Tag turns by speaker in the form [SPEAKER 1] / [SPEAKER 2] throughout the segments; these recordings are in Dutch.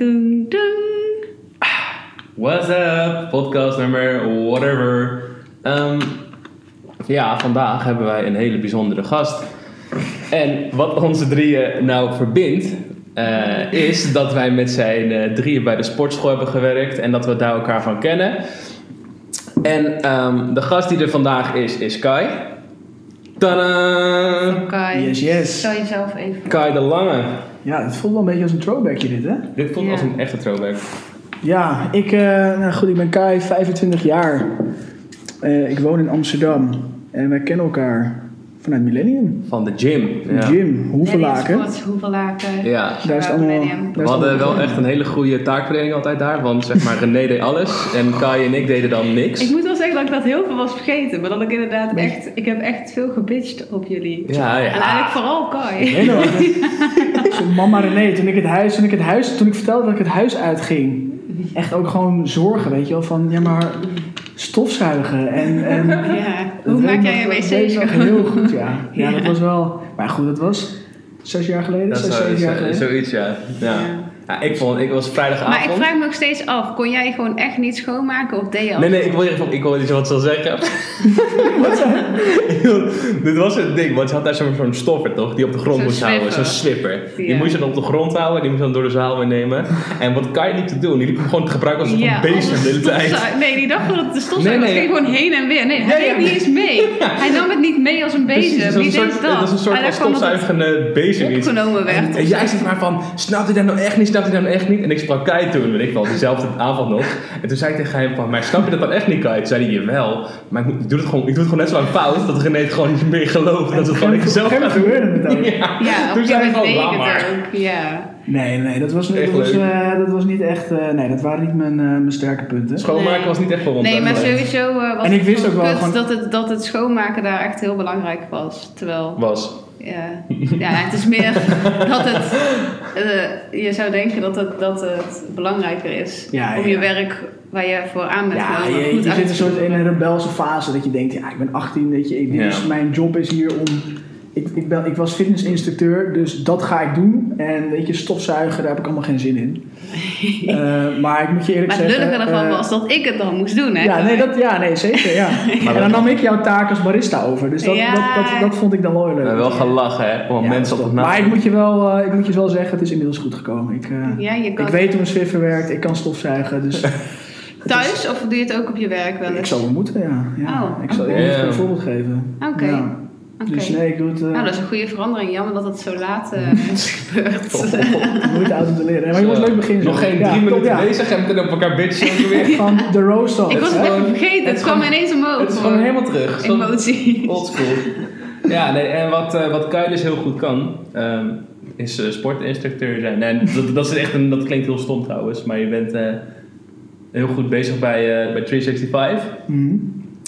[SPEAKER 1] Tududududududududu.
[SPEAKER 2] What's up? Podcast nummer whatever. Ehm, ja, vandaag hebben wij een hele bijzondere gast. En wat onze drieën nou verbindt, eh, is dat wij met zijn eh, drieën bij de sportschool hebben gewerkt en dat we daar elkaar van kennen. En ehm, de gast die er vandaag is, is Kai. Tadaa!
[SPEAKER 1] Kai,
[SPEAKER 3] Yes, yes.
[SPEAKER 1] stel jezelf even.
[SPEAKER 2] Kai de Lange.
[SPEAKER 3] Ja, het voelt wel een beetje als een throwbackje dit, hè?
[SPEAKER 2] Dit voelt
[SPEAKER 1] Ja.
[SPEAKER 2] als een echte throwback.
[SPEAKER 3] Ja, ik, eh, nou goed, ik ben Kai, 25 jaar. Eh, ik woon in Amsterdam en wij kennen elkaar vanuit Millennium.
[SPEAKER 2] Van de gym.
[SPEAKER 3] Een Gym, hoeveelaken.
[SPEAKER 1] Net iets wat, Hoeveel laken?
[SPEAKER 2] Ja.
[SPEAKER 3] Daar is het allemaal... daar is het
[SPEAKER 2] We hadden eh, wel echt een hele goede taakverdeling altijd daar, want zeg maar René deed alles en Kai en ik deden dan niks.
[SPEAKER 1] Ik moet wel zeggen dat ik dat heel veel was vergeten. Maar dat ik inderdaad
[SPEAKER 3] Nee.
[SPEAKER 1] echt... Ik heb echt veel gebitcht op jullie.
[SPEAKER 2] Ja,
[SPEAKER 1] En
[SPEAKER 2] ja.
[SPEAKER 1] eigenlijk vooral Kai.
[SPEAKER 3] Nee, nou, dat- Zo'n mama René, toen ik, het huis, toen ik het huis, toen ik vertelde dat ik het huis uitging, echt ook gewoon zorgen, weet je wel, van ja maar stofzuigen en, en
[SPEAKER 1] Ja.
[SPEAKER 3] Dat
[SPEAKER 1] Hoe
[SPEAKER 3] weet
[SPEAKER 1] maak
[SPEAKER 3] ik
[SPEAKER 1] jij je
[SPEAKER 3] nog- dat
[SPEAKER 1] wc
[SPEAKER 3] weet ik nog
[SPEAKER 1] schoon?
[SPEAKER 3] Heel goed, ja. ja.
[SPEAKER 1] Ja.
[SPEAKER 3] dat was wel... Maar goed, dat was zes jaar geleden,
[SPEAKER 2] Dat
[SPEAKER 3] zes,
[SPEAKER 2] is zo-
[SPEAKER 3] zeven jaar
[SPEAKER 2] zo-
[SPEAKER 3] geleden.
[SPEAKER 2] zoiets, ja. ja. Ja, ik, vond, ik was
[SPEAKER 1] Maar ik
[SPEAKER 2] vrijdagavond.
[SPEAKER 1] vraag me nog steeds af. Kon jij gewoon echt niet schoonmaken of deed je al?
[SPEAKER 2] Nee, nee, ik wil, je- ik wil iets wat zal zeggen. Dit was het ding, want je had daar zo'n zo'n stoffer toch, die op de grond
[SPEAKER 1] Zo'n
[SPEAKER 2] moest houden, zo'n
[SPEAKER 1] swiffer.
[SPEAKER 2] swipper. Die
[SPEAKER 1] Ja.
[SPEAKER 2] moest je dan op de grond houden, die moest je dan door de zaal weer nemen. En wat Kai liep te doen, die liep hem gewoon te gebruiken als een
[SPEAKER 1] Ja,
[SPEAKER 2] bezem de hele
[SPEAKER 1] anders
[SPEAKER 2] tijd.
[SPEAKER 1] stofzuig- Nee, die dacht gewoon dat het de stofzuiger
[SPEAKER 2] Nee,
[SPEAKER 1] nee,
[SPEAKER 2] nee.
[SPEAKER 1] ging gewoon heen en weer. Nee, hij
[SPEAKER 2] Ja, ja.
[SPEAKER 1] deed niet eens mee. Hij nam het niet mee als een
[SPEAKER 2] Precies,
[SPEAKER 1] bezem.
[SPEAKER 2] dat is
[SPEAKER 1] Wie
[SPEAKER 2] een
[SPEAKER 1] deed
[SPEAKER 2] soort,
[SPEAKER 1] dat?
[SPEAKER 2] dat is een soort
[SPEAKER 1] Hij
[SPEAKER 2] als
[SPEAKER 1] dacht gewoon dat het
[SPEAKER 2] stofzuigende bezem iets.
[SPEAKER 1] opgenomen werd.
[SPEAKER 2] En jij zegt maar van, snapt hij dat nou echt niet, snapt hij dat nou echt niet? En ik sprak Kai toen, weet ik wel, dezelfde avond nog. En toen zei ik tegen hem van, maar snap je dat dan echt niet, Kai? Toen zei hij, jawel, maar ik, moet- ik doe het gewoon, ik doe het gewoon net zo lang fout, dat René het gewoon niet meer gelooft. en Dat het gewoon ik zelf
[SPEAKER 3] Geen
[SPEAKER 2] ga doen.
[SPEAKER 3] gebeurde het ook.
[SPEAKER 1] Ja, op
[SPEAKER 2] Toen
[SPEAKER 1] een gegeven
[SPEAKER 2] zei hij
[SPEAKER 1] moment
[SPEAKER 2] gewoon,
[SPEAKER 1] deed ik
[SPEAKER 2] laat maar.
[SPEAKER 1] het ook. Ja.
[SPEAKER 3] Nee, nee, dat was,
[SPEAKER 2] Echt
[SPEAKER 3] dat was,
[SPEAKER 2] leuk.
[SPEAKER 3] eh, dat was niet echt... eh, nee, dat waren niet mijn, eh, mijn sterke punten.
[SPEAKER 2] Schoonmaken
[SPEAKER 1] Nee.
[SPEAKER 2] was niet echt voor ons.
[SPEAKER 1] Nee,
[SPEAKER 2] zeg
[SPEAKER 1] maar sowieso eh, was
[SPEAKER 3] En ik
[SPEAKER 1] het
[SPEAKER 3] wist
[SPEAKER 1] gewoon
[SPEAKER 3] ook wel
[SPEAKER 1] kut
[SPEAKER 3] gewoon-
[SPEAKER 1] dat, het, dat het schoonmaken daar echt heel belangrijk was. Terwijl,
[SPEAKER 2] Was.
[SPEAKER 1] ja, ja het is meer dat het... eh, je zou denken dat het, dat het belangrijker is
[SPEAKER 3] Ja,
[SPEAKER 1] om
[SPEAKER 3] ja.
[SPEAKER 1] je werk waar je voor aan bent
[SPEAKER 3] Ja,
[SPEAKER 1] genomen
[SPEAKER 3] je,
[SPEAKER 1] goed
[SPEAKER 3] je
[SPEAKER 1] uit
[SPEAKER 3] zit
[SPEAKER 1] te
[SPEAKER 3] een soort in
[SPEAKER 1] voeren.
[SPEAKER 3] een rebelse fase dat je denkt, ja, ik ben 18, weet je, ik, dit
[SPEAKER 2] Ja.
[SPEAKER 3] is, mijn job is hier om... Ik, ik, ben, ik was fitnessinstructeur, dus dat ga ik doen. En weet je, stofzuigen, daar heb ik allemaal geen zin in. Eh, maar ik moet je eerlijk
[SPEAKER 1] Maar het
[SPEAKER 3] zeggen...
[SPEAKER 1] lullige daarvan
[SPEAKER 3] eh,
[SPEAKER 1] was dat ik het dan moest doen, hè?
[SPEAKER 3] Ja, nee, dat, ja, nee zeker. Ja.
[SPEAKER 2] Maar
[SPEAKER 3] en
[SPEAKER 2] wel-
[SPEAKER 3] dan nam ik jouw taak als barista over. Dus dat,
[SPEAKER 1] Ja.
[SPEAKER 3] dat, dat, dat vond ik dan wel heel leuk.
[SPEAKER 2] We hebben wel gelachen, hè, om
[SPEAKER 3] Ja,
[SPEAKER 2] mensen op
[SPEAKER 3] dat
[SPEAKER 2] het
[SPEAKER 3] is top. Maar ik moet, je wel, eh, ik moet je wel zeggen, het is inmiddels goed gekomen. Ik, eh,
[SPEAKER 1] Ja, je kan
[SPEAKER 3] ik weet hoe een swiffer werkt, ik kan stofzuigen. Dus
[SPEAKER 1] thuis of doe je het ook op je werk wel
[SPEAKER 3] ik
[SPEAKER 1] eens?
[SPEAKER 3] zal wel moeten, ja. ja.
[SPEAKER 1] Oh.
[SPEAKER 3] ik zal ik
[SPEAKER 2] Ja.
[SPEAKER 3] moet een voorbeeld geven.
[SPEAKER 1] Oké.
[SPEAKER 3] Ja.
[SPEAKER 1] Oké.
[SPEAKER 3] Dus nee, ik doe het eh,
[SPEAKER 1] Nou, dat is een goede verandering. Jammer dat het zo laat eh, is gebeurd.
[SPEAKER 3] moeite uit om te leren. Maar je moet
[SPEAKER 2] Zo.
[SPEAKER 3] leuk beginnen.
[SPEAKER 2] Nog
[SPEAKER 3] zo.
[SPEAKER 2] geen
[SPEAKER 3] Ja,
[SPEAKER 2] drie
[SPEAKER 3] top,
[SPEAKER 2] minuten
[SPEAKER 3] ja.
[SPEAKER 2] bezig en we kunnen op elkaar bitchen ook weer.
[SPEAKER 3] Van de roast al.
[SPEAKER 1] ik was het
[SPEAKER 2] is
[SPEAKER 1] even
[SPEAKER 2] gewoon-
[SPEAKER 1] vergeten. Het,
[SPEAKER 2] is
[SPEAKER 1] kwam
[SPEAKER 2] gewoon-
[SPEAKER 1] ineens omhoog.
[SPEAKER 2] Het is
[SPEAKER 1] hoor.
[SPEAKER 2] gewoon helemaal terug. Zo-
[SPEAKER 1] Emotie.
[SPEAKER 2] Old school. Ja, nee, en wat, eh wat Kuil dus heel goed kan, ehm, is eh, sportinstructeur zijn. Nee, dat, dat, is echt een, dat klinkt heel stom trouwens, maar je bent eh, heel goed bezig bij, eh, bij 365
[SPEAKER 3] Mhm.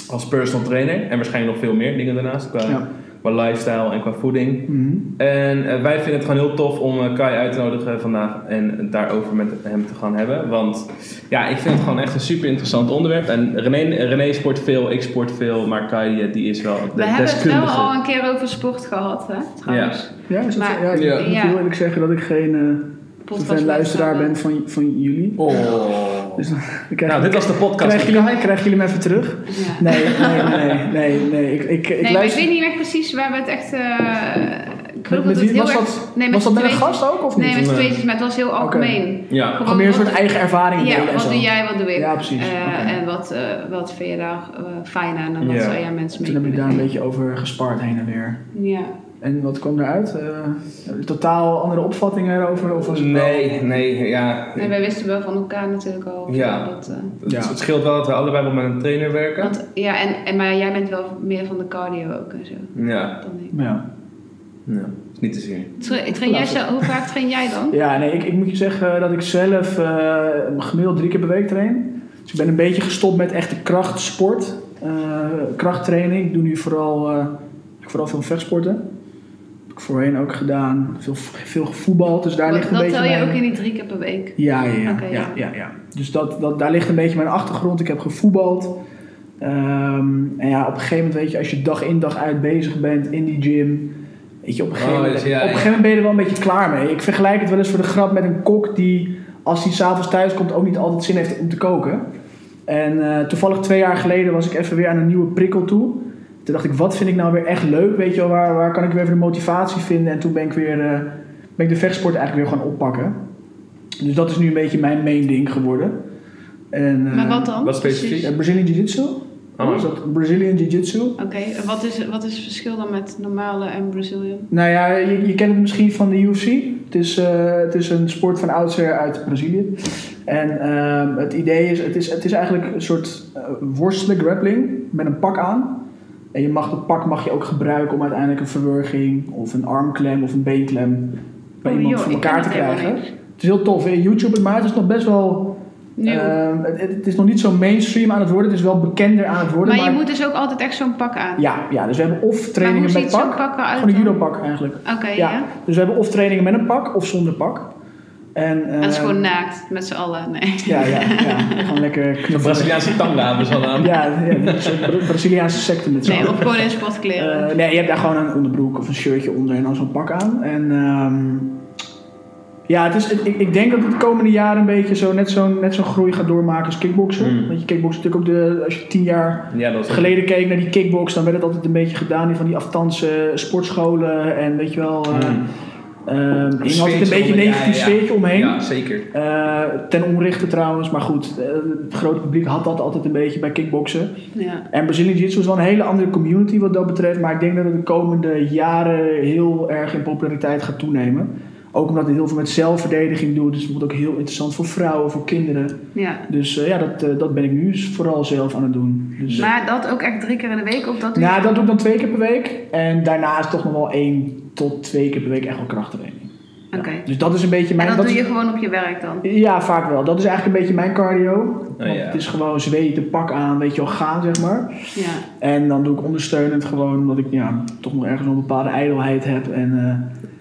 [SPEAKER 2] als personal trainer. En waarschijnlijk nog veel meer dingen daarnaast, qua,
[SPEAKER 3] Ja.
[SPEAKER 2] qua lifestyle en qua voeding.
[SPEAKER 3] Mhm.
[SPEAKER 2] En eh, wij vinden het gewoon heel tof om eh, Kai uit te nodigen vandaag en het daarover met hem te gaan hebben. Want ja, ik vind het gewoon echt een super interessant onderwerp. En René, René sport veel, ik sport veel, maar Kai eh, die is wel de
[SPEAKER 1] We hebben het
[SPEAKER 2] deskundige.
[SPEAKER 1] wel al een keer over sport gehad, hè? Trouwens.
[SPEAKER 3] Ja, is dat,
[SPEAKER 1] Maar-
[SPEAKER 3] ja, ik
[SPEAKER 2] Ja.
[SPEAKER 3] moet heel eerlijk zeggen dat ik geen eh, fan luisteraar ben van, van jullie.
[SPEAKER 2] Oh.
[SPEAKER 3] Dus dan dan krijg,
[SPEAKER 2] Nou, dit was de podcast.
[SPEAKER 3] krijgen, jullie, krijgen jullie hem even terug?
[SPEAKER 1] Ja. Nee,
[SPEAKER 3] Nee, nee, nee, nee, nee. Ik, ik, ik
[SPEAKER 1] maar ik
[SPEAKER 3] luister.
[SPEAKER 1] weet niet echt precies waar we het echt... eh, ik geloof
[SPEAKER 3] Met
[SPEAKER 1] dat het
[SPEAKER 3] wie-
[SPEAKER 1] heel
[SPEAKER 3] was
[SPEAKER 1] erg...
[SPEAKER 3] dat-
[SPEAKER 1] nee,
[SPEAKER 3] was
[SPEAKER 1] z'n
[SPEAKER 3] dat met een eh,
[SPEAKER 1] tweetjes.
[SPEAKER 3] gast ook of niet?
[SPEAKER 1] Nee, met z'n
[SPEAKER 2] Nee.
[SPEAKER 1] tweetjes, maar het was heel algemeen.
[SPEAKER 2] Ja.
[SPEAKER 3] Gewoon meer een soort eigen ervaring
[SPEAKER 1] Ja,
[SPEAKER 3] delen en
[SPEAKER 1] wat
[SPEAKER 3] zo.
[SPEAKER 1] doe jij, wat doe ik?
[SPEAKER 3] Ja, precies.
[SPEAKER 1] Eh,
[SPEAKER 3] Oké.
[SPEAKER 1] En wat, eh, wat vind je daar eh, fijn aan en wat
[SPEAKER 2] Ja.
[SPEAKER 1] zou jij mensen mee
[SPEAKER 3] Toen Dus heb ik
[SPEAKER 1] kunnen
[SPEAKER 3] daar een
[SPEAKER 1] geven?
[SPEAKER 3] beetje over gespaard heen en weer.
[SPEAKER 1] Ja.
[SPEAKER 3] En wat kwam eruit? Eh, totaal andere opvattingen erover? Of was het wel-
[SPEAKER 2] Nee, nee, ja.
[SPEAKER 1] En wij wisten wel van elkaar natuurlijk al.
[SPEAKER 2] Ja.
[SPEAKER 1] Dat, eh,
[SPEAKER 2] Het,
[SPEAKER 3] Ja.
[SPEAKER 2] het scheelt wel dat we allebei wel met een trainer werken.
[SPEAKER 1] want, ja en, en, maar jij bent wel meer van de cardio ook en zo
[SPEAKER 2] Ja.
[SPEAKER 1] dan ik.
[SPEAKER 3] Ja,
[SPEAKER 2] ja. Is niet te zien.
[SPEAKER 1] Tra- Train jij zo, hoe vaak train jij dan?
[SPEAKER 3] ja nee, ik, ik moet je zeggen dat ik zelf eh, gemiddeld drie keer per week train. Dus ik ben een beetje gestopt met echte krachtsport. eh, krachttraining. Ik doe nu vooral, eh, ik vooral veel vechtsporten. Heb ik voorheen ook gedaan. Veel, veel voetbal, dus daar ligt een
[SPEAKER 1] dat
[SPEAKER 3] beetje
[SPEAKER 1] tel je
[SPEAKER 3] mijn-
[SPEAKER 1] ook in die drie keer per week.
[SPEAKER 3] Ja, ja, ja.
[SPEAKER 1] Oké, ja.
[SPEAKER 3] ja, ja, ja. Dus dat, dat, daar ligt een beetje mijn achtergrond. Ik heb gevoetbald. Ehm, en ja, op een gegeven moment weet je, als je dag in dag uit bezig bent in die gym, Weet je, op een gegeven,
[SPEAKER 2] Oh,
[SPEAKER 3] moment,
[SPEAKER 2] dus ja,
[SPEAKER 3] op een
[SPEAKER 2] ja.
[SPEAKER 3] gegeven moment ben je er wel een beetje klaar mee. Ik vergelijk het wel eens voor de grap met een kok die, als hij s'avonds thuis komt, ook niet altijd zin heeft om te koken. En eh, toevallig twee jaar geleden was ik even weer aan een nieuwe prikkel toe. Toen dacht ik, wat vind ik nou weer echt leuk? Weet je wel, waar, waar kan ik weer even de motivatie vinden? En toen ben ik weer eh, ben ik de vechtsport eigenlijk weer gaan oppakken. Dus dat is nu een beetje mijn main ding geworden. En, eh,
[SPEAKER 1] Maar wat dan?
[SPEAKER 2] Wat specifiek?
[SPEAKER 1] precies?
[SPEAKER 3] eh, Brazilian Jiu-Jitsu.
[SPEAKER 2] Oh.
[SPEAKER 3] Is dat Brazilian Jiu-Jitsu?
[SPEAKER 1] Oké, en wat, is, wat is het verschil dan met normale en Brazilian?
[SPEAKER 3] Nou ja, je, je kent het misschien van de UFC. Het is, eh, het is een sport van oudsher uit Brazilië. En ehm, het idee is het, is, het is eigenlijk een soort eh, worstelen grappling met een pak aan. En je mag dat pak mag je ook gebruiken om uiteindelijk een verwurging of een armklem of een beenklem bij
[SPEAKER 1] Oh,
[SPEAKER 3] iemand
[SPEAKER 1] joh,
[SPEAKER 3] voor
[SPEAKER 1] ik ken
[SPEAKER 3] elkaar te
[SPEAKER 1] het helemaal
[SPEAKER 3] krijgen.
[SPEAKER 1] niet.
[SPEAKER 3] Het is heel tof. hè. YouTube het maar het is nog best wel.
[SPEAKER 1] Nieuw.
[SPEAKER 3] ehm, het, het is nog niet zo mainstream aan het worden. Het is wel bekender aan het worden.
[SPEAKER 1] maar je moet dus ook altijd echt zo'n pak aan.
[SPEAKER 3] ja, ja, dus we hebben of
[SPEAKER 1] maar hoe
[SPEAKER 3] trainingen
[SPEAKER 1] ziet
[SPEAKER 3] met
[SPEAKER 1] zo'n
[SPEAKER 3] pak.
[SPEAKER 1] pak eruit
[SPEAKER 3] Gewoon
[SPEAKER 1] dan?
[SPEAKER 3] een judo pak eigenlijk.
[SPEAKER 1] Oké, ja.
[SPEAKER 3] Ja. Dus we hebben of trainingen met een pak of zonder pak. En, eh,
[SPEAKER 1] Dat is gewoon naakt, met z'n allen. Nee.
[SPEAKER 3] Ja, ja, ja. Gewoon lekker
[SPEAKER 2] De
[SPEAKER 3] knuffelen.
[SPEAKER 2] Braziliaanse tanga hebben ze al aan.
[SPEAKER 3] Ja, ja een soort Bra- Braziliaanse secte met z'n
[SPEAKER 1] Nee,
[SPEAKER 3] allen.
[SPEAKER 1] of gewoon in sportkleren.
[SPEAKER 3] Eh, nee, je hebt daar gewoon een onderbroek of een shirtje onder en dan zo'n pak aan. En ehm, ja, het is, het- ik, ik denk dat het de komende jaren een beetje zo net zo'n net zo'n groei gaat doormaken als kickboksen.
[SPEAKER 2] Mm.
[SPEAKER 3] Want je kickboksen natuurlijk ook, de, als je tien jaar
[SPEAKER 2] Ja, dat is
[SPEAKER 3] geleden keek naar die kickbox, dan werd het altijd een beetje gedaan in van die aftanse sportscholen en weet je wel... eh,
[SPEAKER 2] Mm.
[SPEAKER 3] ehm, er ging altijd een
[SPEAKER 2] sfeertje
[SPEAKER 3] beetje een
[SPEAKER 2] omheen,
[SPEAKER 3] negatief
[SPEAKER 2] ja, ja.
[SPEAKER 3] sfeertje omheen.
[SPEAKER 2] Ja, zeker.
[SPEAKER 3] Eh, ten onrechte trouwens, maar goed, eh, het grote publiek had dat altijd een beetje bij kickboksen.
[SPEAKER 1] ja.
[SPEAKER 3] En Brazilian Jiu-Jitsu is wel een hele andere community wat dat betreft, maar ik denk dat het de komende jaren heel erg in populariteit gaat toenemen. Ook omdat het heel veel met zelfverdediging doet, dus het wordt ook heel interessant voor vrouwen, voor kinderen.
[SPEAKER 1] ja.
[SPEAKER 3] Dus eh, ja, dat, eh, dat ben ik nu vooral zelf aan het doen. Dus, eh,
[SPEAKER 1] Maar dat ook echt drie keer in de week? Of dat doe je-
[SPEAKER 3] nou, dat doe ik dan twee keer per week en daarna is toch nog wel één tot twee keer per week echt wel krachttraining.
[SPEAKER 1] Oké.
[SPEAKER 3] Ja, Dus dat is een beetje
[SPEAKER 1] En
[SPEAKER 3] mijn...
[SPEAKER 1] dat,
[SPEAKER 3] dat
[SPEAKER 1] doe
[SPEAKER 3] is-
[SPEAKER 1] je gewoon op je werk dan?
[SPEAKER 3] Ja, vaak wel. Dat is eigenlijk een beetje mijn cardio.
[SPEAKER 2] Oh,
[SPEAKER 3] Want
[SPEAKER 2] ja.
[SPEAKER 3] Het is gewoon zweten, pak aan, weet je wel, gaan zeg maar.
[SPEAKER 1] Ja.
[SPEAKER 3] En dan doe ik ondersteunend gewoon omdat ik ja, toch nog ergens een bepaalde ijdelheid heb. En,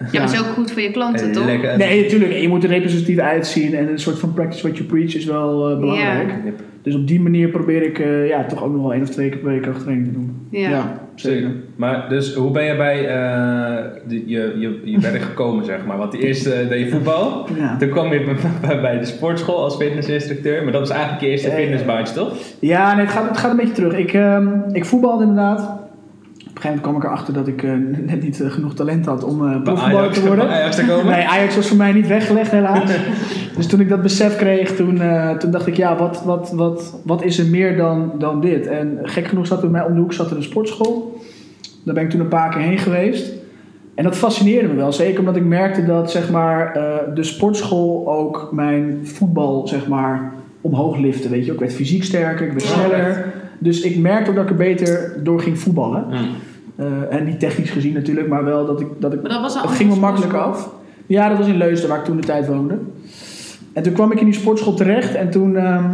[SPEAKER 3] eh,
[SPEAKER 1] Ja, dat is ook goed voor je klanten,
[SPEAKER 2] En
[SPEAKER 1] toch?
[SPEAKER 2] Eh, lekker.
[SPEAKER 3] Nee, natuurlijk. Je moet er representatief uitzien en een soort van practice what you preach is wel eh, belangrijk.
[SPEAKER 1] Ja.
[SPEAKER 2] Yep.
[SPEAKER 3] Dus op die manier probeer ik eh, ja, toch ook nog wel één of twee keer per week krachttraining te doen.
[SPEAKER 1] Ja.
[SPEAKER 2] Zeker. Maar dus hoe ben je bij eh, de- je, je, je werk gekomen, zeg maar? Want eerst eh, deed je voetbal.
[SPEAKER 3] Ja.
[SPEAKER 2] Toen kwam je bij- bij, bij de sportschool als fitnessinstructeur. Maar dat was eigenlijk je eerste
[SPEAKER 3] Ja, ja.
[SPEAKER 2] fitnessbaantje, toch?
[SPEAKER 3] Ja, nee, het gaat, het gaat een beetje terug. Ik, ehm, ik voetbalde inderdaad. Op een gegeven moment kwam ik erachter dat ik eh, net niet eh, genoeg talent had om eh
[SPEAKER 2] Bij
[SPEAKER 3] profvoetballer
[SPEAKER 2] Ajax-
[SPEAKER 3] te worden.
[SPEAKER 2] bij Ajax te komen.
[SPEAKER 3] Nee, Ajax was voor mij niet weggelegd helaas. dus toen ik dat besef kreeg, toen, eh, toen dacht ik, ja, wat, wat, wat, wat is er meer dan, dan dit? En gek genoeg zat er bij mij om de hoek zat er een sportschool. Daar ben ik toen een paar keer heen geweest. En dat fascineerde me wel. Zeker omdat ik merkte dat zeg maar, eh, de sportschool ook mijn voetbal zeg maar, omhoog lifte. Weet je? Ik werd fysiek sterker, ik werd
[SPEAKER 1] Ja.
[SPEAKER 3] sneller. Dus ik merkte ook dat ik er beter door ging voetballen. Eh, en niet technisch gezien natuurlijk, maar wel dat ik, dat ik
[SPEAKER 1] Maar dat was een
[SPEAKER 3] het
[SPEAKER 1] andere
[SPEAKER 3] ging me makkelijk
[SPEAKER 1] sportschool.
[SPEAKER 3] af. Ja, dat was in Leusden, waar ik toen de tijd woonde. En toen kwam ik in die sportschool terecht en toen ehm,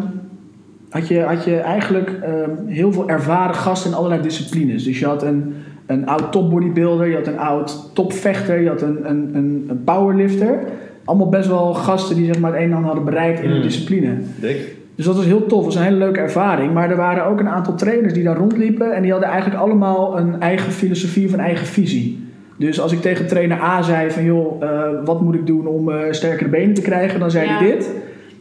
[SPEAKER 3] had, je, had je eigenlijk ehm, heel veel ervaren gasten in allerlei disciplines. Dus je had een, een oud topbodybuilder, je had een oud topvechter, je had een, een, een, een powerlifter. Allemaal best wel gasten die zeg maar, het een en ander hadden bereikt in de
[SPEAKER 2] Mm.
[SPEAKER 3] discipline.
[SPEAKER 2] Dik.
[SPEAKER 3] Dus dat was heel tof, dat was een hele leuke ervaring. Maar er waren ook een aantal trainers die daar rondliepen en die hadden eigenlijk allemaal een eigen filosofie of een eigen visie. Dus als ik tegen trainer A zei van joh, eh, wat moet ik doen om eh, sterkere benen te krijgen, dan zei hij
[SPEAKER 1] Ja.
[SPEAKER 3] dit.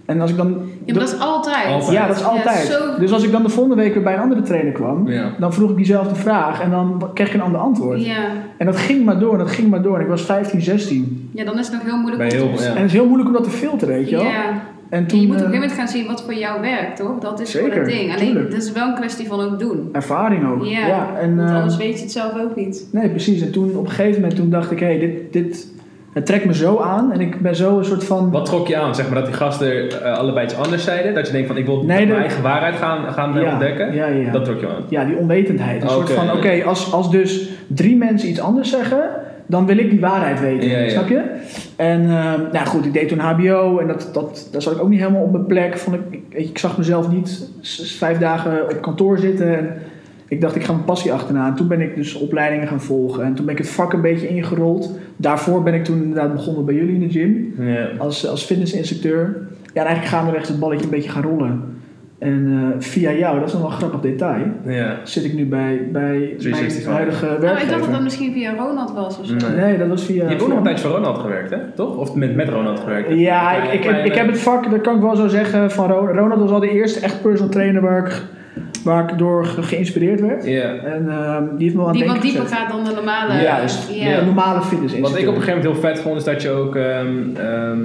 [SPEAKER 3] En als ik dan.
[SPEAKER 1] Ja, maar dat is altijd.
[SPEAKER 2] Altijd.
[SPEAKER 3] Ja, dat is altijd.
[SPEAKER 1] zo-
[SPEAKER 3] Dus als ik dan de volgende week weer bij een andere trainer kwam,
[SPEAKER 2] Ja.
[SPEAKER 3] dan vroeg ik diezelfde vraag en dan kreeg ik een ander antwoord.
[SPEAKER 1] Ja.
[SPEAKER 3] En dat ging maar door, en dat ging maar door. En ik was 15, 16.
[SPEAKER 1] ja, dan is het nog heel moeilijk
[SPEAKER 2] Bij
[SPEAKER 1] om
[SPEAKER 2] heel
[SPEAKER 1] te-
[SPEAKER 2] veel.
[SPEAKER 3] En het
[SPEAKER 2] Ja.
[SPEAKER 3] is heel moeilijk om dat te filteren, weet je wel.
[SPEAKER 1] Ja.
[SPEAKER 3] En
[SPEAKER 1] En
[SPEAKER 3] toen,
[SPEAKER 1] je moet op een
[SPEAKER 3] eh,
[SPEAKER 1] gegeven moment gaan zien wat voor jou werkt, toch? Dat is
[SPEAKER 3] Zeker,
[SPEAKER 1] gewoon het ding. Alleen,
[SPEAKER 3] tuurlijk.
[SPEAKER 1] dat is wel een kwestie van ook doen.
[SPEAKER 3] ervaring ook.
[SPEAKER 1] Ja,
[SPEAKER 3] en,
[SPEAKER 1] Want
[SPEAKER 3] eh,
[SPEAKER 1] anders weet je het zelf ook niet.
[SPEAKER 3] Nee, precies. En toen op een gegeven moment toen dacht ik, hé, hey, dit, dit het trekt me zo aan. En ik ben zo een soort van.
[SPEAKER 2] Wat trok je aan? Zeg maar dat die gasten eh, allebei iets anders zeiden? Dat je denkt van ik wil
[SPEAKER 3] Nee,
[SPEAKER 2] mijn
[SPEAKER 3] dat-
[SPEAKER 2] eigen waarheid gaan, gaan
[SPEAKER 3] Ja,
[SPEAKER 2] ontdekken?
[SPEAKER 3] ja, ja.
[SPEAKER 2] Dat trok je aan?
[SPEAKER 3] Ja, die onwetendheid. Een soort
[SPEAKER 2] Oké.
[SPEAKER 3] van, oké, als, als dus drie mensen iets anders zeggen, dan wil ik die waarheid weten.
[SPEAKER 2] Ja, ja.
[SPEAKER 3] Snap je? En ehm, nou goed, ik deed toen HBO en dat, dat, daar zat ik ook niet helemaal op mijn plek. Vond ik, ik, weet je, ik zag mezelf niet s- vijf dagen op kantoor zitten. En ik dacht, ik ga mijn passie achterna. En toen ben ik dus opleidingen gaan volgen. En toen ben ik het vak een beetje ingerold. Daarvoor ben ik toen inderdaad begonnen bij jullie in de gym.
[SPEAKER 2] Ja.
[SPEAKER 3] als, als fitnessinstructeur. Ja, en eigenlijk gaandeweg is het balletje een beetje gaan rollen. En eh, via jou, dat is nog wel een grappig detail,
[SPEAKER 2] Ja.
[SPEAKER 3] zit ik nu bij, bij mijn
[SPEAKER 2] 365.
[SPEAKER 3] huidige
[SPEAKER 1] Nou, ik dacht dat dat
[SPEAKER 3] werkgever.
[SPEAKER 1] misschien via Ronald was of zo.
[SPEAKER 2] Nee.
[SPEAKER 3] Nee, dat was via...
[SPEAKER 2] Je hebt ook nog een tijdje voor Ronald gewerkt, hè? Toch? Of met, met Ronald gewerkt?
[SPEAKER 3] Ja,
[SPEAKER 2] Een
[SPEAKER 3] ik, ik,
[SPEAKER 2] kleine-
[SPEAKER 3] ik, ik heb het vak, dat kan ik wel zo zeggen, van Ro- Ronald was al de eerste echt personal trainer waar ik, waar ik door ge- geïnspireerd werd.
[SPEAKER 2] Ja.
[SPEAKER 3] En ehm, die heeft me wel aan het
[SPEAKER 1] Die wat
[SPEAKER 3] denken
[SPEAKER 1] dieper
[SPEAKER 3] gezet.
[SPEAKER 1] gaat dan de normale.
[SPEAKER 3] Ja, juist.
[SPEAKER 1] Ja.
[SPEAKER 3] De normale fitness
[SPEAKER 2] Wat ik op een gegeven moment heel vet vond, is dat je ook. ehm, ehm,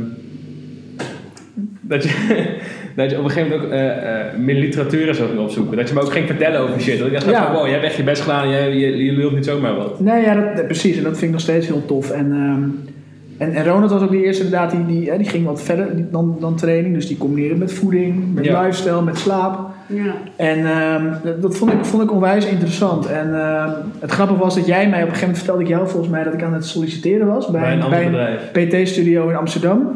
[SPEAKER 2] dat, je, dat je op een gegeven moment ook eh, eh, meer literatuur en zo ging opzoeken. Dat je me ook ging vertellen over shit. Dat ik dacht,
[SPEAKER 3] Ja.
[SPEAKER 2] van, wow, jij hebt echt je best gedaan en jij, je, je lult niet zomaar wat.
[SPEAKER 3] Nee, ja, dat, eh, precies. En dat vind ik nog steeds heel tof. En, ehm, en, en Ronald was ook de eerste inderdaad, die, die, hè, die ging wat verder die- dan, dan training. Dus die combineerde met voeding, met
[SPEAKER 2] Ja.
[SPEAKER 3] lifestyle, met slaap.
[SPEAKER 1] Ja.
[SPEAKER 3] En ehm, dat- dat vond ik, vond ik onwijs interessant. En ehm, het grappige was dat jij mij op een gegeven moment vertelde ik jou volgens mij dat ik aan het solliciteren was bij,
[SPEAKER 2] Bij een ander
[SPEAKER 3] bij
[SPEAKER 2] bedrijf.
[SPEAKER 3] PT-studio in Amsterdam.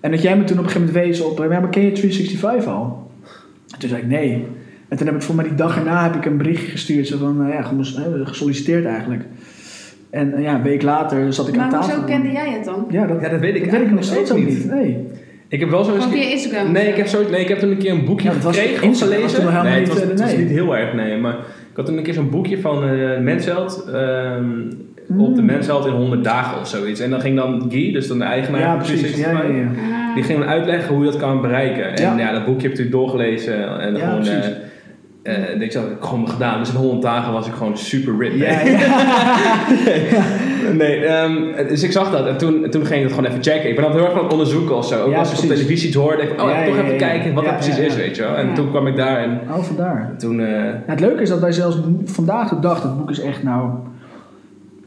[SPEAKER 3] En dat jij me toen op een gegeven moment wees op, eh, ja, maar ken je 365 al? En toen zei ik nee. En toen heb ik voor mij die dag erna heb ik een berichtje gestuurd. Zo van, eh, ja, gemos- eh, gesolliciteerd eigenlijk. En eh, ja, een week later zat ik aan
[SPEAKER 1] Maar
[SPEAKER 3] tafel.
[SPEAKER 1] hoezo kende jij het dan?
[SPEAKER 3] Ja, dat,
[SPEAKER 2] Ja, dat weet ik
[SPEAKER 3] dat weet ik nog
[SPEAKER 2] eigenlijk
[SPEAKER 3] steeds
[SPEAKER 2] ook
[SPEAKER 3] ook
[SPEAKER 2] niet.
[SPEAKER 3] niet. Nee.
[SPEAKER 2] Ik heb wel zo eens.
[SPEAKER 1] Gewoon
[SPEAKER 2] een
[SPEAKER 1] via
[SPEAKER 2] keer-
[SPEAKER 1] Instagram?
[SPEAKER 2] Nee ik, heb zo, nee, ik heb toen een keer een boekje
[SPEAKER 3] Ja, dat was
[SPEAKER 2] gekregen
[SPEAKER 3] geen
[SPEAKER 2] of
[SPEAKER 3] Instagram,
[SPEAKER 2] gelezen.
[SPEAKER 3] dat was toen helemaal
[SPEAKER 2] nee,
[SPEAKER 3] niet,
[SPEAKER 2] het was, het
[SPEAKER 3] eh,
[SPEAKER 2] was
[SPEAKER 3] nee.
[SPEAKER 2] niet heel erg, nee. Maar ik had toen een keer zo'n boekje van eh Mensheld. ehm, Op de
[SPEAKER 3] Mm.
[SPEAKER 2] Mensheld in 100 dagen of zoiets. En dan ging dan Guy, dus dan de eigenaar
[SPEAKER 3] ja,
[SPEAKER 2] van
[SPEAKER 3] precies. Ja, ja,
[SPEAKER 2] 365,
[SPEAKER 3] ja.
[SPEAKER 1] Ah.
[SPEAKER 2] Die ging me uitleggen hoe je dat kan bereiken. En ja,
[SPEAKER 3] Ja.
[SPEAKER 2] dat boekje heb ik natuurlijk doorgelezen. En
[SPEAKER 3] Ja,
[SPEAKER 2] gewoon,
[SPEAKER 3] precies.
[SPEAKER 2] eh, eh, dit had ik gewoon gedaan. Dus in 100 dagen was ik gewoon super rip.
[SPEAKER 3] Ja,
[SPEAKER 2] Nee. nee, ehm, dus ik zag dat. En toen, toen ging ik dat gewoon even checken. Ik ben altijd heel erg van het onderzoeken of zo. Ook
[SPEAKER 3] Ja,
[SPEAKER 2] als ik op
[SPEAKER 3] precies.
[SPEAKER 2] televisie iets hoorde. Denk ik, oh,
[SPEAKER 3] Ja,
[SPEAKER 2] even toch
[SPEAKER 3] ja,
[SPEAKER 2] even
[SPEAKER 3] ja, ja.
[SPEAKER 2] kijken wat
[SPEAKER 3] Ja,
[SPEAKER 2] dat precies
[SPEAKER 3] ja, ja.
[SPEAKER 2] is, weet je wel. En
[SPEAKER 1] Ja.
[SPEAKER 2] toen kwam ik daar en
[SPEAKER 3] Oh, vandaar.
[SPEAKER 2] toen... eh,
[SPEAKER 3] Ja, het leuke is dat wij zelfs vandaag de dag, dat boek is echt nou,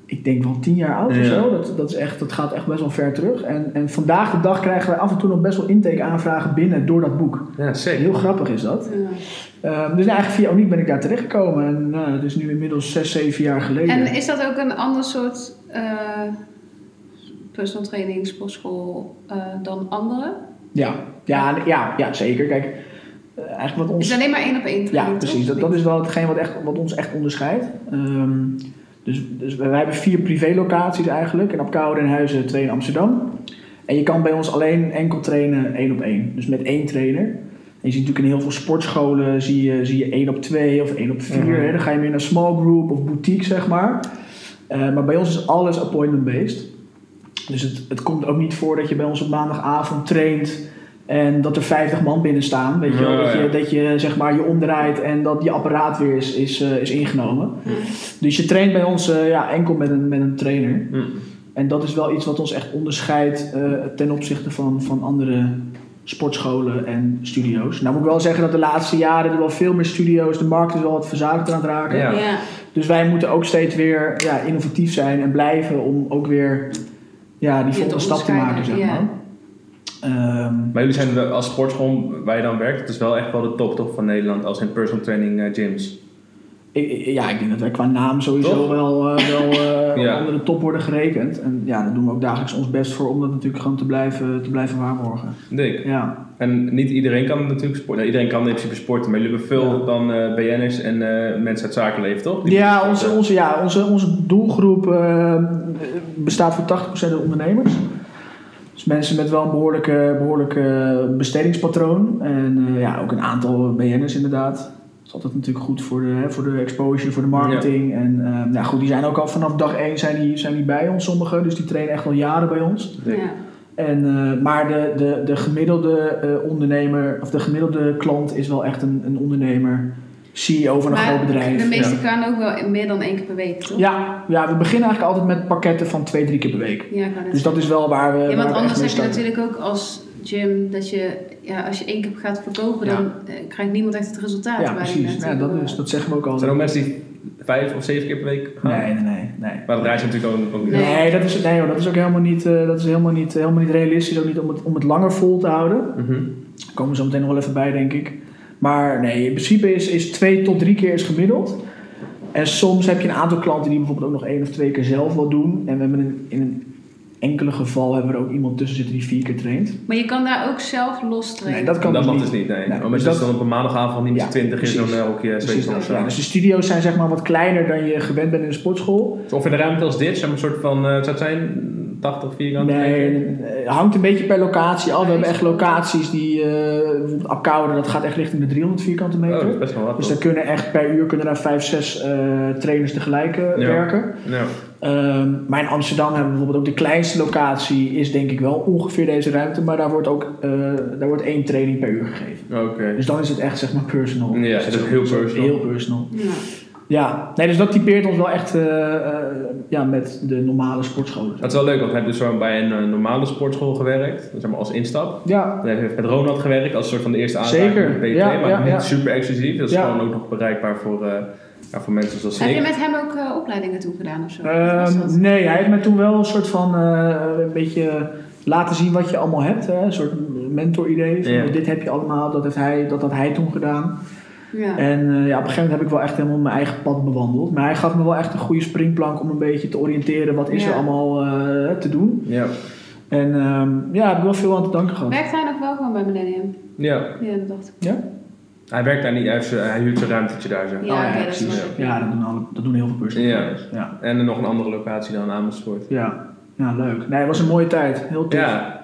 [SPEAKER 3] ik denk wel tien jaar oud
[SPEAKER 2] Ja.
[SPEAKER 3] of zo. Dat, dat, is echt, dat gaat echt best wel ver terug. En, en vandaag de dag krijgen wij af en toe nog best wel intake aanvragen binnen door dat boek.
[SPEAKER 2] ja, zeker.
[SPEAKER 3] Heel grappig is dat.
[SPEAKER 1] Ja.
[SPEAKER 3] Ehm, dus nou, eigenlijk via Oniek ben ik daar terechtgekomen. En nou, dat is nu inmiddels zes, zeven jaar geleden.
[SPEAKER 1] En is dat ook een ander soort eh, personal training, sportschool eh, dan andere?
[SPEAKER 3] ja. Ja, ja, ja, zeker. Kijk, eh, eigenlijk wat
[SPEAKER 1] Het is
[SPEAKER 3] ons...
[SPEAKER 1] alleen maar één op één training,
[SPEAKER 3] Ja,
[SPEAKER 1] toch?
[SPEAKER 3] precies. Dat, dat is wel hetgeen wat, echt, wat ons echt onderscheidt. Ehm, dus, dus wij wij hebben vier privélocaties eigenlijk. In Apeldoorn en Huizen, twee in Amsterdam. En je kan bij ons alleen enkel trainen één op één. Dus met één trainer. En je ziet natuurlijk in heel veel sportscholen zie je, zie je één op twee of één op vier.
[SPEAKER 2] Mhm.
[SPEAKER 3] hè. Dan ga je meer naar small group of boutique, zeg maar. Eh, maar bij ons is alles appointment-based. Dus het, het komt ook niet voor dat je bij ons op maandagavond traint en dat er 50 man binnen staan. Weet je wel?
[SPEAKER 2] Ja,
[SPEAKER 3] dat,
[SPEAKER 2] ja.
[SPEAKER 3] je, dat je zeg maar je omdraait en dat je apparaat weer is, is, eh, is ingenomen.
[SPEAKER 1] Ja.
[SPEAKER 3] Dus je traint bij ons eh, ja, enkel met een, met een trainer.
[SPEAKER 2] Hm.
[SPEAKER 3] En dat is wel iets wat ons echt onderscheidt eh, ten opzichte van, van andere sportscholen en studio's. Nou moet ik wel zeggen dat de laatste jaren er wel veel meer studio's, de markt is wel wat verzadigd aan het raken.
[SPEAKER 2] Ja.
[SPEAKER 1] Ja.
[SPEAKER 3] Dus wij moeten ook steeds weer ja, innovatief zijn en blijven om ook weer ja, die
[SPEAKER 1] Je
[SPEAKER 3] volgende
[SPEAKER 1] te
[SPEAKER 3] stap te maken, zeg
[SPEAKER 1] onderscheiden,
[SPEAKER 3] maar. Ehm,
[SPEAKER 2] Maar jullie zijn wel- als sportschool waar je dan werkt, het is wel echt wel de top toch van Nederland als in personal training eh, gyms.
[SPEAKER 3] ik, ik- ja, ik denk dat wij qua naam sowieso
[SPEAKER 2] Toch?
[SPEAKER 3] wel, eh, wel eh,
[SPEAKER 2] Ja.
[SPEAKER 3] onder de top worden gerekend. En ja, daar doen we ook dagelijks ons best voor om dat natuurlijk gewoon te blijven, te blijven waarborgen.
[SPEAKER 2] Dik.
[SPEAKER 3] Ja.
[SPEAKER 2] En niet iedereen kan natuurlijk sporten. Nou, iedereen kan in principe sporten, maar jullie hebben veel
[SPEAKER 3] Ja.
[SPEAKER 2] dan eh, BN'ers en eh, mensen uit zakenleven, toch? Die
[SPEAKER 3] Ja,
[SPEAKER 2] moeten
[SPEAKER 3] onze,
[SPEAKER 2] sporten.
[SPEAKER 3] onze, ja, onze, onze doelgroep eh, bestaat voor 80% uit ondernemers. Dus mensen met wel een behoorlijke, behoorlijke bestedingspatroon. En eh, ja, ook een aantal BN'ers inderdaad. Dat is altijd natuurlijk goed voor de, hè, voor de exposure, voor de marketing. En eh, nou goed, die zijn ook al vanaf dag 1 zijn die, zijn die bij ons sommigen. Dus die trainen echt al jaren bij ons.
[SPEAKER 2] Dik.
[SPEAKER 1] Ja.
[SPEAKER 3] En, eh, maar de, de, de gemiddelde eh, ondernemer, of de gemiddelde klant is wel echt een, een ondernemer. CEO van een
[SPEAKER 1] Maar
[SPEAKER 3] groot bedrijf.
[SPEAKER 1] de meeste
[SPEAKER 2] ja.
[SPEAKER 1] kan ook wel meer dan één keer per week, toch?
[SPEAKER 3] Ja, ja, we beginnen eigenlijk altijd met pakketten van twee, drie keer per week.
[SPEAKER 1] Ja, ik wou net
[SPEAKER 3] Dus dat is wel waar we.
[SPEAKER 1] Ja, want
[SPEAKER 3] waar we
[SPEAKER 1] anders
[SPEAKER 3] echt mee
[SPEAKER 1] heb je
[SPEAKER 3] starten.
[SPEAKER 1] natuurlijk ook als gym dat je, ja, als je één keer gaat verkopen,
[SPEAKER 3] Ja.
[SPEAKER 1] dan eh, krijgt niemand echt het resultaat.
[SPEAKER 3] Ja,
[SPEAKER 1] waar je
[SPEAKER 3] precies. Ja,
[SPEAKER 1] naartoe
[SPEAKER 3] dat,
[SPEAKER 1] wil.
[SPEAKER 3] is, dat zeggen we ook
[SPEAKER 2] Er zijn ook
[SPEAKER 3] altijd.
[SPEAKER 2] mensen die vijf of zeven keer per week gaan.
[SPEAKER 3] Nee, nee, nee. nee.
[SPEAKER 2] Maar dat draait je natuurlijk ook, ook niet.
[SPEAKER 1] Nee.
[SPEAKER 3] Nee, dat is, nee hoor, dat is ook helemaal niet, eh, dat is helemaal niet, helemaal niet realistisch. Ook niet om het, om het langer vol te houden.
[SPEAKER 2] Mhm.
[SPEAKER 3] Daar komen we zo meteen nog wel even bij, denk ik. Maar nee, in principe is, is twee tot drie keer is gemiddeld. En soms heb je een aantal klanten die bijvoorbeeld ook nog één of twee keer zelf wat doen. En we hebben een, in een enkele geval hebben we er ook iemand tussen zitten die vier keer traint.
[SPEAKER 1] Maar je kan daar ook zelf los trainen.
[SPEAKER 3] Nee, dat kan
[SPEAKER 2] dat
[SPEAKER 3] dus
[SPEAKER 2] mag
[SPEAKER 3] niet.
[SPEAKER 2] dus niet, nee.
[SPEAKER 3] Nee,
[SPEAKER 2] Omdat
[SPEAKER 3] dus
[SPEAKER 2] je dus
[SPEAKER 3] dat-
[SPEAKER 2] dan op een maandagavond niet met
[SPEAKER 3] Ja,
[SPEAKER 2] twintig in zo'n
[SPEAKER 3] precies.
[SPEAKER 2] eh, hokje
[SPEAKER 3] Precies
[SPEAKER 2] zweet
[SPEAKER 3] dat,
[SPEAKER 2] of zo.
[SPEAKER 3] ja. Dus de studio's zijn zeg maar wat kleiner dan je gewend bent in een sportschool.
[SPEAKER 2] Of in de ruimte als dit, zo'n soort van, eh, het zou zijn 80 vierkante
[SPEAKER 3] Nee,
[SPEAKER 2] meter? Oh,
[SPEAKER 3] het hangt een beetje per locatie af. We hebben echt locaties die, eh bijvoorbeeld Apkoude, dat gaat echt richting de 300 vierkante
[SPEAKER 2] Oh, dat is
[SPEAKER 3] meter.
[SPEAKER 2] best wel wat.
[SPEAKER 3] Dus daar kunnen echt per uur kunnen daar 5, 6 trainers tegelijk eh,
[SPEAKER 2] Ja.
[SPEAKER 3] werken.
[SPEAKER 2] Ja.
[SPEAKER 3] Ehm, maar in Amsterdam hebben we bijvoorbeeld ook de kleinste locatie, is denk ik wel ongeveer deze ruimte, maar daar wordt ook eh, daar wordt één training per uur gegeven.
[SPEAKER 2] Oké.
[SPEAKER 3] Dus dan is het echt zeg maar personal.
[SPEAKER 2] Ja,
[SPEAKER 3] Dus
[SPEAKER 2] dat is heel personal.
[SPEAKER 3] Heel personal.
[SPEAKER 1] Ja.
[SPEAKER 3] Ja, nee, dus dat typeert ons wel echt eh, eh, ja, met de normale sportscholen.
[SPEAKER 2] Dat is wel leuk, want hij heeft dus zo bij een eh, normale sportschool gewerkt, zeg maar als instap.
[SPEAKER 3] Ja,
[SPEAKER 2] Hij heeft Eh, met Ronald gewerkt als soort van de eerste aanraking
[SPEAKER 3] Zeker,
[SPEAKER 2] met PT,
[SPEAKER 3] ja,
[SPEAKER 2] maar
[SPEAKER 3] ja,
[SPEAKER 2] niet
[SPEAKER 3] ja.
[SPEAKER 2] super exclusief. Dat is
[SPEAKER 3] Ja.
[SPEAKER 2] gewoon ook nog bereikbaar voor, eh, ja, voor mensen zoals
[SPEAKER 1] Heb je
[SPEAKER 2] ik.
[SPEAKER 1] met hem ook eh, opleidingen toe gedaan of zo? Wat was dat?
[SPEAKER 3] Ehm, nee, hij heeft mij toen wel een soort van eh, een beetje laten zien wat je allemaal hebt. Hè? Een soort mentor-idee. van,
[SPEAKER 2] Ja.
[SPEAKER 3] Dit heb je allemaal, dat heeft hij, dat had hij toen gedaan.
[SPEAKER 1] ja.
[SPEAKER 3] En eh, ja, op een gegeven moment heb ik wel echt helemaal mijn eigen pad bewandeld. Maar hij gaf me wel echt een goede springplank om een beetje te oriënteren wat is
[SPEAKER 1] Ja.
[SPEAKER 3] er allemaal eh, te doen.
[SPEAKER 2] Ja.
[SPEAKER 3] En ehm, ja, daar heb ik wel veel aan te danken gehad.
[SPEAKER 1] Werkt hij nog wel gewoon bij Millennium?
[SPEAKER 2] ja,
[SPEAKER 1] Ja, dat dacht ik.
[SPEAKER 2] hij werkt daar niet, hij, heeft zijn- hij huurt zijn ruimtetje daar. Zeg.
[SPEAKER 1] Ja,
[SPEAKER 2] maar.
[SPEAKER 3] ja,
[SPEAKER 1] oké, dat
[SPEAKER 3] precies.
[SPEAKER 1] snap ik.
[SPEAKER 3] Ja, dat doen, alle, dat doen heel veel personal
[SPEAKER 2] Ja.
[SPEAKER 3] trainers. Ja.
[SPEAKER 2] En nog een andere locatie dan Amersfoort.
[SPEAKER 3] Ja. ja, leuk. Nee, het was een mooie tijd. Heel tof.
[SPEAKER 2] Ja,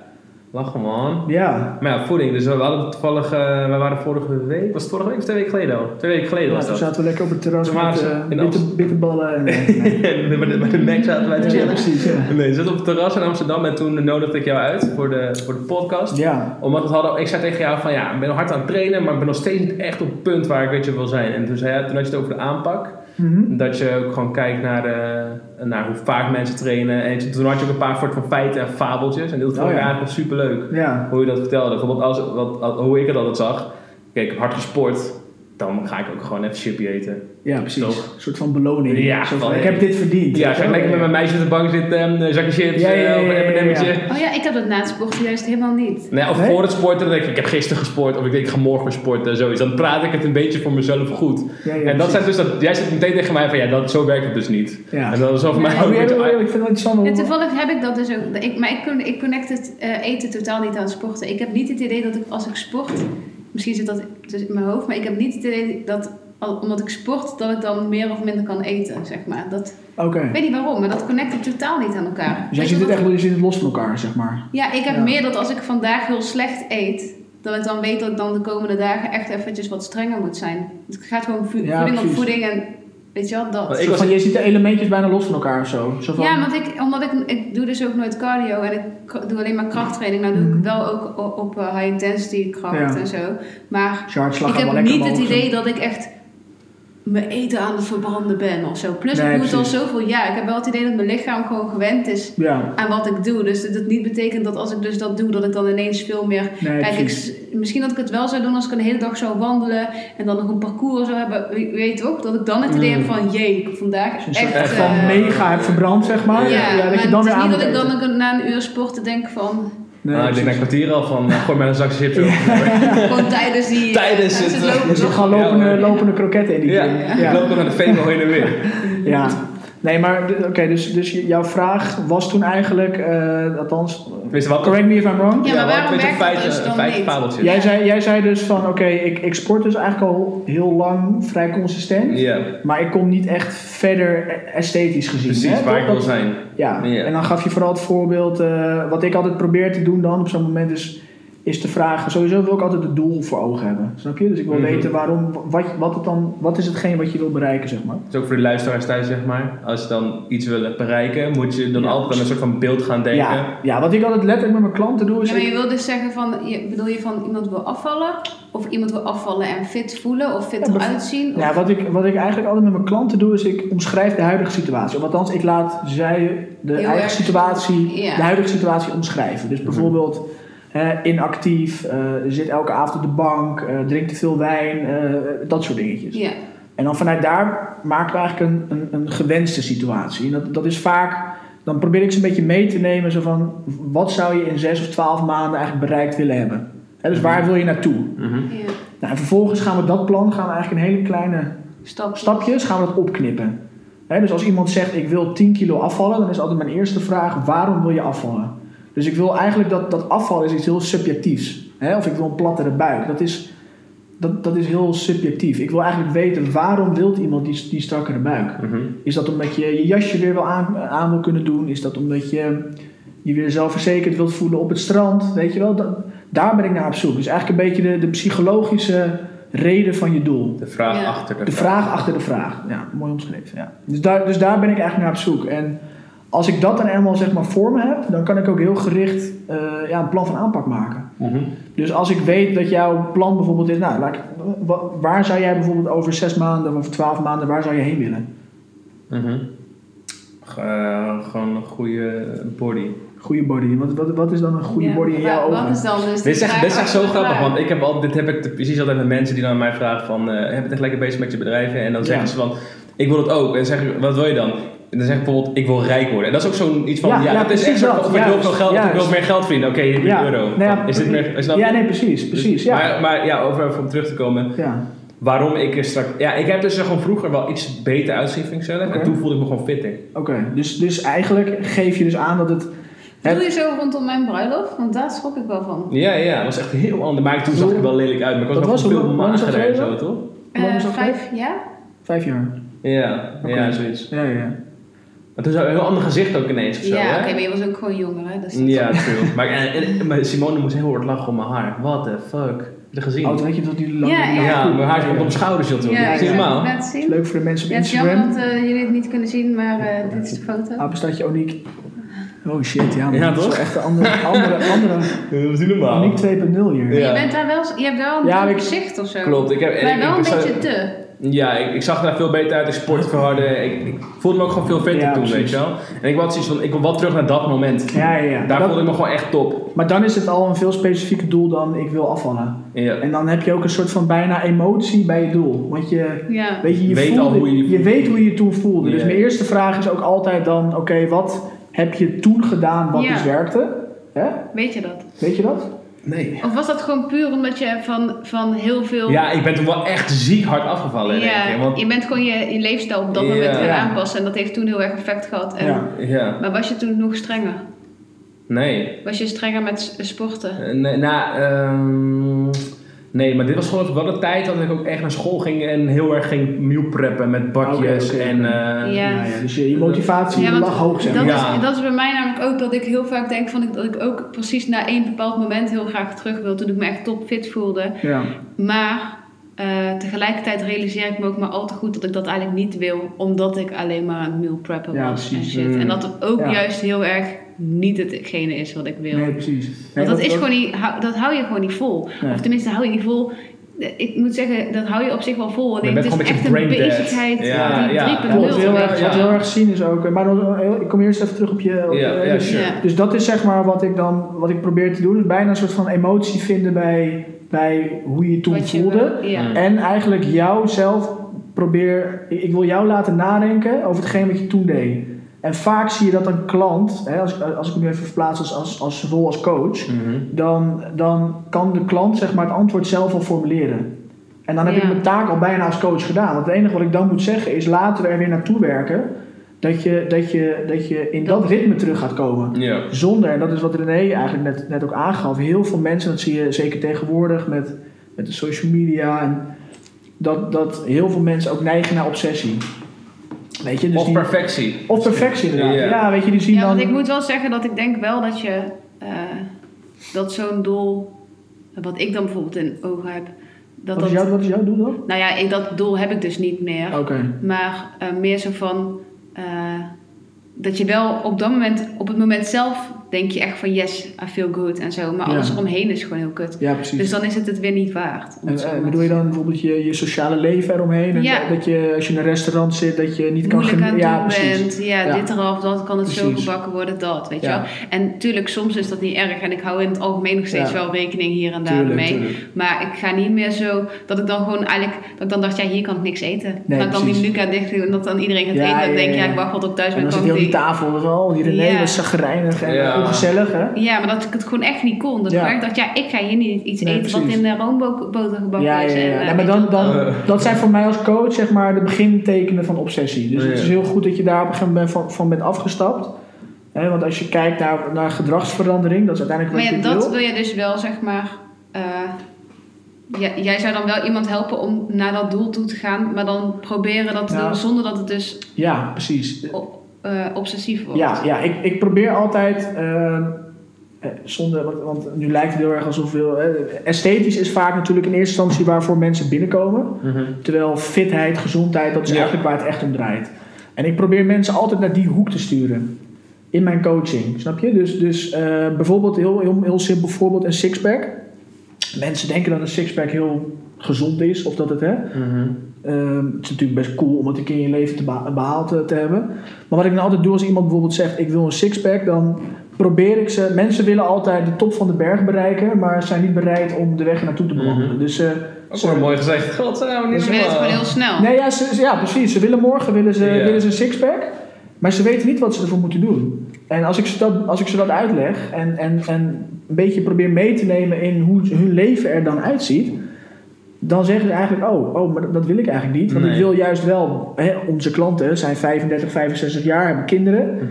[SPEAKER 2] lachen man.
[SPEAKER 3] ja.
[SPEAKER 2] Maar ja, voeding. Dus we hadden toevallig, eh we waren vorige week, was het vorige week of twee weken geleden al? Twee weken geleden
[SPEAKER 3] Ja,
[SPEAKER 2] was
[SPEAKER 3] toen
[SPEAKER 2] dat.
[SPEAKER 3] zaten we lekker op het terras
[SPEAKER 2] Toen waren
[SPEAKER 3] met
[SPEAKER 2] ze
[SPEAKER 3] eh,
[SPEAKER 2] in
[SPEAKER 3] bitter-
[SPEAKER 2] Amsterdam.
[SPEAKER 3] bitterballen. En, eh, nee.
[SPEAKER 2] Bij de- bij de Mac zaten wij te
[SPEAKER 3] ja,
[SPEAKER 2] chillen.
[SPEAKER 3] precies. Ja.
[SPEAKER 2] Nee, je zat op het terras in Amsterdam en toen nodigde ik jou uit voor de, voor de podcast.
[SPEAKER 3] ja,
[SPEAKER 2] Omdat we het hadden, ik zei tegen jou van ja, ik ben hard aan het trainen, maar ik ben nog steeds niet echt op het punt waar ik weet je wil zijn. En toen, zei, hij- toen had je het over de aanpak.
[SPEAKER 3] Mhm.
[SPEAKER 2] Dat je ook gewoon kijkt naar, de, naar hoe vaak mensen trainen. En toen had je ook een paar soort van feiten en fabeltjes. En dat vond ik
[SPEAKER 3] Oh ja.
[SPEAKER 2] eigenlijk wel superleuk.
[SPEAKER 3] ja.
[SPEAKER 2] Hoe je dat vertelde. Bijvoorbeeld als, wat, wat- hoe ik het altijd zag. Kijk, ik heb hard gesport. Dan ga ik ook gewoon even chippy eten.
[SPEAKER 3] ja, precies.
[SPEAKER 2] Toch?
[SPEAKER 3] Een soort van beloning.
[SPEAKER 2] Ja,
[SPEAKER 3] Zo van,
[SPEAKER 2] van,
[SPEAKER 3] ik
[SPEAKER 2] hey.
[SPEAKER 3] heb dit verdiend.
[SPEAKER 2] Ja,
[SPEAKER 3] Weet
[SPEAKER 2] ga ik
[SPEAKER 3] je
[SPEAKER 2] lekker
[SPEAKER 3] wel?
[SPEAKER 2] met mijn meisje op de bank zitten. ehm, Een zakje chips
[SPEAKER 3] Ja, ja,
[SPEAKER 2] eh, of
[SPEAKER 3] ja, ja, ja,
[SPEAKER 2] een M&M'tje.
[SPEAKER 3] ja.
[SPEAKER 1] Oh ja, ik had dat na het sporten juist helemaal niet.
[SPEAKER 2] Nee, of
[SPEAKER 3] Nee?
[SPEAKER 2] voor het sporten, dan denk ik, ik heb gisteren gesport of ik denk, ik ga morgen sporten, zoiets. Dan praat ik het een beetje voor mezelf goed.
[SPEAKER 3] Ja, ja,
[SPEAKER 2] en dat
[SPEAKER 3] precies.
[SPEAKER 2] zijn dus dat, jij zegt meteen tegen mij van, ja, dat, zo werkt het dus niet.
[SPEAKER 3] Ja.
[SPEAKER 2] En dat is over mij
[SPEAKER 1] Nee,
[SPEAKER 2] ook
[SPEAKER 3] Oh, ja,
[SPEAKER 2] iets-
[SPEAKER 3] ja, ja, ik vind het wel interessant.
[SPEAKER 1] Ja,
[SPEAKER 3] hoe-
[SPEAKER 1] toevallig heb ik dat dus ook. Ik, maar ik, con- ik connect het eh, eten totaal niet aan sporten. Ik heb niet het idee dat ik als ik sport. Misschien zit dat dus in mijn hoofd, maar ik heb niet het idee dat al- omdat ik sport, dat ik dan meer of minder kan eten, zeg maar. Dat,
[SPEAKER 3] Oké.
[SPEAKER 1] ik weet niet waarom, maar dat connect ik totaal niet aan elkaar.
[SPEAKER 3] Dus jij
[SPEAKER 1] Weet
[SPEAKER 3] ziet
[SPEAKER 1] je
[SPEAKER 3] het
[SPEAKER 1] wat-
[SPEAKER 3] echt je ziet het los van elkaar, zeg maar.
[SPEAKER 1] Ja, ik heb
[SPEAKER 3] Ja.
[SPEAKER 1] meer dat als ik vandaag heel slecht eet, dat ik dan weet dat ik dan de komende dagen echt eventjes wat strenger moet zijn. Het gaat gewoon vo-
[SPEAKER 3] Ja,
[SPEAKER 1] voeding op
[SPEAKER 3] precies.
[SPEAKER 1] voeding en weet je wat, dat.
[SPEAKER 2] Maar
[SPEAKER 3] Ik
[SPEAKER 2] Ik was-
[SPEAKER 3] van, je ziet de elementjes bijna los van elkaar of zo. zo van,
[SPEAKER 1] Ja, want ik, omdat ik, ik doe dus ook nooit cardio en ik k- doe alleen maar krachttraining. Nou doe
[SPEAKER 3] Mhm.
[SPEAKER 1] ik wel ook o- op eh, high intensity kracht
[SPEAKER 3] Ja.
[SPEAKER 1] en zo. Maar
[SPEAKER 3] dus je hartslag
[SPEAKER 1] ik
[SPEAKER 3] gaat wel
[SPEAKER 1] heb
[SPEAKER 3] lekker
[SPEAKER 1] niet het
[SPEAKER 3] omhoog.
[SPEAKER 1] idee dat ik echt mijn eten aan het verbranden ben of zo. Plus
[SPEAKER 3] Nee,
[SPEAKER 1] ik doe het al
[SPEAKER 3] precies.
[SPEAKER 1] zoveel jaar. Ik heb wel het idee dat mijn lichaam gewoon gewend is
[SPEAKER 3] Ja,
[SPEAKER 1] aan wat ik doe. Dus dat het niet betekent dat als ik dus dat doe, dat ik dan ineens veel meer...
[SPEAKER 3] nee,
[SPEAKER 1] Kijk, ik,
[SPEAKER 3] precies.
[SPEAKER 1] s- misschien dat ik het wel zou doen als ik een hele dag zou wandelen en dan nog een parcours zou hebben. Wie weet ook, dat ik dan het idee
[SPEAKER 3] Mhm.
[SPEAKER 1] heb van, jee, ik heb vandaag
[SPEAKER 3] Een
[SPEAKER 1] echt...
[SPEAKER 3] soort
[SPEAKER 2] echt
[SPEAKER 3] van
[SPEAKER 1] eh,
[SPEAKER 3] mega heb verbrand, zeg
[SPEAKER 1] ja,
[SPEAKER 3] maar. dat je
[SPEAKER 1] maar
[SPEAKER 3] dan
[SPEAKER 1] het
[SPEAKER 3] weer
[SPEAKER 1] is niet
[SPEAKER 3] aan moet
[SPEAKER 1] dat ik
[SPEAKER 3] eten.
[SPEAKER 1] dan een- na een uur sporten denk van...
[SPEAKER 3] Nee,
[SPEAKER 2] Ah, ik denk na een
[SPEAKER 3] precies.
[SPEAKER 2] kwartier al van, eh, gooi mij een zakje chips op.
[SPEAKER 1] gewoon tijdens die... eh,
[SPEAKER 2] Tijdens het, eh,
[SPEAKER 1] lopen,
[SPEAKER 3] Er zit
[SPEAKER 1] toch?
[SPEAKER 3] gewoon
[SPEAKER 2] Ja,
[SPEAKER 3] Dus lopende,
[SPEAKER 2] hoor.
[SPEAKER 3] lopende kroketten in die
[SPEAKER 2] Ja,
[SPEAKER 3] ding.
[SPEAKER 2] ik loop nog naar de Vemo heen en weer.
[SPEAKER 3] Ja, nee, maar d- oké, dus, dus j- jouw vraag was toen eigenlijk, eh, althans,
[SPEAKER 2] Tenminste, wat
[SPEAKER 3] correct me if I'm wrong.
[SPEAKER 1] Ja, maar waarom werkt dat
[SPEAKER 2] feiten,
[SPEAKER 1] dus dan
[SPEAKER 2] feiten
[SPEAKER 1] niet?
[SPEAKER 2] fabeltjes.
[SPEAKER 3] Jij, zei, jij zei dus van, oké, ik, ik sport dus eigenlijk al heel lang vrij consistent,
[SPEAKER 2] Ja,
[SPEAKER 3] maar ik kom niet echt verder e- esthetisch gezien.
[SPEAKER 2] precies,
[SPEAKER 3] hè?
[SPEAKER 2] waar ik
[SPEAKER 3] Dat-
[SPEAKER 2] wil zijn.
[SPEAKER 3] Ja,
[SPEAKER 2] Ja.
[SPEAKER 3] en dan gaf je vooral het voorbeeld, eh, wat ik altijd probeer te doen dan op zo'n moment is, is te vragen, sowieso wil ik altijd het doel voor ogen hebben, snap je? Dus ik wil
[SPEAKER 2] Mhm.
[SPEAKER 3] weten waarom, wat, wat, het dan, wat is hetgeen wat je wil bereiken, zeg maar.
[SPEAKER 2] Dus ook voor de luisteraars thuis, zeg maar. Als ze dan iets willen bereiken, moet je dan
[SPEAKER 3] Ja.
[SPEAKER 2] altijd aan een soort van beeld gaan denken.
[SPEAKER 3] Ja, ja, wat ik altijd letterlijk met mijn klanten doe is...
[SPEAKER 1] Ja, maar
[SPEAKER 3] ik-
[SPEAKER 1] je wil dus zeggen van, je, bedoel je van iemand wil afvallen? Of iemand wil afvallen en fit voelen of fit
[SPEAKER 3] Ja, bev-
[SPEAKER 1] eruit zien?
[SPEAKER 3] Ja, wat ik, wat ik eigenlijk altijd met mijn klanten doe, is ik omschrijf de huidige situatie. Of althans, ik laat zij de
[SPEAKER 1] Heel
[SPEAKER 3] eigen
[SPEAKER 1] erg.
[SPEAKER 3] situatie,
[SPEAKER 1] Ja.
[SPEAKER 3] de huidige situatie omschrijven. Dus bijvoorbeeld hè, inactief, eh, zit elke avond op de bank, eh, drinkt te veel wijn, eh, dat soort dingetjes.
[SPEAKER 1] Ja,
[SPEAKER 3] En dan vanuit daar maken we eigenlijk een, een, een gewenste situatie. En dat, dat is vaak, dan probeer ik ze een beetje mee te nemen, zo van wat zou je in zes of twaalf maanden eigenlijk bereikt willen hebben? Hè, dus waar wil je naartoe?
[SPEAKER 2] Mhm.
[SPEAKER 1] ja.
[SPEAKER 3] Nou, en vervolgens gaan we dat plan, gaan we eigenlijk een hele kleine
[SPEAKER 1] Stap.
[SPEAKER 3] stapjes gaan we dat opknippen. Hè, dus als iemand zegt ik wil 10 kilo afvallen, dan is altijd mijn eerste vraag waarom wil je afvallen? Dus ik wil eigenlijk dat, dat afval is iets heel subjectiefs. Hè? Of ik wil een plattere buik. Dat is, dat, dat is heel subjectief. Ik wil eigenlijk weten waarom wil iemand die, die strakkere buik?
[SPEAKER 2] Mhm.
[SPEAKER 3] Is dat omdat je je jasje weer wel aan, aan wil kunnen doen? Is dat omdat je je weer zelfverzekerd wilt voelen op het strand. Weet je wel, da- daar ben ik naar op zoek. Dus eigenlijk een beetje de, de psychologische reden van je doel.
[SPEAKER 2] De vraag
[SPEAKER 1] Ja.
[SPEAKER 2] achter de,
[SPEAKER 3] De vraag achter de vraag. Ja, mooi omschreven. Ja. Dus, daar, dus daar ben ik eigenlijk naar op zoek. En als ik dat dan eenmaal zeg maar voor me heb, dan kan ik ook heel gericht eh, ja, een plan van aanpak maken.
[SPEAKER 2] Mhm.
[SPEAKER 3] Dus als ik weet dat jouw plan bijvoorbeeld is, nou, laat ik- wa- waar zou jij bijvoorbeeld over zes maanden of twaalf maanden, waar zou je heen willen?
[SPEAKER 2] Mhm. Eh, gewoon een goede body.
[SPEAKER 3] Goede body. Wat, wat, wat is dan een goede
[SPEAKER 1] Ja,
[SPEAKER 3] body in
[SPEAKER 1] wa-
[SPEAKER 3] jouw
[SPEAKER 1] Wat
[SPEAKER 3] ogen?
[SPEAKER 1] is dan dus
[SPEAKER 2] Dit is
[SPEAKER 1] de
[SPEAKER 2] echt,
[SPEAKER 1] vraag
[SPEAKER 2] dit is echt zo
[SPEAKER 1] achter de
[SPEAKER 2] grappig,
[SPEAKER 1] vraag?
[SPEAKER 2] want ik heb al, dit heb ik precies altijd met mensen die dan aan mij vragen van, eh, heb je het echt lekker bezig met je bedrijven? En dan zeggen
[SPEAKER 3] Ja.
[SPEAKER 2] ze van, ik wil het ook. En dan zeg ik, wat wil je dan? En dan zeg ik bijvoorbeeld, ik wil rijk worden. En dat is ook zo'n iets van, ja,
[SPEAKER 3] Ja, ja,
[SPEAKER 2] dat is echt
[SPEAKER 3] precies
[SPEAKER 2] zo,
[SPEAKER 3] dat.
[SPEAKER 2] of ik wil
[SPEAKER 3] Juist,
[SPEAKER 2] veel geld, of ik wil
[SPEAKER 3] juist.
[SPEAKER 2] meer geld verdienen. Oké, hier heb je
[SPEAKER 3] Ja.
[SPEAKER 2] een euro.
[SPEAKER 3] Nou ja,
[SPEAKER 2] is dit meer, is dat Dus-
[SPEAKER 3] Ja, nee, precies. precies ja.
[SPEAKER 2] Maar, maar ja, over, even om terug te komen,
[SPEAKER 3] ja.
[SPEAKER 2] waarom ik er straks... Ja, ik heb dus gewoon vroeger wel iets beter uitzien functioneel. En
[SPEAKER 3] Oké.
[SPEAKER 2] toen voelde ik me gewoon fitter.
[SPEAKER 3] Oké, dus, dus eigenlijk geef je dus aan dat het...
[SPEAKER 1] Doe je zo rondom mijn bruiloft? Want daar schrok ik wel van.
[SPEAKER 2] Ja, ja, dat was echt heel anders. Maar toen zag ik er wel lelijk uit, maar ik was,
[SPEAKER 3] Dat was
[SPEAKER 2] wel
[SPEAKER 3] hoe
[SPEAKER 2] veel
[SPEAKER 3] lang- hoe lang is dat
[SPEAKER 2] magerder en zo,
[SPEAKER 3] geleden?
[SPEAKER 2] toch?
[SPEAKER 3] Hoe lang
[SPEAKER 1] Eh,
[SPEAKER 3] is dat
[SPEAKER 1] vijf jaar?
[SPEAKER 3] Vijf jaar.
[SPEAKER 2] Ja,
[SPEAKER 3] Oké.
[SPEAKER 2] ja, zoiets.
[SPEAKER 3] Ja, ja, ja.
[SPEAKER 2] Maar toen zou een heel ander gezicht ook ineens of zo,
[SPEAKER 1] ja,
[SPEAKER 2] hè?
[SPEAKER 1] oké, maar je was ook gewoon jonger, hè? Dus
[SPEAKER 2] Ja, true. maar, en, en- maar Simone moest heel hard lachen om mijn haar. What the fuck? Heb je dat gezien?
[SPEAKER 3] Oh, toen had je dat niet lang.
[SPEAKER 1] Ja,
[SPEAKER 2] ja, mijn haar komt op schouders, joh.
[SPEAKER 1] Ja,
[SPEAKER 2] toen.
[SPEAKER 1] ik
[SPEAKER 2] Dat is
[SPEAKER 1] zal
[SPEAKER 2] niet
[SPEAKER 1] het
[SPEAKER 2] normaal.
[SPEAKER 1] laten zien.
[SPEAKER 3] Leuk voor de mensen op
[SPEAKER 1] Ja, het is jammer
[SPEAKER 3] Instagram. Ah, Nou,
[SPEAKER 1] dat eh, jullie het niet kunnen zien, maar eh, dit is de foto.
[SPEAKER 3] Apenstaatje Oniek. Oh shit, ja. man.
[SPEAKER 2] Ja,
[SPEAKER 3] Dat is
[SPEAKER 2] toch?
[SPEAKER 3] wel Echt een andere, andere, andere
[SPEAKER 2] Dat is niet normaal.
[SPEAKER 3] Oniek 2.0 hier.
[SPEAKER 1] Maar
[SPEAKER 2] Ja.
[SPEAKER 1] je, bent daar wel, je hebt wel een
[SPEAKER 3] Ja,
[SPEAKER 1] druk
[SPEAKER 3] ik-
[SPEAKER 1] gezicht of zo.
[SPEAKER 2] Klopt, ik heb...
[SPEAKER 1] Maar
[SPEAKER 2] ik-
[SPEAKER 1] wel
[SPEAKER 2] ik
[SPEAKER 1] een
[SPEAKER 2] zou-
[SPEAKER 1] beetje te.
[SPEAKER 2] Ja, ik, ik zag er veel beter uit. Ik sport verharden. Ik, ik voelde me ook gewoon veel fitter
[SPEAKER 3] Ja,
[SPEAKER 2] toen, weet
[SPEAKER 3] precies.
[SPEAKER 2] je wel. En ik was zoiets van, ik wil wel terug naar dat moment.
[SPEAKER 3] Ja, ja, ja.
[SPEAKER 2] Daar
[SPEAKER 3] Dat-
[SPEAKER 2] voelde ik me gewoon echt top.
[SPEAKER 3] maar dan is het al een veel specifieker doel dan ik wil afvallen.
[SPEAKER 2] Ja.
[SPEAKER 3] En dan heb je ook een soort van bijna emotie bij je doel. Want je,
[SPEAKER 1] Ja.
[SPEAKER 3] weet, je, je,
[SPEAKER 2] Weet
[SPEAKER 3] voelde,
[SPEAKER 2] al hoe je je voelde.
[SPEAKER 3] weet hoe je je toen voelde. Dus
[SPEAKER 2] Ja.
[SPEAKER 3] mijn eerste vraag is ook altijd dan, oké, wat heb je toen gedaan wat
[SPEAKER 1] Ja.
[SPEAKER 3] dus werkte? Hè?
[SPEAKER 1] Weet je dat?
[SPEAKER 3] Weet je dat?
[SPEAKER 2] Nee.
[SPEAKER 1] Of was dat gewoon puur omdat je van, van heel veel...
[SPEAKER 2] Ja, ik ben toen wel echt ziek hard afgevallen, denk
[SPEAKER 1] Ja,
[SPEAKER 2] ik. Want,
[SPEAKER 1] je bent gewoon je, je leefstijl op dat
[SPEAKER 2] Ja.
[SPEAKER 1] moment gaan
[SPEAKER 3] Ja.
[SPEAKER 1] aanpassen. En dat heeft toen heel erg effect gehad. En,
[SPEAKER 3] Ja.
[SPEAKER 2] ja.
[SPEAKER 1] Maar was je toen nog strenger?
[SPEAKER 2] Nee.
[SPEAKER 1] Was je strenger met s- sporten?
[SPEAKER 2] Eh, Nee, nou, ehm, nee, maar dit was gewoon wel de tijd dat ik ook echt naar school ging en heel erg ging meal preppen met bakjes
[SPEAKER 3] Oké, oké,
[SPEAKER 2] en...
[SPEAKER 3] oké.
[SPEAKER 2] eh,
[SPEAKER 1] Ja.
[SPEAKER 3] Nou ja, dus je, je motivatie
[SPEAKER 1] Ja, want
[SPEAKER 3] lag hoog, zeg
[SPEAKER 1] Dat,
[SPEAKER 3] maar.
[SPEAKER 2] Ja.
[SPEAKER 1] is, dat is bij mij namelijk ook dat ik heel vaak denk van ik, dat ik ook precies na één bepaald moment heel graag terug wil. Toen ik me echt topfit voelde.
[SPEAKER 3] Ja.
[SPEAKER 1] Maar eh, tegelijkertijd realiseer ik me ook maar al te goed dat ik dat eigenlijk niet wil. Omdat ik alleen maar aan het meal preppen
[SPEAKER 3] Ja,
[SPEAKER 1] was
[SPEAKER 3] precies.
[SPEAKER 1] en shit.
[SPEAKER 2] Mm.
[SPEAKER 1] En dat het ook
[SPEAKER 3] Ja.
[SPEAKER 1] juist heel erg niet hetgene is wat ik wil.
[SPEAKER 3] Nee, precies. Nee,
[SPEAKER 1] Want dat, is gewoon niet, hou- dat hou je gewoon niet vol.
[SPEAKER 3] Nee.
[SPEAKER 1] Of tenminste, hou je niet vol. Ik moet zeggen, dat hou je op zich wel vol.
[SPEAKER 2] je
[SPEAKER 1] Alleen het
[SPEAKER 2] bent
[SPEAKER 1] is
[SPEAKER 2] gewoon een
[SPEAKER 1] echt
[SPEAKER 2] beetje
[SPEAKER 1] een
[SPEAKER 2] brain dead.
[SPEAKER 1] bezigheid.
[SPEAKER 2] Ja,
[SPEAKER 1] die
[SPEAKER 2] ja.
[SPEAKER 1] 3.0
[SPEAKER 3] Wat we heel, erg,
[SPEAKER 2] Ja.
[SPEAKER 3] wat we heel erg zien is ook. eh, Maar dan- eh, ik kom eerst even terug op je. op,
[SPEAKER 2] Ja,
[SPEAKER 3] eh,
[SPEAKER 2] ja,
[SPEAKER 3] dus,
[SPEAKER 2] sure.
[SPEAKER 1] Ja.
[SPEAKER 3] dus dat is zeg maar wat ik dan wat ik probeer te doen. Is bijna een soort van emotie vinden bij, bij hoe je je toen
[SPEAKER 1] Wat je
[SPEAKER 3] voelde.
[SPEAKER 1] wil, ja.
[SPEAKER 2] Mm.
[SPEAKER 3] En eigenlijk jou zelf probeer. Ik, ik wil jou laten nadenken over hetgeen wat je toen deed. En vaak zie je dat een klant, hè, als, ik- als ik me nu even verplaats als, als, als rol als coach,
[SPEAKER 2] mhm.
[SPEAKER 3] dan, dan kan de klant zeg maar, het antwoord zelf al formuleren. En dan heb
[SPEAKER 1] Ja.
[SPEAKER 3] ik mijn taak al bijna als coach gedaan. Want het enige wat ik dan moet zeggen is laten we er weer naartoe werken. Dat je, dat je, dat je in dat ritme terug gaat komen.
[SPEAKER 2] Ja.
[SPEAKER 3] Zonder, en dat is wat René eigenlijk net, net ook aangaf, heel veel mensen, dat zie je zeker tegenwoordig met, met de social media. En dat, dat heel veel mensen ook neigen naar obsessie. Weet je, dus
[SPEAKER 2] of
[SPEAKER 3] die-
[SPEAKER 2] perfectie.
[SPEAKER 3] of perfectie inderdaad.
[SPEAKER 2] Ja.
[SPEAKER 3] Ja. weet je, die zien
[SPEAKER 1] Ja,
[SPEAKER 3] dan...
[SPEAKER 1] want ik moet wel zeggen dat ik denk wel dat je eh, dat zo'n doel, wat ik dan bijvoorbeeld in ogen heb, dat
[SPEAKER 3] wat, is
[SPEAKER 1] dat.
[SPEAKER 3] jouw, wat is jouw doel dan?
[SPEAKER 1] Nou ja, ik- dat doel heb ik dus niet meer.
[SPEAKER 3] Oké.
[SPEAKER 1] Maar eh, meer zo van eh, dat je wel op dat moment, op het moment zelf, denk je echt van yes, I feel good en zo. Maar
[SPEAKER 3] Ja.
[SPEAKER 1] alles eromheen is gewoon heel kut.
[SPEAKER 3] Ja, precies.
[SPEAKER 1] Dus dan is het het weer niet waard. om
[SPEAKER 3] En,
[SPEAKER 1] het zo
[SPEAKER 3] eh,
[SPEAKER 1] maar te
[SPEAKER 3] bedoel je dan bijvoorbeeld je, je sociale leven eromheen? En
[SPEAKER 1] Ja.
[SPEAKER 3] dat- Dat je als je in een restaurant zit, dat je niet kan
[SPEAKER 1] moeilijk aan
[SPEAKER 3] genieten.
[SPEAKER 1] het
[SPEAKER 3] Ja,
[SPEAKER 1] doen
[SPEAKER 3] precies.
[SPEAKER 1] bent. Ja,
[SPEAKER 3] Ja.
[SPEAKER 1] dit eraf, dat kan het zo
[SPEAKER 3] Precies.
[SPEAKER 1] gebakken worden, dat. Weet
[SPEAKER 3] Ja.
[SPEAKER 1] je wel? En tuurlijk, soms is dat niet erg. En ik hou in het algemeen nog steeds
[SPEAKER 3] Ja.
[SPEAKER 1] wel rekening hier en daar
[SPEAKER 3] Tuurlijk,
[SPEAKER 1] mee.
[SPEAKER 3] tuurlijk.
[SPEAKER 1] Maar ik ga niet meer zo dat ik dan gewoon eigenlijk... Dat ik dan dacht, ja, hier kan ik niks eten.
[SPEAKER 3] Nee,
[SPEAKER 1] dat ik dan die
[SPEAKER 3] precies.
[SPEAKER 1] Luca dicht doe en dat dan iedereen gaat
[SPEAKER 3] Ja,
[SPEAKER 1] eten. Dat ik
[SPEAKER 3] ja,
[SPEAKER 1] denk, ja,
[SPEAKER 3] ja.
[SPEAKER 1] ik wacht wel tot ik thuis
[SPEAKER 3] En
[SPEAKER 1] ben.
[SPEAKER 3] dan zit
[SPEAKER 1] Kan
[SPEAKER 3] heel
[SPEAKER 1] ik
[SPEAKER 3] die
[SPEAKER 1] die-
[SPEAKER 3] tafel, dat is al die René
[SPEAKER 1] Ja.
[SPEAKER 3] was zagrijnig en
[SPEAKER 2] Ja.
[SPEAKER 3] ongezellig, hè?
[SPEAKER 1] ja, maar dat ik het gewoon echt niet kon. Dat
[SPEAKER 3] Ja.
[SPEAKER 1] ik merkte dat ja, ik ga hier niet iets
[SPEAKER 3] Nee,
[SPEAKER 1] eten wat
[SPEAKER 3] precies.
[SPEAKER 1] in eh, roomboter gebakken
[SPEAKER 3] Ja,
[SPEAKER 1] is.
[SPEAKER 3] ja,
[SPEAKER 1] en,
[SPEAKER 3] ja.
[SPEAKER 1] eh,
[SPEAKER 3] Nee, maar
[SPEAKER 1] weet
[SPEAKER 3] dan,
[SPEAKER 1] je wel.
[SPEAKER 3] dan, dat zijn voor mij als coach zeg maar de begintekenen van obsessie. Dus het
[SPEAKER 2] Ja.
[SPEAKER 3] is heel goed dat je daar op een gegeven moment van, van bent afgestapt. Hè, want als je kijkt naar, naar gedragsverandering, dat is uiteindelijk
[SPEAKER 1] Maar
[SPEAKER 3] wat
[SPEAKER 1] ja,
[SPEAKER 3] je
[SPEAKER 1] dat
[SPEAKER 3] wil.
[SPEAKER 1] wil je dus wel, zeg maar. eh, ja, jij zou dan wel iemand helpen om naar dat doel toe te gaan, maar dan proberen dat te
[SPEAKER 3] Ja.
[SPEAKER 1] doen zonder dat het dus
[SPEAKER 3] Ja, precies.
[SPEAKER 1] op, eh, obsessief wordt.
[SPEAKER 3] Ja, ja ik, ik probeer altijd. ehm, eh, zonder, want, want nu lijkt het heel erg alsof. Heel, eh, esthetisch is vaak natuurlijk in eerste instantie waarvoor mensen binnenkomen.
[SPEAKER 2] Mhm.
[SPEAKER 3] Terwijl fitheid, gezondheid, dat is
[SPEAKER 2] Ja.
[SPEAKER 3] eigenlijk waar het echt om draait. En ik probeer mensen altijd naar die hoek te sturen. In mijn coaching, snap je? Dus, dus eh, bijvoorbeeld, heel, heel, heel simpel voorbeeld, een sixpack. Mensen denken dat een sixpack heel gezond is, of dat het, hè?
[SPEAKER 2] Mhm.
[SPEAKER 3] Ehm, het is natuurlijk best cool om het een keer in je leven te beha- behaald eh, te hebben. Maar wat ik nou altijd doe als iemand bijvoorbeeld zegt: Ik wil een sixpack, dan probeer ik ze. Mensen willen altijd de top van de berg bereiken, maar zijn niet bereid om de weg naartoe te bewandelen.
[SPEAKER 2] Mhm.
[SPEAKER 3] Dus eh,
[SPEAKER 2] Ook
[SPEAKER 3] ze-
[SPEAKER 2] wel mooi gezegd. God, nou, niet
[SPEAKER 1] Ze Dus willen het
[SPEAKER 2] normaal.
[SPEAKER 1] gewoon heel snel.
[SPEAKER 3] Nee, ja, ze- ze- ja, precies. Ze willen morgen willen ze,
[SPEAKER 2] Ja.
[SPEAKER 3] willen ze een sixpack, maar ze weten niet wat ze ervoor moeten doen. En als ik ze dat, als ik ze dat uitleg en, en, en een beetje probeer mee te nemen in hoe ze- hun leven er dan uitziet, dan zeggen ze eigenlijk: Oh, oh maar dat, dat wil ik eigenlijk niet. Want
[SPEAKER 2] Nee.
[SPEAKER 3] ik wil juist wel, hè, onze klanten zijn 35, 65 jaar, hebben kinderen,
[SPEAKER 2] Mhm.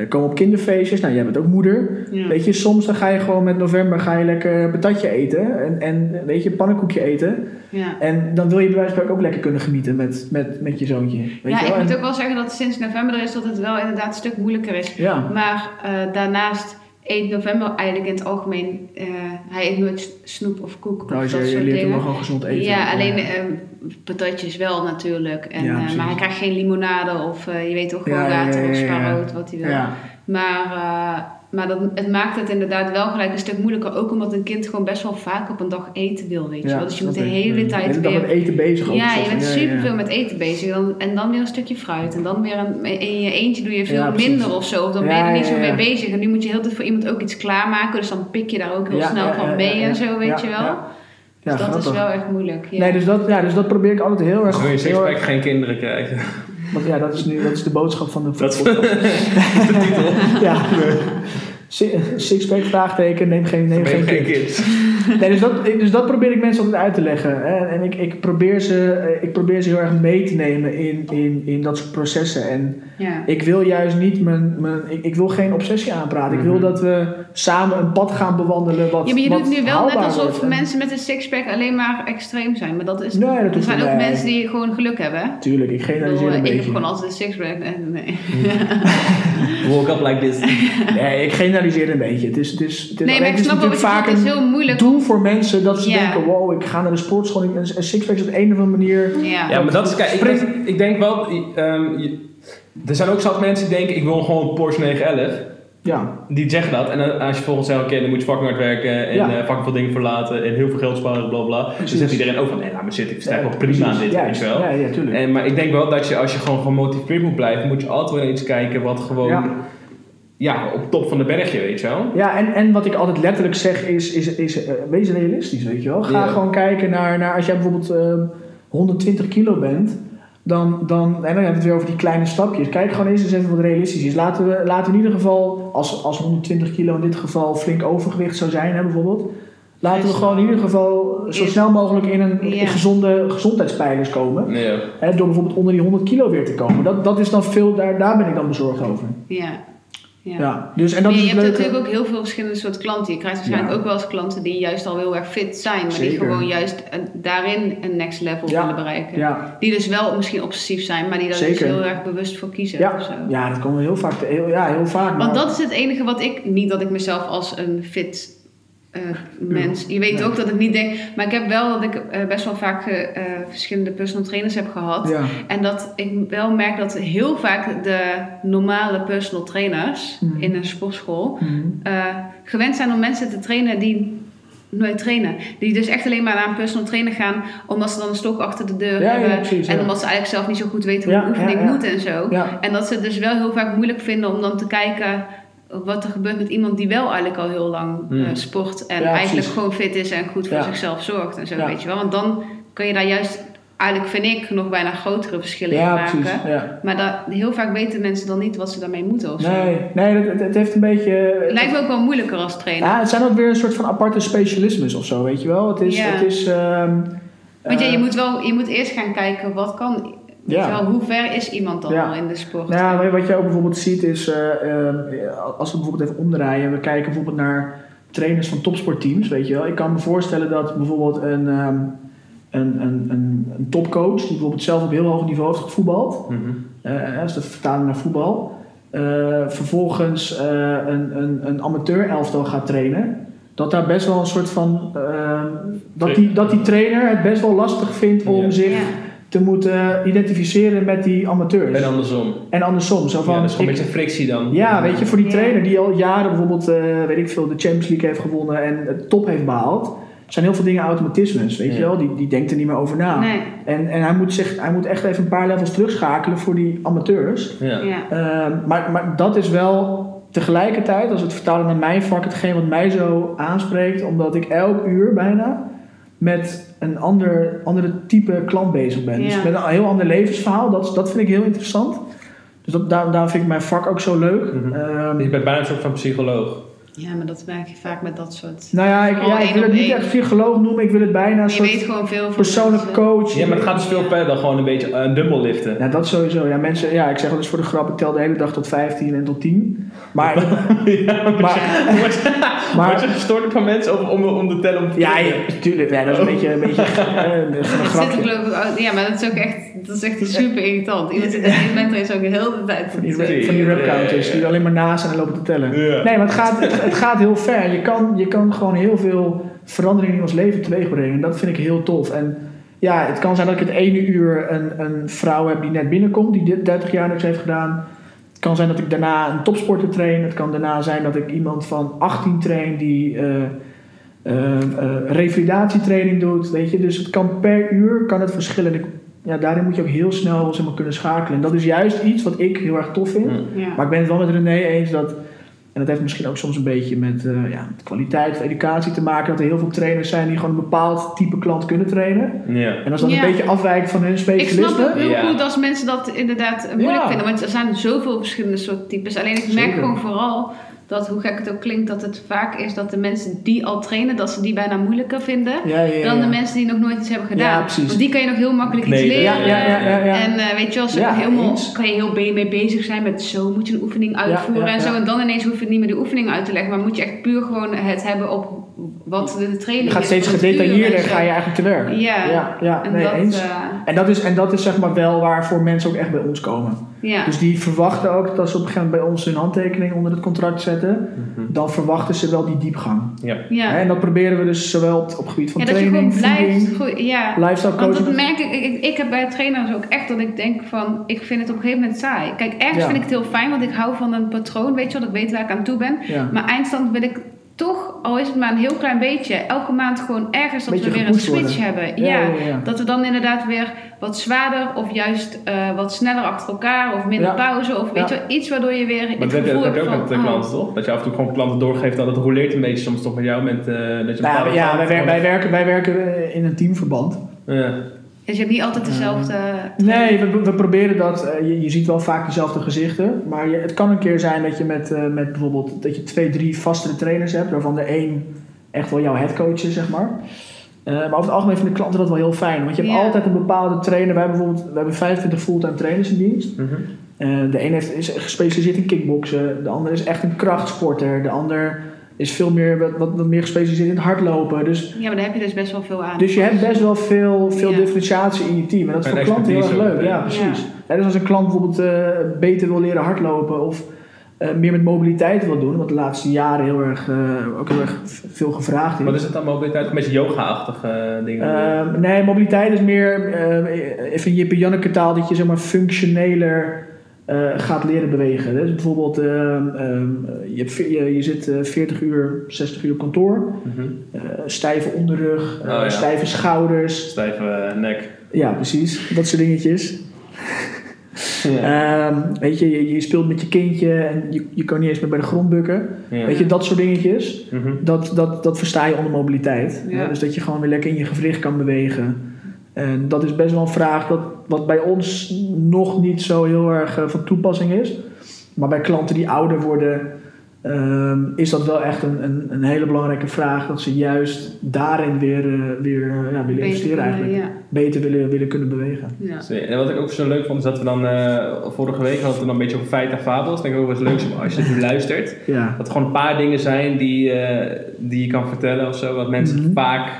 [SPEAKER 3] eh, komen op kinderfeestjes. Nou, jij bent ook moeder.
[SPEAKER 1] Ja.
[SPEAKER 3] Weet je, soms dan ga je gewoon met november ga je lekker een patatje eten en, en weet je, pannenkoekje eten.
[SPEAKER 1] Ja.
[SPEAKER 3] En dan wil je bij wijze van spreken ook lekker kunnen genieten met, met, met je zoontje. Weet
[SPEAKER 1] ja,
[SPEAKER 3] je wel?
[SPEAKER 1] ik
[SPEAKER 3] En-
[SPEAKER 1] moet ook wel zeggen dat sinds november er is dat het wel inderdaad een stuk moeilijker is.
[SPEAKER 3] ja.
[SPEAKER 1] Maar eh, daarnaast eet november eigenlijk in het algemeen, eh, hij eet nooit s- snoep of koek of
[SPEAKER 3] Nou,
[SPEAKER 1] dat
[SPEAKER 3] je,
[SPEAKER 1] soort
[SPEAKER 3] je leert hem
[SPEAKER 1] dingen.
[SPEAKER 3] wel gewoon gezond eten.
[SPEAKER 1] Ja, alleen ehm patatjes wel natuurlijk. En,
[SPEAKER 3] Ja,
[SPEAKER 1] eh,
[SPEAKER 3] precies.
[SPEAKER 1] maar hij krijgt geen limonade of eh, je weet toch gewoon
[SPEAKER 3] Ja, ja,
[SPEAKER 1] water
[SPEAKER 3] ja,
[SPEAKER 1] of
[SPEAKER 3] ja, ja.
[SPEAKER 1] sparrood, wat hij wil.
[SPEAKER 3] ja.
[SPEAKER 1] Maar, eh, maar dat, het maakt het inderdaad wel gelijk een stuk moeilijker. Ook omdat een kind gewoon best wel vaak op een dag eten wil, weet je
[SPEAKER 3] Ja,
[SPEAKER 1] wel. Dus je
[SPEAKER 3] snap
[SPEAKER 1] moet de
[SPEAKER 3] ik.
[SPEAKER 1] hele
[SPEAKER 3] Je
[SPEAKER 1] tijd
[SPEAKER 3] bent dan
[SPEAKER 1] weer...
[SPEAKER 3] met eten bezig. ook,
[SPEAKER 1] Ja,
[SPEAKER 3] soort
[SPEAKER 1] je
[SPEAKER 3] van.
[SPEAKER 1] bent
[SPEAKER 3] ja,
[SPEAKER 1] superveel
[SPEAKER 3] ja.
[SPEAKER 1] met eten bezig. Dan, en dan weer een stukje fruit. En dan weer een, in je eentje doe je veel
[SPEAKER 3] Ja, precies.
[SPEAKER 1] minder of zo. Of dan ben je
[SPEAKER 3] Ja,
[SPEAKER 1] er niet
[SPEAKER 3] ja,
[SPEAKER 1] zo mee
[SPEAKER 3] ja.
[SPEAKER 1] bezig. En nu moet je heel de tijd voor iemand ook iets klaarmaken. Dus dan pik je daar ook heel
[SPEAKER 3] Ja,
[SPEAKER 1] snel
[SPEAKER 3] ja,
[SPEAKER 1] van
[SPEAKER 3] ja,
[SPEAKER 1] mee
[SPEAKER 3] ja, ja.
[SPEAKER 1] en zo, weet
[SPEAKER 3] Ja,
[SPEAKER 1] je wel.
[SPEAKER 3] ja. Ja,
[SPEAKER 1] Dus dat
[SPEAKER 3] grappig.
[SPEAKER 1] is wel echt moeilijk. Ja.
[SPEAKER 3] Nee, dus dat, ja, dus dat probeer ik altijd heel erg...
[SPEAKER 2] Dus wil je
[SPEAKER 3] heel
[SPEAKER 2] sixpack
[SPEAKER 3] erg-
[SPEAKER 2] geen kinderen krijgen?
[SPEAKER 3] want ja, dat is, nu, dat is de boodschap van de
[SPEAKER 2] Dat-
[SPEAKER 3] podcast. ja. Si- Sixpack, vraagteken, neem geen, neem
[SPEAKER 2] Ben je
[SPEAKER 3] geen
[SPEAKER 2] geen
[SPEAKER 3] kind.
[SPEAKER 2] kind?
[SPEAKER 3] Nee, dus, dat, dus dat probeer ik mensen altijd uit te leggen. hè. En ik, ik, probeer ze, eh, ik probeer ze heel erg mee te nemen in, in, in dat soort processen. En
[SPEAKER 1] Ja.
[SPEAKER 3] Ik wil juist niet mijn. mijn ik, ik wil geen obsessie aanpraten. Ik
[SPEAKER 2] Mhm.
[SPEAKER 3] wil dat we samen een pad gaan bewandelen. Wat,
[SPEAKER 1] Ja, maar je
[SPEAKER 3] wat
[SPEAKER 1] doet nu wel net
[SPEAKER 3] haalbaar
[SPEAKER 1] alsof
[SPEAKER 3] wordt. En-
[SPEAKER 1] mensen met een sixpack alleen maar extreem zijn. Maar dat is...
[SPEAKER 3] Nee, dat
[SPEAKER 1] er
[SPEAKER 3] hoeft
[SPEAKER 1] zijn
[SPEAKER 3] niet.
[SPEAKER 1] ook
[SPEAKER 3] Nee.
[SPEAKER 1] mensen die gewoon geluk hebben. hè.
[SPEAKER 3] Tuurlijk, ik
[SPEAKER 1] Ik, bedoel,
[SPEAKER 3] generaliseer een
[SPEAKER 1] eh, ik heb
[SPEAKER 3] beetje.
[SPEAKER 1] gewoon altijd een sixpack. En, nee.
[SPEAKER 2] Walk up like this.
[SPEAKER 3] Nee, ik generaliseer een beetje. Het is, het is, het is,
[SPEAKER 1] nee,
[SPEAKER 3] alleen
[SPEAKER 1] maar ik
[SPEAKER 3] het is
[SPEAKER 1] snap wel wat
[SPEAKER 3] natuurlijk
[SPEAKER 1] je
[SPEAKER 3] vaak
[SPEAKER 1] bedoelt. Het is
[SPEAKER 3] een
[SPEAKER 1] heel moeilijk.
[SPEAKER 3] doel voor mensen dat ze
[SPEAKER 1] Ja.
[SPEAKER 3] denken: wow, ik ga naar de sportschool. En een sixpack is op een of andere manier.
[SPEAKER 1] Ja.
[SPEAKER 2] Ja, maar dat is... Kijk, ik,
[SPEAKER 3] Spring.
[SPEAKER 2] denk- ik denk wel... ehm, je- er zijn ook zat mensen die denken, ik wil gewoon een Porsche 911.
[SPEAKER 3] Ja,
[SPEAKER 2] Die zeggen dat. En dan, als je volgens zegt, oké, dan moet je fucking hard werken en
[SPEAKER 3] Ja.
[SPEAKER 2] eh, fucking veel dingen verlaten en heel veel geld sparen, bla bla. Dus dan zegt iedereen ook van, nee, laat me zitten, ik sta nog prima aan dit,
[SPEAKER 3] ja,
[SPEAKER 2] weet je wel.
[SPEAKER 3] Ja, ja, tuurlijk.
[SPEAKER 2] En, maar ik denk wel dat je, als je gewoon gemotiveerd moet blijven, moet je altijd wel naar iets kijken wat gewoon, ja.
[SPEAKER 3] Ja.
[SPEAKER 2] op top van de bergje, weet je wel.
[SPEAKER 3] Ja, en, en wat ik altijd letterlijk zeg is, is, is eh, wees realistisch, weet je wel. Ga
[SPEAKER 2] Ja.
[SPEAKER 3] gewoon kijken naar, naar als jij bijvoorbeeld ehm, 120 kilo bent, dan, dan, en dan hebben we het weer over die kleine stapjes. Kijk gewoon eens eens even wat realistisch is. Laten we, laten we in ieder geval, als, als 120 kilo in dit geval flink overgewicht zou zijn, hè, bijvoorbeeld. Laten we
[SPEAKER 1] Eerst-
[SPEAKER 3] gewoon in ieder geval zo
[SPEAKER 1] Eerst-
[SPEAKER 3] snel mogelijk in een in
[SPEAKER 1] Ja.
[SPEAKER 3] gezonde gezondheidspijlers komen.
[SPEAKER 2] Nee, ja.
[SPEAKER 3] Hè, door bijvoorbeeld onder die 100 kilo weer te komen. Dat, dat is dan veel, daar, daar ben ik dan bezorgd over.
[SPEAKER 1] Ja.
[SPEAKER 3] Ja.
[SPEAKER 1] Ja.
[SPEAKER 3] Dus, en dat
[SPEAKER 1] Maar
[SPEAKER 3] is
[SPEAKER 1] je
[SPEAKER 3] het
[SPEAKER 1] hebt
[SPEAKER 3] leuke.
[SPEAKER 1] natuurlijk ook heel veel verschillende soorten klanten. Je krijgt waarschijnlijk
[SPEAKER 3] Ja.
[SPEAKER 1] ook wel eens klanten die juist al heel erg fit zijn, maar die
[SPEAKER 3] Zeker.
[SPEAKER 1] gewoon juist eh, daarin een next level
[SPEAKER 3] Ja.
[SPEAKER 1] willen bereiken.
[SPEAKER 3] Ja,
[SPEAKER 1] Die dus wel misschien obsessief zijn, maar die daar dus
[SPEAKER 3] Zeker.
[SPEAKER 1] heel erg bewust voor kiezen.
[SPEAKER 3] Ja,
[SPEAKER 1] of zo.
[SPEAKER 3] ja, dat komen we heel vaak. te- heel, ja, heel vaak. maar-
[SPEAKER 1] Want dat is het enige wat ik, niet dat ik mezelf als een fit eh, mens, je weet
[SPEAKER 3] Nee.
[SPEAKER 1] ook dat ik niet denk, maar ik heb wel dat ik eh, best wel vaak eh, eh, verschillende personal trainers heb gehad.
[SPEAKER 3] Ja.
[SPEAKER 1] En dat ik wel merk dat heel vaak de normale personal trainers
[SPEAKER 3] Mhm.
[SPEAKER 1] in een sportschool
[SPEAKER 3] Mhm.
[SPEAKER 1] eh, gewend zijn om mensen te trainen die nooit trainen. Die dus echt alleen maar naar een personal trainer gaan omdat ze dan een stok achter de deur
[SPEAKER 3] Ja, ja,
[SPEAKER 1] hebben.
[SPEAKER 3] precies,
[SPEAKER 1] en
[SPEAKER 3] ja.
[SPEAKER 1] omdat ze eigenlijk zelf niet zo goed weten hoe
[SPEAKER 3] Ja,
[SPEAKER 1] een oefening
[SPEAKER 3] ja, ja.
[SPEAKER 1] moet en zo.
[SPEAKER 3] Ja.
[SPEAKER 1] En dat ze het dus wel heel vaak moeilijk vinden om dan te kijken wat er gebeurt met iemand die wel eigenlijk al heel lang eh,
[SPEAKER 2] Hmm.
[SPEAKER 1] sport en
[SPEAKER 3] Ja,
[SPEAKER 1] eigenlijk
[SPEAKER 3] precies.
[SPEAKER 1] gewoon fit is en goed voor
[SPEAKER 3] Ja.
[SPEAKER 1] zichzelf zorgt en zo,
[SPEAKER 3] Ja.
[SPEAKER 1] weet je wel. Want dan kun je daar juist, eigenlijk vind ik, nog bijna grotere verschillen in
[SPEAKER 3] ja,
[SPEAKER 1] maken.
[SPEAKER 3] precies. Ja.
[SPEAKER 1] Maar dat, heel vaak weten mensen dan niet wat ze daarmee moeten of zo.
[SPEAKER 3] Nee, nee dat- het, het heeft een beetje.
[SPEAKER 1] Het lijkt me ook wel moeilijker als trainer.
[SPEAKER 3] ja, het zijn ook weer een soort van aparte specialismes of zo, weet je wel. Het is.
[SPEAKER 1] Ja.
[SPEAKER 3] Het is ehm,
[SPEAKER 1] Want ja,
[SPEAKER 3] eh,
[SPEAKER 1] je moet wel, je moet eerst gaan kijken wat kan.
[SPEAKER 3] Ja.
[SPEAKER 1] Weet je wel, hoe ver is iemand dan
[SPEAKER 3] Ja.
[SPEAKER 1] al in de sport?
[SPEAKER 3] Nou, ja, maar wat je ook bijvoorbeeld ziet is, eh, ehm, als we bijvoorbeeld even omdraaien, we kijken bijvoorbeeld naar trainers van topsportteams, weet je wel. Ik kan me voorstellen dat bijvoorbeeld een, ehm, een, een, een, een topcoach, die bijvoorbeeld zelf op heel hoog niveau heeft gevoetbald,
[SPEAKER 2] Mhm.
[SPEAKER 3] eh dat is de vertaling naar voetbal. eh, vervolgens eh, een, een, een amateur elftal gaat trainen. Dat daar best wel een soort van. ehm, dat, die, dat die trainer het best wel lastig vindt om
[SPEAKER 2] Ja.
[SPEAKER 3] zich te moeten identificeren met die amateurs.
[SPEAKER 2] En andersom.
[SPEAKER 3] En andersom. Zo van,
[SPEAKER 2] Ja, dat is gewoon
[SPEAKER 3] ik-
[SPEAKER 2] een beetje frictie dan.
[SPEAKER 3] ja, weet je, voor die
[SPEAKER 1] Ja.
[SPEAKER 3] trainer die al jaren bijvoorbeeld, eh, weet ik veel, de Champions League heeft gewonnen en het top heeft behaald, zijn heel veel dingen automatismes, weet
[SPEAKER 2] Ja.
[SPEAKER 3] je wel? Die, die denkt er niet meer over na.
[SPEAKER 1] Nee,
[SPEAKER 3] En, en hij, moet zich, hij moet echt even een paar levels terugschakelen voor die amateurs.
[SPEAKER 2] Ja.
[SPEAKER 1] ja.
[SPEAKER 3] Ehm, maar, maar dat is wel tegelijkertijd, als we het vertalen naar mijn vak, hetgeen wat mij zo aanspreekt, omdat ik elk uur bijna met een ander andere type klant bezig ben. Dus
[SPEAKER 1] Ja.
[SPEAKER 3] met een heel ander levensverhaal, dat, is- dat vind ik heel interessant. Dus dat, daar, daar vind ik mijn vak ook zo leuk.
[SPEAKER 2] Mhm.
[SPEAKER 3] Ehm,
[SPEAKER 2] Je bent bijna een soort van psycholoog.
[SPEAKER 1] Ja, maar dat merk je vaak met dat soort...
[SPEAKER 3] nou ja, ik,
[SPEAKER 1] Al
[SPEAKER 3] ja, ik
[SPEAKER 1] één
[SPEAKER 3] wil
[SPEAKER 1] op
[SPEAKER 3] het niet
[SPEAKER 1] één.
[SPEAKER 3] echt psycholoog noemen, ik wil het bijna een
[SPEAKER 1] Je weet
[SPEAKER 3] soort
[SPEAKER 1] gewoon veel van
[SPEAKER 3] persoonlijk
[SPEAKER 1] mensen.
[SPEAKER 3] coach.
[SPEAKER 2] Ja, maar het gaat dus veel verder dan gewoon een beetje eh, een dumbbell liften.
[SPEAKER 3] Ja, dat sowieso. Ja, mensen, ja, ik zeg wel eens voor de grap, ik tel de hele dag tot 15 en tot 10. Maar,
[SPEAKER 2] Ja,
[SPEAKER 3] maar,
[SPEAKER 2] Word word je
[SPEAKER 3] maar
[SPEAKER 2] gestoord van mensen om, om, om de tel om te
[SPEAKER 3] ja,
[SPEAKER 2] keren?
[SPEAKER 3] natuurlijk. Ja, dat is een beetje een, beetje, eh, een
[SPEAKER 1] Dat zit ik
[SPEAKER 3] grapje.
[SPEAKER 1] geloof ik ook- Ja, maar dat is ook echt, dat is echt super irritant. Iemand zit in mentor is ook heel de tijd.
[SPEAKER 3] Van die,
[SPEAKER 1] Ja,
[SPEAKER 3] rap- van die rapcounters die er alleen maar naast en lopen te tellen.
[SPEAKER 2] Ja.
[SPEAKER 3] Nee, maar het gaat, het, het gaat heel ver. Je kan, je kan gewoon heel veel verandering in ons leven teweeg brengen. En dat vind ik heel tof. En ja, het kan zijn dat ik het ene uur een, een vrouw heb die net binnenkomt, die dit 30 jaar niks heeft gedaan. Het kan zijn dat ik daarna een topsporter train. Het kan daarna zijn dat ik iemand van 18 train die eh, eh, eh, revalidatietraining doet. Weet je? Dus het kan per uur kan het verschillen. En ik- ja, daarin moet je ook heel snel wel, zeg maar, kunnen schakelen. En dat is juist iets wat ik heel erg tof vind.
[SPEAKER 2] Hm.
[SPEAKER 1] Ja.
[SPEAKER 3] Maar ik ben het wel met René eens dat, en dat heeft misschien ook soms een beetje met, eh, ja, met kwaliteit of educatie te maken, dat er heel veel trainers zijn die gewoon een bepaald type klant kunnen trainen.
[SPEAKER 2] Ja.
[SPEAKER 3] En als dat
[SPEAKER 1] Ja.
[SPEAKER 3] een beetje afwijkt van hun
[SPEAKER 1] Ik snap ook
[SPEAKER 3] specialisme.
[SPEAKER 1] heel
[SPEAKER 2] Ja.
[SPEAKER 1] goed als mensen dat inderdaad eh, moeilijk
[SPEAKER 3] Ja.
[SPEAKER 1] vinden. Want er zijn zoveel verschillende soorten types. Alleen ik merk
[SPEAKER 3] Zeker.
[SPEAKER 1] gewoon vooral dat, hoe gek het ook klinkt, dat het vaak is dat de mensen die al trainen, dat ze die bijna moeilijker vinden.
[SPEAKER 3] Ja, ja, ja.
[SPEAKER 1] Dan de mensen die nog nooit iets hebben gedaan.
[SPEAKER 3] Ja, precies.
[SPEAKER 1] Want die kan je nog heel makkelijk iets
[SPEAKER 2] Kneden.
[SPEAKER 1] leren.
[SPEAKER 3] ja, ja, ja, ja, ja.
[SPEAKER 1] En eh, weet je wel, zo
[SPEAKER 3] Ja,
[SPEAKER 1] helemaal
[SPEAKER 3] eens.
[SPEAKER 1] kan je heel be- mee bezig zijn met zo moet je een oefening uitvoeren
[SPEAKER 3] ja,
[SPEAKER 1] en zo.
[SPEAKER 3] ja.
[SPEAKER 1] En dan ineens hoef je niet meer de oefening uit te leggen, maar moet je echt puur gewoon het hebben op wat de- de training
[SPEAKER 3] Je gaat
[SPEAKER 1] is,
[SPEAKER 3] steeds
[SPEAKER 1] van het uur en
[SPEAKER 3] gedetailleerder
[SPEAKER 1] zo.
[SPEAKER 3] ga je eigenlijk te werk.
[SPEAKER 1] Ja.
[SPEAKER 3] ja, ja,
[SPEAKER 1] En
[SPEAKER 3] nee,
[SPEAKER 1] dat,
[SPEAKER 3] eens.
[SPEAKER 1] eh,
[SPEAKER 3] En dat, is, en dat is zeg maar wel waarvoor mensen ook echt bij ons komen.
[SPEAKER 1] ja.
[SPEAKER 3] Dus die verwachten ook dat als ze op een gegeven moment bij ons hun handtekening onder het contract zetten,
[SPEAKER 2] Mhm.
[SPEAKER 3] dan verwachten ze wel die diepgang.
[SPEAKER 2] Ja.
[SPEAKER 1] ja.
[SPEAKER 3] En dat proberen we dus zowel op, op het gebied van
[SPEAKER 1] ja, dat je gewoon
[SPEAKER 3] training,
[SPEAKER 1] blijft
[SPEAKER 3] voeding,
[SPEAKER 1] groeien. Ja.
[SPEAKER 3] lifestyle
[SPEAKER 1] Want dat
[SPEAKER 3] coaching.
[SPEAKER 1] merk ik, ik, ik heb bij trainers ook echt dat ik denk van, ik vind het op een gegeven moment saai. Kijk, ergens
[SPEAKER 3] Ja.
[SPEAKER 1] vind ik het heel fijn, want ik hou van een patroon, weet je wel, dat ik weet waar ik aan toe ben.
[SPEAKER 3] Ja.
[SPEAKER 1] Maar eindstand wil ik toch, al is het maar een heel klein beetje, elke maand gewoon ergens dat
[SPEAKER 3] Beetje
[SPEAKER 1] we weer een
[SPEAKER 3] gepusht
[SPEAKER 1] switch
[SPEAKER 3] worden.
[SPEAKER 1] hebben.
[SPEAKER 3] Ja,
[SPEAKER 1] Ja,
[SPEAKER 3] ja, ja.
[SPEAKER 1] Dat we dan inderdaad weer wat zwaarder of juist eh, wat sneller achter elkaar of minder
[SPEAKER 3] Ja.
[SPEAKER 1] pauze of weet je
[SPEAKER 3] Ja.
[SPEAKER 1] wel, iets waardoor je weer
[SPEAKER 2] Maar
[SPEAKER 1] het
[SPEAKER 2] dat heb je
[SPEAKER 1] gevoel
[SPEAKER 2] dat heb je ook
[SPEAKER 1] hebt
[SPEAKER 2] met de
[SPEAKER 1] van, oh,
[SPEAKER 2] klanten, toch? Dat je af en toe gewoon klanten doorgeeft dat het roleert een beetje soms toch met jou. Met, eh, dat je
[SPEAKER 3] Nou,
[SPEAKER 2] bepaalde
[SPEAKER 3] ja, wij,
[SPEAKER 2] klanten
[SPEAKER 3] wer- wij,
[SPEAKER 2] gewoon-
[SPEAKER 3] werken, wij werken eh, in een teamverband.
[SPEAKER 2] Ja.
[SPEAKER 1] Dus je hebt niet altijd dezelfde...
[SPEAKER 3] Ehm,
[SPEAKER 1] eh,
[SPEAKER 3] Nee, we, we proberen dat. eh, Je, je ziet wel vaak dezelfde gezichten. Maar je, het kan een keer zijn dat je met, eh, met bijvoorbeeld dat je twee, drie vastere trainers hebt. Waarvan de één echt wel jouw headcoach is, zeg maar. Eh, maar over het algemeen vinden klanten dat wel heel fijn. Want je hebt
[SPEAKER 1] Ja.
[SPEAKER 3] altijd een bepaalde trainer. Wij, hebben bijvoorbeeld, we hebben 25 fulltime trainers in dienst.
[SPEAKER 2] Mhm.
[SPEAKER 3] Eh, de een heeft, is gespecialiseerd in kickboksen, de ander is echt een krachtsporter, de ander is veel meer, wat, wat, wat meer gespecialiseerd in het hardlopen. Dus,
[SPEAKER 1] Ja, maar daar heb je dus best wel veel aan.
[SPEAKER 3] dus je hebt best wel veel, veel
[SPEAKER 1] Ja.
[SPEAKER 3] differentiatie in je team. En dat is
[SPEAKER 2] En
[SPEAKER 3] voor klanten heel erg
[SPEAKER 2] expertise
[SPEAKER 3] leuk.
[SPEAKER 2] ook,
[SPEAKER 3] Ja,
[SPEAKER 2] ja.
[SPEAKER 3] precies. Hè, dus als een klant bijvoorbeeld eh, beter wil leren hardlopen of eh, meer met mobiliteit wil doen, wat de laatste jaren heel erg, eh, ook heel erg veel gevraagd is.
[SPEAKER 2] Wat is het dan mobiliteit? Een beetje yoga-achtige eh, dingen.
[SPEAKER 3] Ehm, nee, mobiliteit is meer, eh, even in Jippe Janneke taal, dat je zeg maar functioneler eh, gaat leren bewegen. Dus bijvoorbeeld, ehm, ehm, je, hebt ve- je, je zit eh, 40 uur, 60 uur op kantoor,
[SPEAKER 2] Mhm.
[SPEAKER 3] Eh, stijve onderrug, eh,
[SPEAKER 2] Oh, ja.
[SPEAKER 3] stijve schouders.
[SPEAKER 2] Stijve eh, nek.
[SPEAKER 3] Ja, precies, dat soort dingetjes. Ehm, weet je, je, je speelt met je kindje en je, je kan niet eens meer bij de grond bukken.
[SPEAKER 2] Ja.
[SPEAKER 3] Weet je, dat soort dingetjes.
[SPEAKER 2] Mhm.
[SPEAKER 3] Dat, dat, dat versta je onder mobiliteit.
[SPEAKER 1] Ja.
[SPEAKER 3] Hè? Dus dat je gewoon weer lekker in je gewricht kan bewegen. En dat is best wel een vraag dat, wat bij ons nog niet zo heel erg eh, van toepassing is. Maar bij klanten die ouder worden, ehm, is dat wel echt een, een, een hele belangrijke vraag. Dat ze juist daarin weer, eh, weer eh, ja, willen investeren eigenlijk.
[SPEAKER 1] Ja.
[SPEAKER 3] Beter willen, willen kunnen bewegen.
[SPEAKER 1] Ja.
[SPEAKER 2] En wat ik ook zo leuk vond, is dat we dan eh, vorige week hadden we dan een beetje over feiten en fabels. Ik denk ook wel eens leuk als je het nu luistert.
[SPEAKER 3] Ja.
[SPEAKER 2] Dat er gewoon een paar dingen zijn die, eh, die je kan vertellen of zo. Wat mensen
[SPEAKER 3] Mhm.
[SPEAKER 2] vaak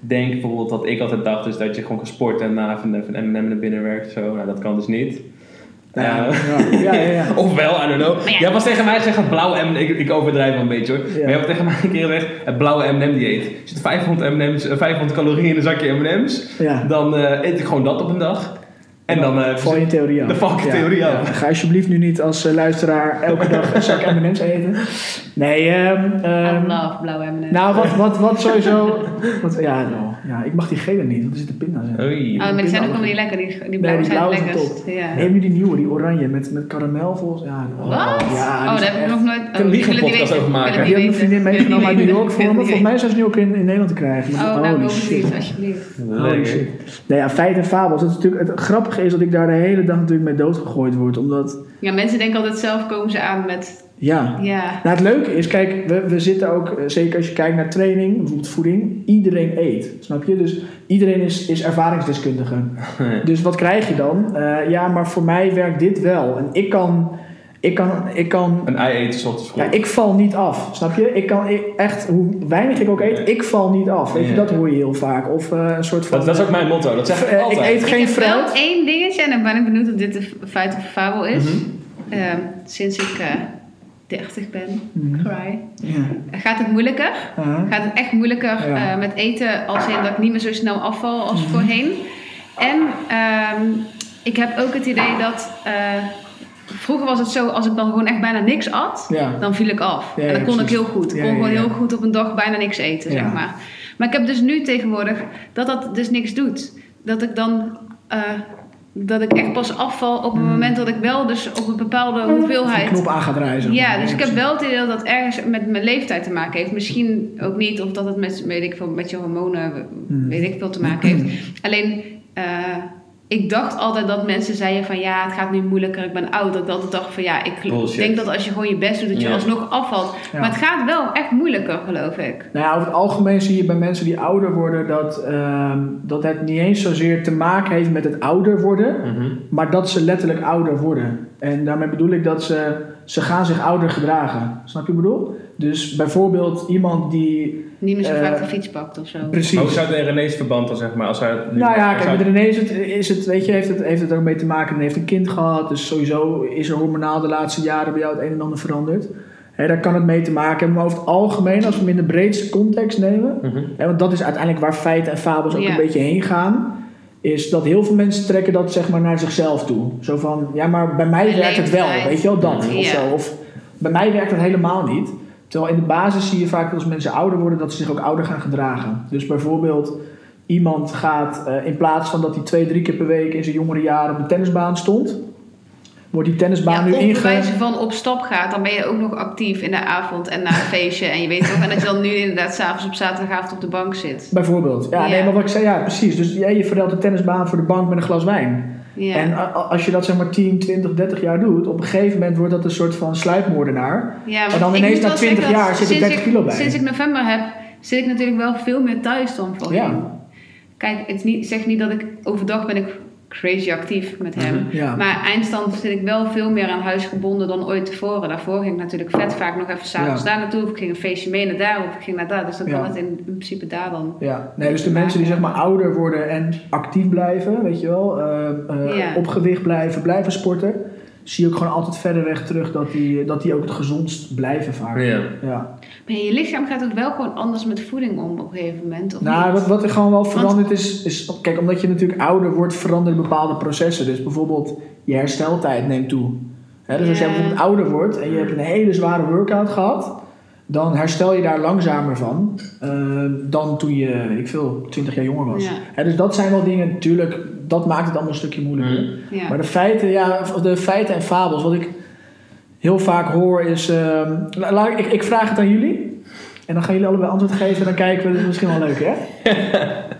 [SPEAKER 2] denken, bijvoorbeeld wat ik altijd dacht, is dat je gewoon kan sporten en na even, even M&M naar binnen werkt. Zo. Nou, dat kan dus niet.
[SPEAKER 3] Ja,
[SPEAKER 2] Eh,
[SPEAKER 3] ja, ja. ja, ja.
[SPEAKER 2] Ofwel, I don't know.
[SPEAKER 1] Maar ja.
[SPEAKER 2] Jij was tegen mij zeggen blauw M. Ik, ik overdrijf wel een beetje hoor. Maar jij hebt tegen mij een keer gezegd: het blauwe M&M dieet. Er zitten 500, M&M's, eh, 500 calorieën in een zakje M&M's.
[SPEAKER 3] Ja.
[SPEAKER 2] Dan eh, eet ik gewoon dat op een dag. En dan. eh,
[SPEAKER 3] Val je in theorie af.
[SPEAKER 2] Dan val ik in
[SPEAKER 3] Ja,
[SPEAKER 2] theorie
[SPEAKER 3] ja.
[SPEAKER 2] af.
[SPEAKER 3] Ga alsjeblieft nu niet als eh, luisteraar elke dag een zak M&M's eten. Nee, ehm, ehm,
[SPEAKER 1] I love blauwe M&M's.
[SPEAKER 3] nou wat, wat, wat sowieso... Wat, ja, nou, ja, ik mag die gele niet, want er zitten pinda's in.
[SPEAKER 2] Oei.
[SPEAKER 1] oh, maar die zijn ook allemaal niet lekker. Die, die blauwe
[SPEAKER 3] die
[SPEAKER 1] zijn
[SPEAKER 3] blauwe
[SPEAKER 1] het
[SPEAKER 3] zijn
[SPEAKER 1] lekkerst. Ja.
[SPEAKER 3] Neem je die nieuwe, die oranje, met, met karamel volgens Ja, nou,
[SPEAKER 1] Wat?
[SPEAKER 3] Ja, die
[SPEAKER 1] oh,
[SPEAKER 3] is
[SPEAKER 1] daar heb ik
[SPEAKER 3] echt-
[SPEAKER 1] nog nooit... Oh,
[SPEAKER 2] een
[SPEAKER 1] ik wil het
[SPEAKER 2] podcast
[SPEAKER 1] niet weten.
[SPEAKER 2] over maken.
[SPEAKER 1] Ik wil het
[SPEAKER 3] Die
[SPEAKER 1] niet
[SPEAKER 3] hebben een vriendin
[SPEAKER 1] weten. Ik wil het
[SPEAKER 3] meegenomen uit
[SPEAKER 1] niet
[SPEAKER 3] New York
[SPEAKER 1] weten.
[SPEAKER 3] voor me.
[SPEAKER 1] Ik wil
[SPEAKER 3] Volgens
[SPEAKER 1] het niet
[SPEAKER 3] mij zijn ze nu ook in, in Nederland te krijgen.
[SPEAKER 1] weten. Oh,
[SPEAKER 3] Holy
[SPEAKER 1] nou, alsjeblieft,
[SPEAKER 3] shit.
[SPEAKER 1] alsjeblieft.
[SPEAKER 3] Holy shit. Nou ja, feit en fabels. Dat is natuurlijk, het grappige is dat ik daar de hele dag natuurlijk mee doodgegooid word. Omdat,
[SPEAKER 1] Ja, mensen denken altijd zelf komen ze aan met...
[SPEAKER 3] ja.
[SPEAKER 1] Ja.
[SPEAKER 3] Nou, het leuke is, kijk, we, we zitten ook, eh, zeker als je kijkt naar training, bijvoorbeeld voeding, iedereen eet. Snap je? Dus iedereen is, is ervaringsdeskundige. Dus wat krijg je dan? Eh, ja, maar voor mij werkt dit wel. En ik kan, ik kan, ik kan
[SPEAKER 2] Een ei eten 's ochtends vroeg.
[SPEAKER 3] Ja, ik val niet af, snap je? Ik kan ik- echt, hoe weinig ik ook eet, ik val niet af. Weet je,
[SPEAKER 2] Ja.
[SPEAKER 3] dat hoor je heel vaak. Of eh, een soort van...
[SPEAKER 2] dat, dat is ook mijn motto. Dat zeg ik
[SPEAKER 3] eh, ik
[SPEAKER 2] altijd.
[SPEAKER 3] eet geen
[SPEAKER 1] ik heb wel
[SPEAKER 3] fruit.
[SPEAKER 1] één dingetje en dan ben ik benieuwd of dit een feit of een fabel is. Ehm, sinds ik eh 30 ben,
[SPEAKER 3] Mhm.
[SPEAKER 1] cry,
[SPEAKER 3] Ja.
[SPEAKER 1] gaat het moeilijker.
[SPEAKER 3] Uh-huh.
[SPEAKER 1] Gaat het echt moeilijker
[SPEAKER 3] Ja. Mhm.
[SPEAKER 1] eh, met eten als in dat ik niet meer zo snel afval als voorheen. En ehm, ik heb ook het idee dat... eh, vroeger was het zo, als ik dan gewoon echt bijna niks at...
[SPEAKER 3] Ja.
[SPEAKER 1] dan viel ik af.
[SPEAKER 3] Ja,
[SPEAKER 1] en dat
[SPEAKER 3] ja,
[SPEAKER 1] kon ik
[SPEAKER 3] precies.
[SPEAKER 1] heel goed. Ik
[SPEAKER 3] Ja,
[SPEAKER 1] kon
[SPEAKER 3] ja,
[SPEAKER 1] gewoon
[SPEAKER 3] ja.
[SPEAKER 1] heel goed op een dag bijna niks eten,
[SPEAKER 3] Ja.
[SPEAKER 1] zeg maar. Maar ik heb dus nu tegenwoordig dat dat dus niks doet. Dat ik dan... eh, dat ik echt pas afval op het
[SPEAKER 3] Mhm.
[SPEAKER 1] moment dat ik wel dus op een bepaalde hoeveelheid...
[SPEAKER 3] knop aan gaat draaien.
[SPEAKER 1] Ja, dus ik heb wel het idee dat dat ergens met mijn leeftijd te maken heeft. Misschien ook niet, of dat het met, weet ik veel, met je hormonen,
[SPEAKER 3] Hmm.
[SPEAKER 1] weet ik veel, te maken heeft. Alleen, eh, ik dacht altijd dat mensen zeiden van ja, het gaat nu moeilijker, ik ben oud. Dat ik altijd dacht van ja, ik gel-
[SPEAKER 2] Bullshit.
[SPEAKER 1] denk dat als je gewoon je best doet, dat je
[SPEAKER 2] Ja.
[SPEAKER 1] alsnog afvalt.
[SPEAKER 3] Ja.
[SPEAKER 1] Maar het gaat wel echt moeilijker, geloof ik.
[SPEAKER 3] Nou ja, over het algemeen zie je bij mensen die ouder worden dat, ehm, dat het niet eens zozeer te maken heeft met het ouder worden,
[SPEAKER 2] Mhm.
[SPEAKER 3] maar dat ze letterlijk ouder worden. En daarmee bedoel ik dat ze, ze gaan zich ouder gedragen. Snap je wat ik bedoel? Dus bijvoorbeeld iemand die...
[SPEAKER 1] Niet meer zo
[SPEAKER 3] Eh,
[SPEAKER 1] vaak de fiets pakt of zo.
[SPEAKER 2] Maar hoe
[SPEAKER 3] Precies.
[SPEAKER 2] Oh, zou het in René's verband dan zeg maar? Als hij nu-
[SPEAKER 3] Nou ja,
[SPEAKER 2] als hij-
[SPEAKER 3] kijk, met René is het, is het, weet je, heeft, het, heeft het ook mee te maken. Hij heeft een kind gehad, dus sowieso is er hormonaal de laatste jaren bij jou het een en ander veranderd. Hè, daar kan het mee te maken hebben. Maar over het algemeen, als we hem in de breedste context nemen,
[SPEAKER 2] Mhm.
[SPEAKER 3] hè, want dat is uiteindelijk waar feiten en fabels ook
[SPEAKER 1] Ja.
[SPEAKER 3] een beetje heen gaan, is dat heel veel mensen trekken dat zeg maar naar zichzelf toe. Zo van, ja, maar bij mij
[SPEAKER 1] Mijn
[SPEAKER 3] werkt het wel,
[SPEAKER 1] leeftijd.
[SPEAKER 3] weet je wel, dat
[SPEAKER 1] Ja.
[SPEAKER 3] of zo. Of bij mij werkt dat helemaal niet. Terwijl in de basis zie je vaak dat als mensen ouder worden, dat ze zich ook ouder gaan gedragen. Dus bijvoorbeeld, iemand gaat, eh, in plaats van dat hij twee, drie keer per week in zijn jongere jaren op de tennisbaan stond, wordt die
[SPEAKER 1] ja,
[SPEAKER 3] tennisbaan nu
[SPEAKER 1] of bij wijze
[SPEAKER 3] inge...
[SPEAKER 1] van op stap gaat, dan ben je ook nog actief in de avond en na een feestje. En je weet toch, en dat je dan nu inderdaad s'avonds op zaterdagavond op de bank zit.
[SPEAKER 3] Bijvoorbeeld. Ja,
[SPEAKER 1] Ja.
[SPEAKER 3] nee, maar wat ik zei, ja, precies. Dus jij je verdeelt de tennisbaan voor de bank met een glas wijn.
[SPEAKER 1] Ja.
[SPEAKER 3] En a- a- als je dat zeg maar 10, 20, 30 jaar doet, op een gegeven moment wordt dat een soort van sluipmoordenaar.
[SPEAKER 1] Ja,
[SPEAKER 3] En
[SPEAKER 1] want
[SPEAKER 3] dan
[SPEAKER 1] ik
[SPEAKER 3] ineens
[SPEAKER 1] moet
[SPEAKER 3] na
[SPEAKER 1] wel
[SPEAKER 3] 20
[SPEAKER 1] zeggen dat
[SPEAKER 3] jaar zit er
[SPEAKER 1] sinds
[SPEAKER 3] 30 kilo bij.
[SPEAKER 1] Sinds ik november heb, zit ik natuurlijk wel veel meer thuis dan voorheen.
[SPEAKER 3] Ja.
[SPEAKER 1] Kijk, het is niet, zeg niet dat ik overdag ben ik crazy actief met hem.
[SPEAKER 3] Mhm. Ja.
[SPEAKER 1] Maar eindstand zit ik wel veel meer aan huis gebonden dan ooit tevoren. Daarvoor ging ik natuurlijk vet vaak nog even s'avonds
[SPEAKER 3] Ja.
[SPEAKER 1] daar naartoe. Of ik ging een feestje mee naar daar. Of ik ging naar daar. Dus dan
[SPEAKER 3] Ja.
[SPEAKER 1] kan het in, in principe daar dan.
[SPEAKER 3] Ja, nee, dus de mensen die zeg maar ouder worden en actief blijven, weet je wel, eh, eh,
[SPEAKER 1] Ja.
[SPEAKER 3] op gewicht blijven, blijven sporten, zie je ook gewoon altijd verder weg terug dat die, dat die ook het gezondst blijven vaak.
[SPEAKER 2] Ja.
[SPEAKER 3] Ja.
[SPEAKER 1] Maar je lichaam gaat ook wel gewoon anders met voeding om op een gegeven moment. Of
[SPEAKER 3] Nou,
[SPEAKER 1] niet?
[SPEAKER 3] wat, wat er gewoon wel veranderd is, is, kijk, omdat je natuurlijk ouder wordt, veranderen bepaalde processen. Dus bijvoorbeeld je hersteltijd neemt toe. Hè, dus als jij
[SPEAKER 1] Ja.
[SPEAKER 3] bijvoorbeeld ouder wordt en je hebt een hele zware workout gehad, dan herstel je daar langzamer van eh, dan toen je, weet ik veel, 20 jaar jonger was.
[SPEAKER 1] Ja.
[SPEAKER 3] Hè, dus dat zijn wel dingen, natuurlijk, dat maakt het allemaal een stukje moeilijker.
[SPEAKER 1] ja.
[SPEAKER 3] Maar de feiten, ja, of de feiten en fabels, wat ik heel vaak hoor is. ehm, la- laat ik, ik, ik vraag het aan jullie. En dan gaan jullie allebei antwoord geven en dan kijken we. Dat is misschien wel leuk, hè?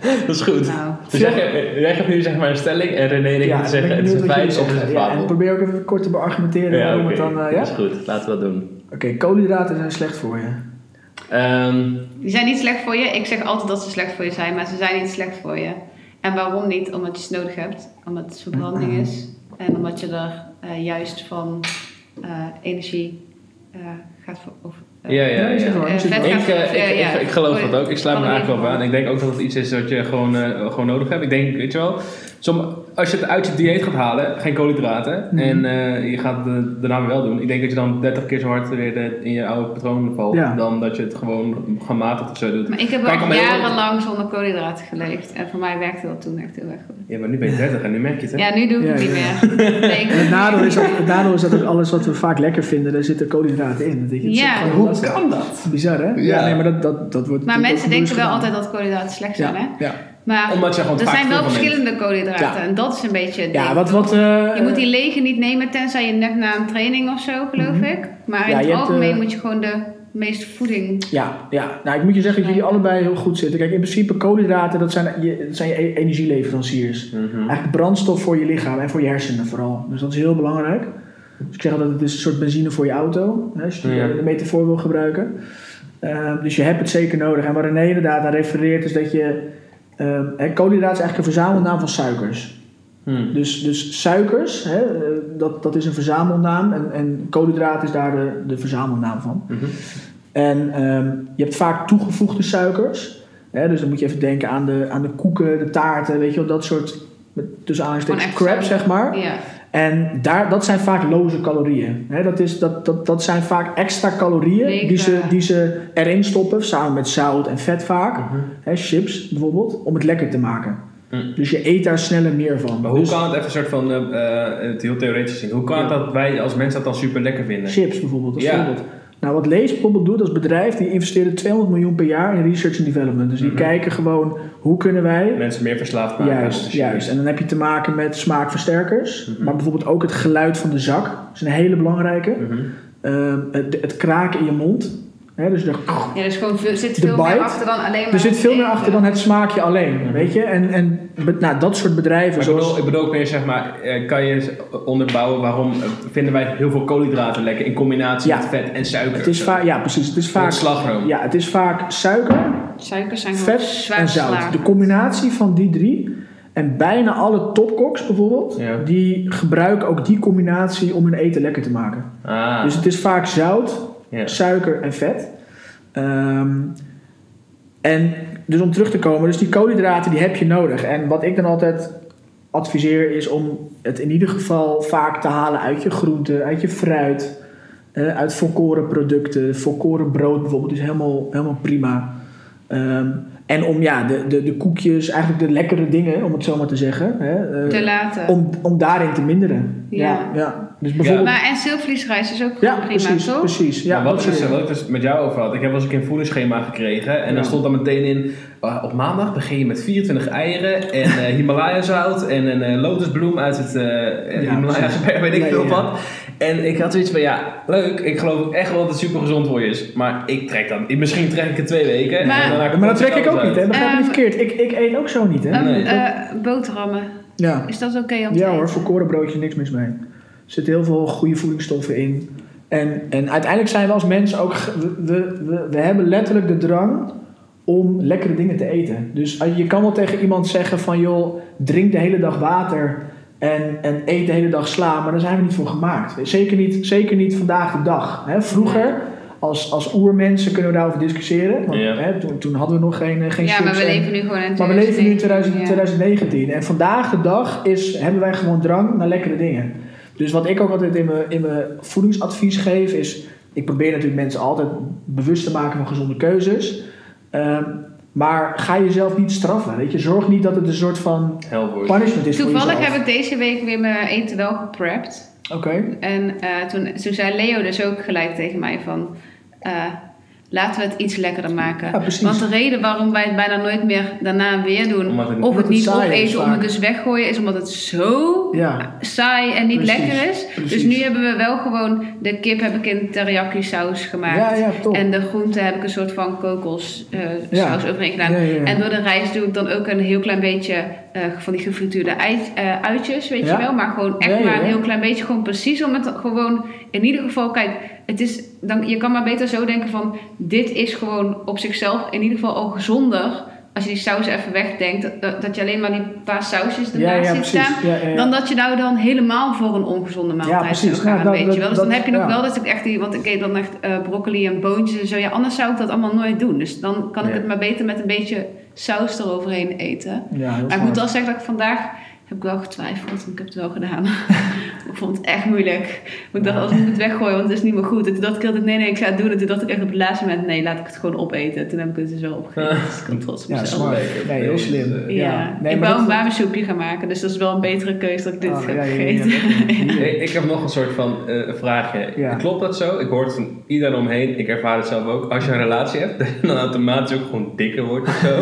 [SPEAKER 2] Dat is goed.
[SPEAKER 1] Nou.
[SPEAKER 2] Dus jij, ge- jij geeft nu zeg maar een stelling en René en ik
[SPEAKER 3] Ja,
[SPEAKER 2] moeten zeggen
[SPEAKER 3] ben
[SPEAKER 2] het is een
[SPEAKER 3] benieuwd wat jullie
[SPEAKER 2] feit of het is
[SPEAKER 3] zeggen.
[SPEAKER 2] een
[SPEAKER 3] Ja, en
[SPEAKER 2] fabel.
[SPEAKER 3] probeer ook even kort te beargumenteren
[SPEAKER 2] Ja,
[SPEAKER 3] waarom
[SPEAKER 2] oké.
[SPEAKER 3] het dan. eh, ja?
[SPEAKER 2] Dat is
[SPEAKER 3] Oké,
[SPEAKER 2] goed. Laten we dat doen.
[SPEAKER 3] koolhydraten zijn slecht voor je.
[SPEAKER 2] Ehm,
[SPEAKER 1] Die zijn niet slecht voor je. Ik zeg altijd dat ze slecht voor je zijn, maar ze zijn niet slecht voor je. En waarom niet? Omdat je ze nodig hebt. Omdat het verbranding is. En omdat je er eh, juist van eh, energie eh, gaat voor, of, eh,
[SPEAKER 2] Ja, ja,
[SPEAKER 3] Nee, zeg
[SPEAKER 2] ja.
[SPEAKER 3] maar.
[SPEAKER 1] Eh,
[SPEAKER 3] zit
[SPEAKER 1] vet
[SPEAKER 3] wel.
[SPEAKER 2] Ik,
[SPEAKER 1] gaat-
[SPEAKER 2] eh, ik,
[SPEAKER 1] eh,
[SPEAKER 2] ik,
[SPEAKER 1] ja.
[SPEAKER 2] ik geloof dat ook. Ik sluit me
[SPEAKER 1] Kan er
[SPEAKER 2] eigenlijk wel
[SPEAKER 1] niet
[SPEAKER 2] aan. Ik denk ook dat het iets is dat je gewoon, eh, gewoon nodig hebt. Ik denk, weet je wel, som, als je het uit je dieet gaat halen, geen koolhydraten,
[SPEAKER 3] Mhm.
[SPEAKER 2] en eh, je gaat het daarna weer wel doen. Ik denk dat je dan 30 keer zo hard weer de- in je oude patroon valt,
[SPEAKER 3] Ja.
[SPEAKER 2] dan dat je het gewoon gematigd of zo doet.
[SPEAKER 1] Maar ik heb
[SPEAKER 2] Kijk,
[SPEAKER 1] ook
[SPEAKER 2] maar heel-
[SPEAKER 1] jarenlang zonder koolhydraten geleefd. En voor mij werkte dat toen echt heel erg goed.
[SPEAKER 2] Ja, maar nu ben je 30 en nu merk je het, hè?
[SPEAKER 1] Ja, nu doe ik
[SPEAKER 3] Ja,
[SPEAKER 1] het niet
[SPEAKER 3] ja.
[SPEAKER 1] meer. Nee, ik-
[SPEAKER 3] En het nadeel is, dat, het nadeel is dat ook alles wat we vaak lekker vinden, daar zitten koolhydraten in. Dat je, het
[SPEAKER 1] Ja.
[SPEAKER 3] zit gewoon
[SPEAKER 2] Hoe
[SPEAKER 3] lastig.
[SPEAKER 2] kan dat?
[SPEAKER 3] Bizar, hè? Ja,
[SPEAKER 2] Ja.
[SPEAKER 3] nee, maar dat, dat, dat wordt.
[SPEAKER 1] maar
[SPEAKER 3] natuurlijk
[SPEAKER 1] mensen
[SPEAKER 3] ook
[SPEAKER 1] denken wel
[SPEAKER 3] gedaan.
[SPEAKER 1] altijd dat koolhydraten slecht zijn, hè?
[SPEAKER 3] Ja, ja.
[SPEAKER 1] Maar
[SPEAKER 2] Omdat je gewoon
[SPEAKER 1] er
[SPEAKER 2] vaak
[SPEAKER 1] zijn wel
[SPEAKER 2] veel van neemt.
[SPEAKER 1] verschillende koolhydraten.
[SPEAKER 3] Ja.
[SPEAKER 1] En dat is een beetje het
[SPEAKER 3] ja
[SPEAKER 1] ding.
[SPEAKER 3] wat. wat eh,
[SPEAKER 1] Je moet die lege niet nemen tenzij je net na een training of zo, geloof
[SPEAKER 3] Mhm.
[SPEAKER 1] ik. Maar
[SPEAKER 3] Ja,
[SPEAKER 1] in het
[SPEAKER 3] je hebt,
[SPEAKER 1] algemeen
[SPEAKER 3] eh,
[SPEAKER 1] moet je gewoon de meeste voeding...
[SPEAKER 3] Ja, ja. Nou, ik moet je zeggen dat jullie allebei heel goed zitten. Kijk, in principe koolhydraten, dat zijn je, dat zijn je e- energieleveranciers.
[SPEAKER 2] Mhm.
[SPEAKER 3] Eigenlijk brandstof voor je lichaam en voor je hersenen vooral. Dus dat is heel belangrijk. Dus ik zeg altijd, het is een soort benzine voor je auto. Hè, als je die
[SPEAKER 2] Ja.
[SPEAKER 3] de metafoor wil gebruiken. Eh, dus je hebt het zeker nodig. En waar René inderdaad aan refereert, is dat je... eh, hè, koolhydraten is eigenlijk een verzamelnaam van suikers.
[SPEAKER 2] Hm.
[SPEAKER 3] Dus, dus suikers, hè, eh, dat, dat is een verzamelnaam en, en koolhydraat is daar de, de verzamelnaam van.
[SPEAKER 2] Mhm.
[SPEAKER 3] En ehm, je hebt vaak toegevoegde suikers. Hè, dus dan moet je even denken aan de, aan de koeken, de taarten, weet je wel, dat soort met- tussen aanhalingstekens
[SPEAKER 1] Gewoon echt
[SPEAKER 3] crap, zeg maar.
[SPEAKER 1] Ja.
[SPEAKER 3] En daar, dat zijn vaak loze calorieën. Hè, dat, is, dat, dat, dat zijn vaak extra calorieën
[SPEAKER 1] Lege.
[SPEAKER 3] die ze, die ze erin stoppen, samen met zout en vet vaak.
[SPEAKER 2] Mhm.
[SPEAKER 3] Hè, chips bijvoorbeeld, om het lekker te maken.
[SPEAKER 2] Mm.
[SPEAKER 3] Dus je eet daar sneller meer van.
[SPEAKER 2] Maar hoe
[SPEAKER 3] Dus-
[SPEAKER 2] kan het even een soort van, eh, eh, het heel theoretisch zien, hoe kan het dat wij als mensen dat dan super lekker vinden?
[SPEAKER 3] Chips bijvoorbeeld, als
[SPEAKER 2] Ja.
[SPEAKER 3] voorbeeld. Nou, wat Lees bijvoorbeeld doet als bedrijf, die investeren 200 miljoen per jaar in research en development. Dus die
[SPEAKER 2] Mhm.
[SPEAKER 3] kijken gewoon, hoe kunnen wij...
[SPEAKER 2] Mensen meer verslaafd maken. aan
[SPEAKER 3] Juist,
[SPEAKER 2] de chips.
[SPEAKER 3] juist. En dan heb je te maken met smaakversterkers,
[SPEAKER 2] Mhm.
[SPEAKER 3] maar bijvoorbeeld ook het geluid van de zak. Dat is een hele belangrijke.
[SPEAKER 2] Mhm.
[SPEAKER 3] Ehm, het, het kraken in je mond. Hè, dus er,
[SPEAKER 1] Ja, dus gewoon veel- zit
[SPEAKER 3] De
[SPEAKER 1] veel meer
[SPEAKER 3] bite.
[SPEAKER 1] achter dan alleen maar...
[SPEAKER 3] er zit veel meer
[SPEAKER 1] eten.
[SPEAKER 3] achter dan het smaakje alleen,
[SPEAKER 2] Mhm.
[SPEAKER 3] weet je. En, en be- nou, dat soort bedrijven
[SPEAKER 2] Maar ik,
[SPEAKER 3] zoals...
[SPEAKER 2] bedoel, ik bedoel ook meer, zeg maar, eh, kan je eens onderbouwen waarom eh, vinden wij heel veel koolhydraten lekker in combinatie
[SPEAKER 3] Ja.
[SPEAKER 2] met vet en suiker?
[SPEAKER 3] Het is
[SPEAKER 2] Zo.
[SPEAKER 3] vaak, ja, precies. Het is
[SPEAKER 2] Een
[SPEAKER 3] vaak,
[SPEAKER 2] slagroom.
[SPEAKER 3] ja, het is vaak suiker,
[SPEAKER 1] Suikers zijn gewoon
[SPEAKER 3] vet
[SPEAKER 1] zwaar
[SPEAKER 3] en zout.
[SPEAKER 1] verslaafd.
[SPEAKER 3] De combinatie van die drie. En bijna alle topkoks bijvoorbeeld,
[SPEAKER 2] Ja.
[SPEAKER 3] die gebruiken ook die combinatie om hun eten lekker te maken.
[SPEAKER 2] Ah,
[SPEAKER 3] Dus het is vaak zout,
[SPEAKER 2] ja.
[SPEAKER 3] suiker en vet. Ehm, en dus om terug te komen, dus die koolhydraten die heb je nodig. En wat ik dan altijd adviseer is om het in ieder geval vaak te halen uit je groenten, uit je fruit, eh, uit volkoren producten. Volkoren brood bijvoorbeeld is helemaal, helemaal prima. Ehm, en om ja, de, de, de koekjes, eigenlijk de lekkere dingen, om het zo maar te zeggen, hè, eh,
[SPEAKER 1] Te laten.
[SPEAKER 3] om, om daarin te minderen.
[SPEAKER 1] Ja.
[SPEAKER 3] Ja, ja. Dus bijvoorbeeld.
[SPEAKER 1] Maar en zilvervliesrijst is ook
[SPEAKER 3] Ja,
[SPEAKER 1] gewoon prima,
[SPEAKER 3] precies,
[SPEAKER 1] toch?
[SPEAKER 3] precies. Ja,
[SPEAKER 2] Maar wat, ik
[SPEAKER 3] absoluut.
[SPEAKER 2] dus, wat ik dus met jou over had, ik heb wel eens een keer een voedingsschema gekregen en dan
[SPEAKER 3] Ja.
[SPEAKER 2] stond daar meteen in, eh, op maandag begin je met 24 eieren en eh, Himalaya zout en een eh, lotusbloem uit het eh,
[SPEAKER 3] Ja,
[SPEAKER 2] Himalaya,
[SPEAKER 3] precies.
[SPEAKER 2] weet ik
[SPEAKER 3] Ja,
[SPEAKER 2] veel
[SPEAKER 3] ja, ja.
[SPEAKER 2] wat. En ik had zoiets van, ja, leuk, ik geloof echt wel dat het super gezond voor je is, maar ik trek dan, ik- misschien trek ik het twee weken.
[SPEAKER 1] Maar-
[SPEAKER 2] en daarna
[SPEAKER 3] Ja, maar dat
[SPEAKER 2] komt
[SPEAKER 3] trek ik
[SPEAKER 2] alles
[SPEAKER 3] ook
[SPEAKER 2] uit.
[SPEAKER 3] niet, hè? Begrijp me niet
[SPEAKER 1] Ehm,
[SPEAKER 3] verkeerd. Ik, ik eet ook zo niet, hè?
[SPEAKER 1] Ehm,
[SPEAKER 2] Nee.
[SPEAKER 1] eh, boterhammen.
[SPEAKER 3] Ja.
[SPEAKER 1] Is dat oké om te
[SPEAKER 3] ja hoor,
[SPEAKER 1] eten?
[SPEAKER 3] volkoren broodje, niks mis mee. Er zitten heel veel goede voedingsstoffen in. En, en uiteindelijk zijn we als mensen ook... ge- We, we, we, we hebben letterlijk de drang om lekkere dingen te eten. Dus als- je kan wel tegen iemand zeggen van... joh, drink de hele dag water en, en eet de hele dag sla. Maar daar zijn we niet voor gemaakt. Zeker niet, zeker niet vandaag de dag. Hè? Vroeger... Als, als oermensen kunnen we daarover discussiëren. Want,
[SPEAKER 2] Ja.
[SPEAKER 3] hè, toen, toen hadden we nog geen, eh, geen
[SPEAKER 1] Ja, maar
[SPEAKER 3] chips
[SPEAKER 1] we
[SPEAKER 3] en-
[SPEAKER 1] leven nu gewoon in
[SPEAKER 3] maar we leven nu in 2000
[SPEAKER 1] ja.
[SPEAKER 3] 2019 en vandaag de dag is, hebben wij gewoon drang naar lekkere dingen. Dus wat ik ook altijd in mijn, in mijn voedingsadvies geef is, ik probeer natuurlijk mensen altijd bewust te maken van gezonde keuzes. Ehm, maar ga jezelf niet straffen, weet je. Zorg niet dat het een soort van
[SPEAKER 2] Hel voor je.
[SPEAKER 3] punishment is voor
[SPEAKER 1] Toevallig
[SPEAKER 3] jezelf.
[SPEAKER 1] heb ik deze week weer mijn eten wel geprept.
[SPEAKER 3] Oké.
[SPEAKER 1] En eh, toen, toen zei Leo dus ook gelijk tegen mij van... eh, laten we het iets lekkerder maken.
[SPEAKER 3] Ja, precies.
[SPEAKER 1] Want de reden waarom wij het bijna nooit meer daarna weer doen...
[SPEAKER 2] Omdat het-
[SPEAKER 1] of
[SPEAKER 3] omdat
[SPEAKER 1] het
[SPEAKER 3] het
[SPEAKER 1] niet
[SPEAKER 3] saai is
[SPEAKER 1] opeten, of
[SPEAKER 3] vaak.
[SPEAKER 1] het dus weggooien... is omdat het zo
[SPEAKER 3] Ja.
[SPEAKER 1] saai en niet
[SPEAKER 3] Precies,
[SPEAKER 1] lekker is. Dus
[SPEAKER 3] precies.
[SPEAKER 1] nu hebben we wel gewoon... De kip heb ik in teriyaki saus gemaakt.
[SPEAKER 3] Ja, ja, top.
[SPEAKER 1] En de groente heb ik een soort van kokos eh,
[SPEAKER 3] Ja.
[SPEAKER 1] saus overheen gedaan.
[SPEAKER 3] Ja, ja, ja.
[SPEAKER 1] En door de rijst doe ik dan ook een heel klein beetje... eh, van die gefrituurde ei- eh, uitjes, weet
[SPEAKER 3] Ja.
[SPEAKER 1] je wel. Maar gewoon echt
[SPEAKER 3] Ja, ja,
[SPEAKER 1] maar een
[SPEAKER 3] ja.
[SPEAKER 1] heel klein beetje, gewoon precies om het gewoon in ieder geval, kijk, het is, dan, je kan maar beter zo denken van dit is gewoon op zichzelf in ieder geval al gezonder als je die saus even wegdenkt, dat, dat je alleen maar die paar sausjes
[SPEAKER 3] Ja,
[SPEAKER 1] ernaast
[SPEAKER 3] ja,
[SPEAKER 1] ziet
[SPEAKER 3] precies.
[SPEAKER 1] staan.
[SPEAKER 3] Ja, ja, ja.
[SPEAKER 1] Dan dat je nou dan helemaal voor een ongezonde
[SPEAKER 3] Ja,
[SPEAKER 1] maaltijd
[SPEAKER 3] precies.
[SPEAKER 1] zou gaan,
[SPEAKER 3] Ja, dat-
[SPEAKER 1] weet je wel. Dus
[SPEAKER 3] dat-
[SPEAKER 1] dan heb je nog
[SPEAKER 3] ja.
[SPEAKER 1] wel dat ik echt die, want ik eet dan echt eh, broccoli en boontjes en zo. Ja, anders zou ik dat allemaal nooit doen. Dus dan kan ik
[SPEAKER 2] Ja.
[SPEAKER 1] het maar beter met een beetje saus eroverheen eten.
[SPEAKER 3] Ja, heel
[SPEAKER 1] Maar ik
[SPEAKER 3] smart.
[SPEAKER 1] moet wel zeggen dat ik vandaag heb ik wel getwijfeld en ik heb het wel gedaan. ik vond het echt moeilijk. Maar ik dacht, als ik moet het weggooien, want het is niet meer goed. En toen dacht ik altijd, nee, nee, ik ga het doen. En toen dacht ik echt op het laatste moment, nee, laat ik het gewoon opeten. Toen heb ik het dus wel opgegeten. Dus ik ben trots op
[SPEAKER 3] Ja,
[SPEAKER 1] mezelf.
[SPEAKER 3] smart.
[SPEAKER 2] Lekker.
[SPEAKER 3] Nee, heel slim.
[SPEAKER 2] Ja.
[SPEAKER 1] Ja,
[SPEAKER 3] Nee,
[SPEAKER 1] ik
[SPEAKER 3] maar
[SPEAKER 1] wou een
[SPEAKER 3] dat-
[SPEAKER 1] babysoepje gaan maken, dus dat is wel een betere keuze dat ik dit
[SPEAKER 3] Ah,
[SPEAKER 1] heb
[SPEAKER 3] ja, ja, ja, ja,
[SPEAKER 1] gegeten.
[SPEAKER 3] dat-
[SPEAKER 2] Ik, ik heb nog een soort van eh, vraagje.
[SPEAKER 3] Ja.
[SPEAKER 2] Klopt dat zo? Ik hoor het van iedereen omheen. Ik ervaar het zelf ook. Als je een relatie hebt, dat je dan automatisch ook gewoon dikker wordt of zo.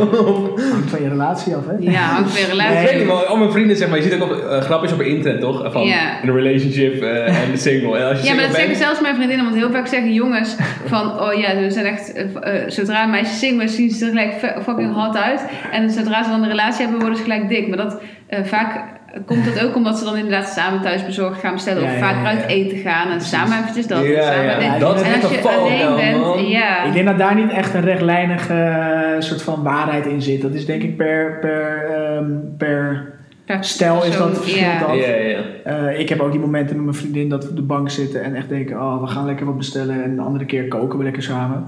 [SPEAKER 3] Hangt van je relatie af, hè?
[SPEAKER 1] Ja, hangt weer relatie.
[SPEAKER 2] Ik weet niet, maar al mijn vrienden zeg maar, je ziet ook op, eh, grapjes op het internet toch? Van
[SPEAKER 1] Ja.
[SPEAKER 2] een relationship eh, en single. En als je
[SPEAKER 1] Ja, maar
[SPEAKER 2] single
[SPEAKER 1] dat zeggen
[SPEAKER 2] bent,
[SPEAKER 1] zelfs mijn vriendinnen, want heel vaak zeggen jongens van, oh ja, we zijn echt, eh, eh, zodra meisjes zingen, zien ze er gelijk fu- fucking hot uit. En zodra ze dan een relatie hebben, worden ze gelijk dik. Maar dat, eh, vaak komt dat ook omdat ze dan inderdaad samen thuis bezorgd gaan bestellen
[SPEAKER 3] Ja,
[SPEAKER 1] of
[SPEAKER 3] ja,
[SPEAKER 1] vaker
[SPEAKER 3] ja, ja.
[SPEAKER 1] uit eten gaan en samen eventjes dat. en
[SPEAKER 2] Ja,
[SPEAKER 1] samen
[SPEAKER 2] ja.
[SPEAKER 1] dit.
[SPEAKER 3] Ja, dat is
[SPEAKER 1] en
[SPEAKER 2] echt
[SPEAKER 1] als je
[SPEAKER 2] een valkuil,
[SPEAKER 1] alleen
[SPEAKER 2] man.
[SPEAKER 1] bent, ja.
[SPEAKER 3] Ik denk dat daar niet echt een rechtlijnige eh, soort van waarheid in zit. Dat is denk ik per, per, ehm, per Stijl is dat
[SPEAKER 1] Zo,
[SPEAKER 3] verschil
[SPEAKER 1] ja.
[SPEAKER 3] dan. zelfs-
[SPEAKER 2] Ja, ja.
[SPEAKER 3] Eh, ik heb ook die momenten met mijn vriendin dat we op de bank zitten en echt denken: oh, we gaan lekker wat bestellen en de andere keer koken we lekker samen.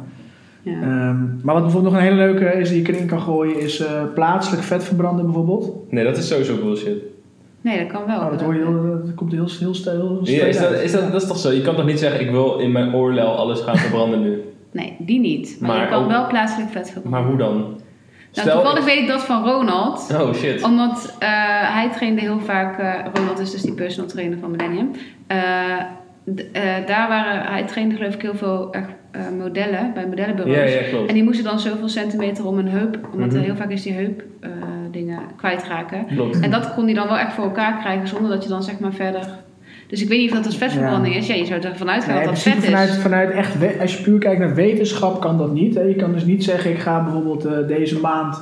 [SPEAKER 1] Ja.
[SPEAKER 3] Ehm, maar wat bijvoorbeeld nog een hele leuke is die je erin kan gooien, is eh, plaatselijk vet verbranden bijvoorbeeld.
[SPEAKER 2] Nee, dat is sowieso bullshit.
[SPEAKER 1] Nee, dat kan wel.
[SPEAKER 3] Oh, dat, hoor je heel, dat komt heel, heel stijl.
[SPEAKER 2] Ja, is dat, is dat, dat is toch zo? Je kan toch niet zeggen, ik wil in mijn oorlel alles gaan verbranden nu.
[SPEAKER 1] Nee, die niet. Maar,
[SPEAKER 2] Maar
[SPEAKER 1] je kan
[SPEAKER 2] ook-
[SPEAKER 1] wel plaatselijk vet verbranden.
[SPEAKER 2] Maar hoe dan?
[SPEAKER 1] Nou, toevallig weet ik dat van Ronald.
[SPEAKER 2] Oh shit.
[SPEAKER 1] Omdat eh, hij trainde heel vaak, eh, Ronald is dus die personal trainer van Millennium. Eh, d- eh, daar waren, hij trainde geloof ik heel veel echt, eh, modellen, bij modellenbureaus.
[SPEAKER 2] Ja, ja, klopt.
[SPEAKER 1] En die moesten dan zoveel centimeter om hun heup, omdat er
[SPEAKER 2] Mhm.
[SPEAKER 1] heel vaak is die heup eh, dingen kwijtraken.
[SPEAKER 2] Klopt.
[SPEAKER 1] En dat kon hij dan wel echt voor elkaar krijgen zonder dat je dan zeg maar verder... Dus ik weet niet of dat als vetverbranding is. Ja, je zou ervan uitgaan
[SPEAKER 3] Nee, in
[SPEAKER 1] dat dat
[SPEAKER 3] principe
[SPEAKER 1] vet
[SPEAKER 3] vanuit,
[SPEAKER 1] is.
[SPEAKER 3] vanuit echt, we- als je puur kijkt naar wetenschap, kan dat niet. Hè. Je kan dus niet zeggen: ik ga bijvoorbeeld eh, deze maand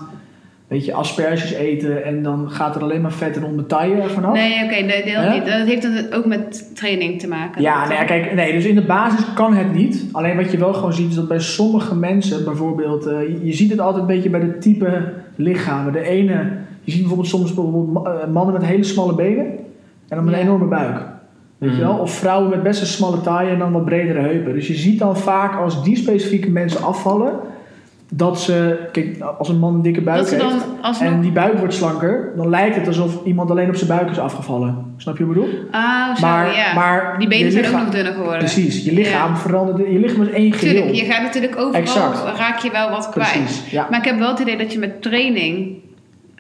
[SPEAKER 3] weet je, asperges eten en dan gaat er alleen maar vet en onbetaille vanaf.
[SPEAKER 1] Nee, oké, nee, dat
[SPEAKER 3] Hè?
[SPEAKER 1] niet. Dat heeft dan ook met training te maken.
[SPEAKER 3] Ja,
[SPEAKER 1] Dat-
[SPEAKER 3] nee, kijk, nee, dus in de basis kan het niet. Alleen wat je wel gewoon ziet is dat bij sommige mensen bijvoorbeeld, eh, je- je ziet het altijd een beetje bij de type lichamen. De ene, je ziet bijvoorbeeld soms bijvoorbeeld ma- eh, mannen met hele smalle benen en dan met een
[SPEAKER 1] Ja.
[SPEAKER 3] enorme buik. Weet
[SPEAKER 1] Mhm.
[SPEAKER 3] je wel? Of vrouwen met best een smalle taille en dan wat bredere heupen. Dus je ziet dan vaak als die specifieke mensen afvallen, dat ze, kijk, als een man een dikke buik
[SPEAKER 1] dat ze
[SPEAKER 3] heeft
[SPEAKER 1] dan alsnog...
[SPEAKER 3] en die buik wordt slanker, dan lijkt het alsof iemand alleen op zijn buik is afgevallen. Snap je wat ik bedoel?
[SPEAKER 1] Ah, zo,
[SPEAKER 3] maar,
[SPEAKER 1] ja.
[SPEAKER 3] maar
[SPEAKER 1] Die
[SPEAKER 3] je
[SPEAKER 1] benen zijn ook
[SPEAKER 3] lichaam-
[SPEAKER 1] nog dunner geworden.
[SPEAKER 3] Precies, je lichaam verandert. Je lichaam is één geheel.
[SPEAKER 1] Tuurlijk, je gaat natuurlijk overal,
[SPEAKER 3] Exact.
[SPEAKER 1] raak je wel wat kwijt.
[SPEAKER 3] Precies, ja.
[SPEAKER 1] Maar ik heb wel het idee dat je met training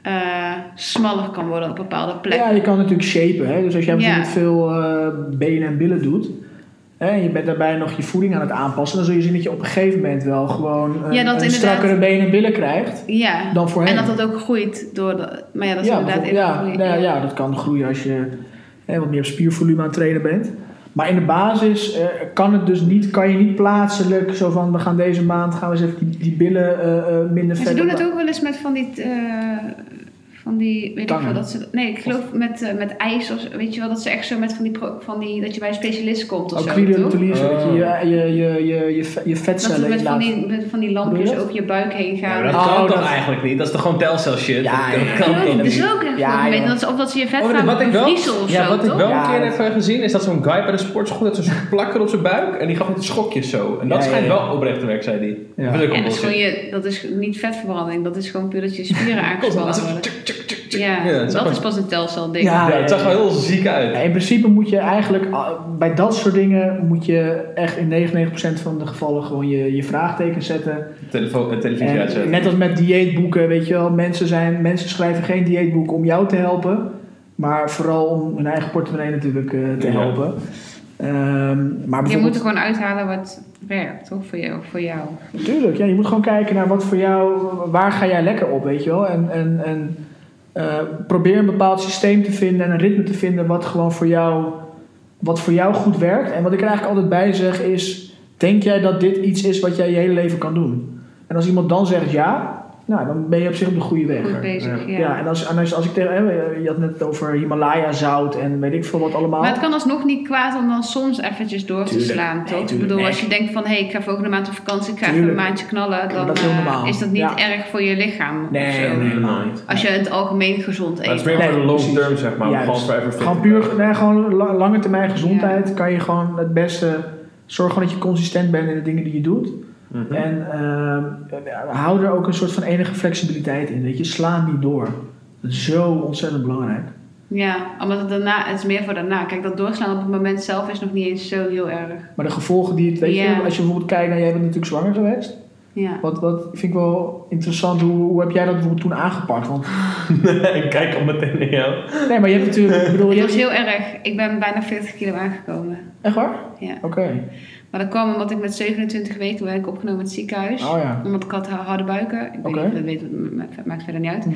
[SPEAKER 1] eh, smaller kan worden op bepaalde plekken.
[SPEAKER 3] Ja, je kan natuurlijk shapen. Hè? Dus als
[SPEAKER 1] Ja.
[SPEAKER 3] jij bijvoorbeeld veel eh, benen en billen doet... Hè, en je bent daarbij nog je voeding aan het aanpassen... dan zul je zien dat je op een gegeven moment wel gewoon... een,
[SPEAKER 1] Ja, dat
[SPEAKER 3] een
[SPEAKER 1] inderdaad-
[SPEAKER 3] strakkere benen en billen krijgt
[SPEAKER 1] Ja.
[SPEAKER 3] dan voorheen.
[SPEAKER 1] En dat dat ook groeit door de, Maar ja, dat is
[SPEAKER 3] ja,
[SPEAKER 1] inderdaad
[SPEAKER 3] bijvoorbeeld- ja,
[SPEAKER 1] groeien.
[SPEAKER 3] nou ja, ja, dat kan groeien als je hè, wat meer op spiervolume aan het trainen bent. Maar in de basis eh, kan het dus niet, kan je niet plaatselijk zo van we gaan deze maand gaan we eens even die, die billen eh, eh, minder
[SPEAKER 1] Maar
[SPEAKER 3] vet.
[SPEAKER 1] Dus ze doen
[SPEAKER 3] op-
[SPEAKER 1] het ook wel eens met van die... eh, van die, weet
[SPEAKER 3] Tangen.
[SPEAKER 1] ik veel, dat ze, nee, ik geloof met, eh, met ijs of zo, weet je wel, dat ze echt zo met van die, pro- van die dat je bij een specialist komt of
[SPEAKER 3] Ook
[SPEAKER 1] zo. toch?
[SPEAKER 3] cryolitolyse, dat je
[SPEAKER 2] Oh.
[SPEAKER 3] je, je, je, je, je, ve- je
[SPEAKER 1] Dat ze
[SPEAKER 3] vetcellen
[SPEAKER 1] met van,
[SPEAKER 3] inlaat.
[SPEAKER 1] die, met van die
[SPEAKER 3] Bedoel je
[SPEAKER 1] lampjes
[SPEAKER 3] dat?
[SPEAKER 1] over je buik heen
[SPEAKER 2] Ja,
[SPEAKER 1] gaan.
[SPEAKER 2] maar Nou, dat
[SPEAKER 3] Oh,
[SPEAKER 2] kan toch
[SPEAKER 3] dat-
[SPEAKER 2] eigenlijk niet? Dat is toch gewoon telcel shit?
[SPEAKER 3] Ja,
[SPEAKER 2] dat, dat
[SPEAKER 3] ja,
[SPEAKER 2] kan
[SPEAKER 1] Ja,
[SPEAKER 2] toch
[SPEAKER 1] dat is
[SPEAKER 2] niet?
[SPEAKER 1] ook echt
[SPEAKER 3] Ja,
[SPEAKER 1] wel
[SPEAKER 3] joh.
[SPEAKER 1] gemeen. Dat is of dat ze je vet
[SPEAKER 2] Oh,
[SPEAKER 1] gaan
[SPEAKER 2] wat ik wel,
[SPEAKER 1] vriezen of
[SPEAKER 2] ja,
[SPEAKER 1] zo,
[SPEAKER 2] wat ik
[SPEAKER 1] toch?
[SPEAKER 2] wel
[SPEAKER 3] Ja,
[SPEAKER 2] een keer
[SPEAKER 3] dat-
[SPEAKER 2] heb eh, gezien is dat zo'n guy bij de sportschool had zo'n plakker op zijn buik en die gaf met schokjes zo. En dat
[SPEAKER 3] Ja, ja,
[SPEAKER 2] schijnt
[SPEAKER 3] ja.
[SPEAKER 2] wel oprecht te werk, zei hij.
[SPEAKER 3] Ja.
[SPEAKER 2] Dat is ook
[SPEAKER 1] Ja,
[SPEAKER 2] een
[SPEAKER 1] dat is gewoon
[SPEAKER 2] bullshit.
[SPEAKER 1] je, dat is niet vetverbranding. Dat is gewoon puur dat je spieren
[SPEAKER 2] Komt
[SPEAKER 1] aangespannen
[SPEAKER 2] laatst.
[SPEAKER 1] worden.
[SPEAKER 2] Tjuk, tjuk, tjuk, tjuk.
[SPEAKER 1] Ja,
[SPEAKER 2] het zag
[SPEAKER 1] dat is
[SPEAKER 2] er-
[SPEAKER 1] pas een telcel ding.
[SPEAKER 3] Ah, Ja.
[SPEAKER 1] Ja.
[SPEAKER 2] Ja, het zag er heel ziek uit.
[SPEAKER 3] Ja, in principe moet je eigenlijk ah, bij dat soort dingen moet je echt in 99% van de gevallen gewoon je, je vraagteken zetten.
[SPEAKER 2] Telefoon, eh, televisie
[SPEAKER 3] En,
[SPEAKER 2] uitzetten.
[SPEAKER 3] net als met dieetboeken, weet je wel, mensen, zijn, mensen schrijven geen dieetboek om jou te helpen, maar vooral om hun eigen portemonnee natuurlijk eh, te
[SPEAKER 2] Ja.
[SPEAKER 3] helpen. Ehm, maar
[SPEAKER 1] Je moet
[SPEAKER 3] bijvoorbeeld,
[SPEAKER 1] er gewoon uithalen wat werkt, toch? Voor jou. Voor jou.
[SPEAKER 3] Tuurlijk, ja, je moet gewoon kijken naar wat voor jou, waar ga jij lekker op, weet je wel. En, en, en eh, probeer een bepaald systeem te vinden en een ritme te vinden wat gewoon voor jou, wat voor jou goed werkt. En wat ik er eigenlijk altijd bij zeg is, denk jij dat dit iets is wat jij je hele leven kan doen? En als iemand dan zegt ja, Nou, dan ben je op zich op de goede weg.
[SPEAKER 1] Goed bezig, ja.
[SPEAKER 3] Ja, en, als, en als, als ik tegen... eh, Je had net over Himalaya-zout en weet ik veel wat allemaal.
[SPEAKER 1] Maar het kan alsnog niet kwaad om dan soms eventjes door te
[SPEAKER 3] Tuurlijk.
[SPEAKER 1] slaan,
[SPEAKER 3] Nee,
[SPEAKER 1] toch? ik
[SPEAKER 3] tuurlijk,
[SPEAKER 1] bedoel,
[SPEAKER 3] nee.
[SPEAKER 1] als je denkt van, hé, hey, ik ga volgende maand op vakantie, ik ga even een
[SPEAKER 3] Tuurlijk.
[SPEAKER 1] maandje knallen, dan
[SPEAKER 3] dat is heel
[SPEAKER 1] eh,
[SPEAKER 3] normaal.
[SPEAKER 1] is dat niet
[SPEAKER 3] Ja.
[SPEAKER 1] erg voor je lichaam. of
[SPEAKER 3] Nee,
[SPEAKER 1] zo.
[SPEAKER 3] nee.
[SPEAKER 2] helemaal niet.
[SPEAKER 1] Als je het algemeen gezond
[SPEAKER 2] Maar het is
[SPEAKER 1] eet.
[SPEAKER 2] meer
[SPEAKER 3] Nee,
[SPEAKER 2] voor de long
[SPEAKER 3] precies.
[SPEAKER 2] term, zeg maar. om
[SPEAKER 3] Juist.
[SPEAKER 2] Gewoon forever fit.
[SPEAKER 3] Gewoon
[SPEAKER 2] te blijven.
[SPEAKER 3] puur, nee, gewoon la- lange termijn gezondheid kan je gewoon het beste... Zorg gewoon dat je consistent bent in de dingen die je doet.
[SPEAKER 2] Mhm.
[SPEAKER 3] En eh, ja, hou er ook een soort van enige flexibiliteit in. Weet je, sla niet door. Dat is zo ontzettend belangrijk.
[SPEAKER 1] Ja, omdat het daarna, het is meer voor daarna. Kijk, dat doorslaan op het moment zelf is nog niet eens zo heel erg.
[SPEAKER 3] Maar de gevolgen die het... Weet
[SPEAKER 1] Ja.
[SPEAKER 3] je, als je bijvoorbeeld kijkt naar... Jij bent natuurlijk zwanger geweest.
[SPEAKER 1] Ja.
[SPEAKER 3] Wat, wat vind ik wel interessant, hoe, hoe heb jij dat bijvoorbeeld toen aangepakt? Want,
[SPEAKER 2] Ik kijk al meteen naar jou.
[SPEAKER 3] nee, maar je hebt natuurlijk, ik bedoel,
[SPEAKER 1] Het
[SPEAKER 3] je
[SPEAKER 1] was
[SPEAKER 3] hebt,
[SPEAKER 1] heel erg. Ik ben bijna 40 kilo aangekomen.
[SPEAKER 3] echt waar?
[SPEAKER 1] Ja.
[SPEAKER 3] Oké.
[SPEAKER 1] Maar dat kwam omdat ik met 27 weken werd ik opgenomen in het ziekenhuis.
[SPEAKER 3] Oh ja.
[SPEAKER 1] Omdat ik had ha- harde buiken. Ik weet
[SPEAKER 3] Oké.
[SPEAKER 1] niet, dat weet, maakt, maakt verder niet uit.
[SPEAKER 3] Mhm.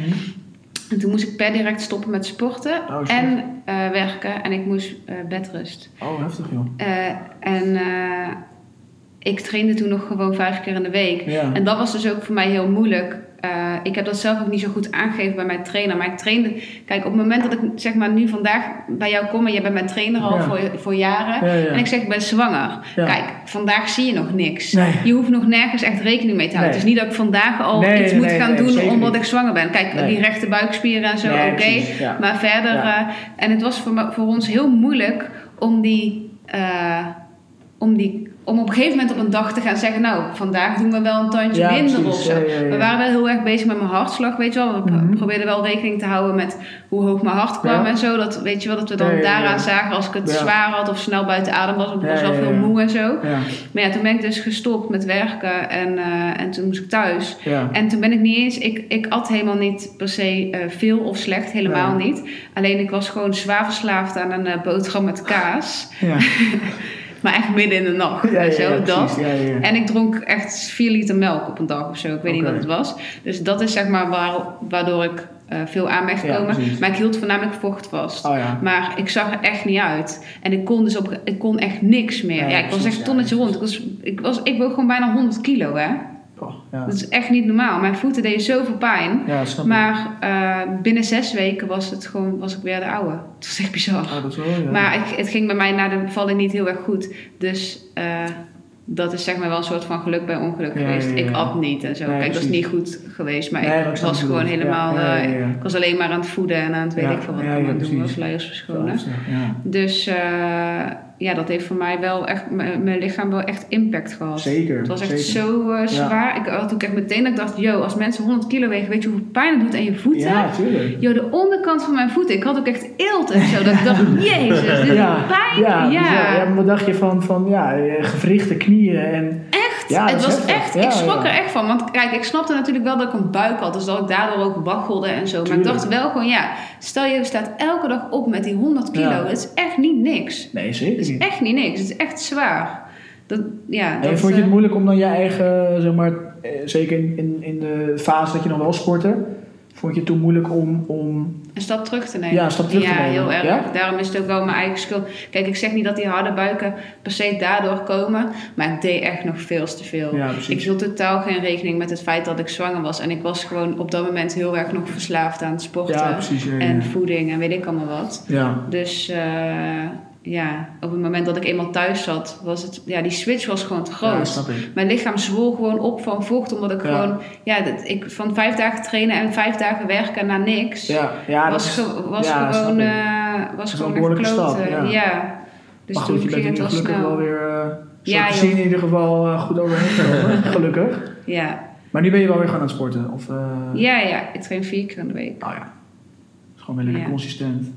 [SPEAKER 1] En toen moest ik per direct stoppen met sporten
[SPEAKER 3] Oh, shit.
[SPEAKER 1] en eh, werken. En ik moest eh, bedrust.
[SPEAKER 3] Oh, heftig joh.
[SPEAKER 1] Eh, en eh, ik trainde toen nog gewoon vijf keer in de week.
[SPEAKER 3] Ja.
[SPEAKER 1] En dat was dus ook voor mij heel moeilijk. Eh, ik heb dat zelf ook niet zo goed aangegeven bij mijn trainer. Maar ik trainde... Kijk, op het moment dat ik zeg maar nu vandaag bij jou kom... en jij bent mijn trainer al
[SPEAKER 3] Ja.
[SPEAKER 1] voor, voor jaren...
[SPEAKER 3] Ja, ja.
[SPEAKER 1] en ik zeg, ik ben zwanger.
[SPEAKER 3] Ja.
[SPEAKER 1] Kijk, vandaag zie je nog niks.
[SPEAKER 3] Nee.
[SPEAKER 1] Je hoeft nog nergens echt rekening mee te houden.
[SPEAKER 3] Nee.
[SPEAKER 1] Het is niet dat ik vandaag al
[SPEAKER 3] Nee,
[SPEAKER 1] iets
[SPEAKER 3] nee,
[SPEAKER 1] moet
[SPEAKER 3] nee,
[SPEAKER 1] gaan
[SPEAKER 3] nee,
[SPEAKER 1] doen
[SPEAKER 3] zeker
[SPEAKER 1] omdat
[SPEAKER 3] niet.
[SPEAKER 1] ik zwanger ben. Kijk,
[SPEAKER 3] Nee.
[SPEAKER 1] die rechte buikspieren en zo,
[SPEAKER 3] Nee,
[SPEAKER 1] oké.
[SPEAKER 3] precies, ja.
[SPEAKER 1] Maar verder...
[SPEAKER 3] Ja.
[SPEAKER 1] eh, en het was voor, me- voor ons heel moeilijk om die... eh, om, die, om op een gegeven moment op een dag te gaan zeggen... nou, vandaag doen we wel een tandje
[SPEAKER 3] Ja,
[SPEAKER 1] minder
[SPEAKER 3] precies.
[SPEAKER 1] of zo.
[SPEAKER 3] Ja, ja, ja.
[SPEAKER 1] We waren wel heel erg bezig met mijn hartslag, weet je wel. We pro-
[SPEAKER 3] Mhm.
[SPEAKER 1] probeerden wel rekening te houden met hoe hoog mijn hart kwam
[SPEAKER 3] Ja.
[SPEAKER 1] en zo. Dat, weet je wel, dat we dan
[SPEAKER 3] Ja, ja, ja.
[SPEAKER 1] daaraan zagen als ik het
[SPEAKER 3] Ja.
[SPEAKER 1] zwaar had... of snel buiten adem was, want ik
[SPEAKER 3] Ja,
[SPEAKER 1] was wel
[SPEAKER 3] ja,
[SPEAKER 1] veel
[SPEAKER 3] ja.
[SPEAKER 1] moe en zo.
[SPEAKER 3] Ja,
[SPEAKER 1] Maar ja, toen ben ik dus gestopt met werken en, eh, en toen moest ik thuis...
[SPEAKER 3] ja.
[SPEAKER 1] En toen ben ik niet eens, ik, ik at helemaal niet per se eh, veel of slecht, helemaal
[SPEAKER 3] Nee.
[SPEAKER 1] niet. Alleen ik was gewoon zwaar verslaafd aan een eh, boterham met kaas.
[SPEAKER 3] ja.
[SPEAKER 1] Maar echt midden in de nacht.
[SPEAKER 3] Ja, ja,
[SPEAKER 1] en zo,
[SPEAKER 3] ja,
[SPEAKER 1] dat.
[SPEAKER 3] precies. Ja, ja, ja.
[SPEAKER 1] En ik dronk echt 4 liter melk op een dag of zo. Ik weet niet
[SPEAKER 3] Oké.
[SPEAKER 1] wat het was. Dus dat is zeg maar waar, waardoor ik eh, veel aan ben
[SPEAKER 3] Ja,
[SPEAKER 1] gekomen.
[SPEAKER 3] precies.
[SPEAKER 1] maar ik hield voornamelijk vocht vast.
[SPEAKER 3] Oh ja.
[SPEAKER 1] Maar ik zag er echt niet uit. En ik kon dus op, ik kon echt niks meer.
[SPEAKER 3] Ja,
[SPEAKER 1] ja, ik was
[SPEAKER 3] precies,
[SPEAKER 1] echt een
[SPEAKER 3] ja.
[SPEAKER 1] tonnetje rond. Ik, was, ik, was, ik woog gewoon bijna 100 kilo, hè.
[SPEAKER 3] Oh, ja.
[SPEAKER 1] Dat is echt niet normaal. Mijn voeten deden zoveel pijn.
[SPEAKER 3] ja, snap ik.
[SPEAKER 1] Maar eh, binnen zes weken was, het gewoon, was ik weer de oude. Het was echt bizar.
[SPEAKER 3] Ah, dat is wel, ja.
[SPEAKER 1] Maar ik, het ging bij mij na de bevalling niet heel erg goed. Dus eh, dat is zeg maar wel een soort van geluk bij ongeluk
[SPEAKER 3] Ja,
[SPEAKER 1] geweest.
[SPEAKER 3] ja, ja.
[SPEAKER 1] Ik at niet en zo.
[SPEAKER 3] Nee,
[SPEAKER 1] Kijk, dat is
[SPEAKER 3] precies.
[SPEAKER 1] niet goed geweest. Maar
[SPEAKER 3] Nee, maar
[SPEAKER 1] ik
[SPEAKER 3] ik snap
[SPEAKER 1] was
[SPEAKER 3] wat je
[SPEAKER 1] gewoon
[SPEAKER 3] bedoelt.
[SPEAKER 1] helemaal...
[SPEAKER 3] Ja, ja,
[SPEAKER 1] eh,
[SPEAKER 3] ja, ja.
[SPEAKER 1] Ik was alleen maar aan het voeden en aan het weet
[SPEAKER 3] Ja,
[SPEAKER 1] ik veel wat
[SPEAKER 3] ja, ja,
[SPEAKER 1] allemaal doen. was,
[SPEAKER 3] precies.
[SPEAKER 1] Luiers verschonen.
[SPEAKER 3] Ja.
[SPEAKER 1] Dus eh, ja, dat heeft voor mij wel echt... Mijn mijn lichaam wel echt impact gehad.
[SPEAKER 3] Zeker.
[SPEAKER 1] Het was echt
[SPEAKER 3] zeker.
[SPEAKER 1] zo eh, zwaar. Ik had ook echt meteen dat ik dacht, yo, als mensen 100 kilo wegen, weet je hoeveel pijn het doet aan je voeten?
[SPEAKER 3] Ja, tuurlijk.
[SPEAKER 1] Yo, de onderkant van mijn voeten. Ik had ook echt eelt en zo. Dat ik dacht, jezus, dit doet pijn. Ja,
[SPEAKER 3] ja, bizar. ja, maar wat dacht je van, van ja, eh, gewrichte knieën en
[SPEAKER 1] Echt,
[SPEAKER 3] Ja,
[SPEAKER 1] het
[SPEAKER 3] dat
[SPEAKER 1] was
[SPEAKER 3] is heftig.
[SPEAKER 1] echt,
[SPEAKER 3] Ja,
[SPEAKER 1] ik schrok
[SPEAKER 3] ja.
[SPEAKER 1] er echt van. Want kijk, ik snapte natuurlijk wel dat ik een buik had. Dus dat ik daardoor ook waggelde en zo. Maar
[SPEAKER 3] Tuurlijk.
[SPEAKER 1] ik dacht wel gewoon, ja, stel je staat elke dag op met die 100 kilo.
[SPEAKER 3] Ja.
[SPEAKER 1] Dat is echt niet niks.
[SPEAKER 3] nee,
[SPEAKER 1] Dat
[SPEAKER 3] zeker
[SPEAKER 1] is
[SPEAKER 3] niet.
[SPEAKER 1] echt niet niks. Het is echt zwaar. Dat, ja, dat,
[SPEAKER 3] En vond je
[SPEAKER 1] eh,
[SPEAKER 3] het moeilijk om dan je eigen, zeg maar, eh, zeker in, in, in de fase dat je nog wel sportte, vond je het toen moeilijk om, om
[SPEAKER 1] Een stap terug te nemen.
[SPEAKER 3] Ja, een stap terug te
[SPEAKER 1] Ja,
[SPEAKER 3] nemen.
[SPEAKER 1] heel erg.
[SPEAKER 3] Ja?
[SPEAKER 1] Daarom is het ook wel mijn eigen schuld. Kijk, ik zeg niet dat die harde buiken per se daardoor komen. Maar ik deed echt nog veel te veel.
[SPEAKER 3] Ja, precies.
[SPEAKER 1] Oh, ik hield totaal geen rekening met het feit dat ik zwanger was. En ik was gewoon op dat moment heel erg nog verslaafd aan sporten.
[SPEAKER 3] Ja, precies. Ja, ja,
[SPEAKER 1] eh, En
[SPEAKER 3] ja.
[SPEAKER 1] voeding en weet ik allemaal wat.
[SPEAKER 3] ja.
[SPEAKER 1] Dus eh, ja, op het moment dat ik eenmaal thuis zat, was het... Ja, die switch was gewoon te groot.
[SPEAKER 3] Ja, snap ik.
[SPEAKER 1] Mijn lichaam zwol gewoon op van vocht. Omdat ik
[SPEAKER 3] Ja.
[SPEAKER 1] gewoon... Ja, dat, ik van vijf dagen trainen en vijf dagen werken naar niks
[SPEAKER 3] Ja, ja
[SPEAKER 1] was,
[SPEAKER 3] dat is-
[SPEAKER 1] ge- was
[SPEAKER 3] ja, snap
[SPEAKER 1] gewoon,
[SPEAKER 3] ik.
[SPEAKER 1] eh was
[SPEAKER 3] is
[SPEAKER 1] gewoon
[SPEAKER 3] wel een
[SPEAKER 1] echt
[SPEAKER 3] behoorlijke
[SPEAKER 1] kloten.
[SPEAKER 3] stap,
[SPEAKER 1] ja.
[SPEAKER 3] ja.
[SPEAKER 1] Dus
[SPEAKER 3] maar goed, je
[SPEAKER 1] toen
[SPEAKER 3] bent
[SPEAKER 1] ging
[SPEAKER 3] er
[SPEAKER 1] het
[SPEAKER 3] nu
[SPEAKER 1] wel
[SPEAKER 3] gelukkig
[SPEAKER 1] snel.
[SPEAKER 3] wel weer, eh zo
[SPEAKER 1] Ja,
[SPEAKER 3] te
[SPEAKER 1] joh.
[SPEAKER 3] zien in ieder geval, eh, goed overheen gekomen. gelukkig.
[SPEAKER 1] Ja.
[SPEAKER 3] Maar nu ben je wel weer gaan aan het sporten? Of, eh,
[SPEAKER 1] ja, ja, ik train vier keer in de week.
[SPEAKER 3] Nou ja, Het is gewoon weer lekker
[SPEAKER 1] Ja.
[SPEAKER 3] consistent.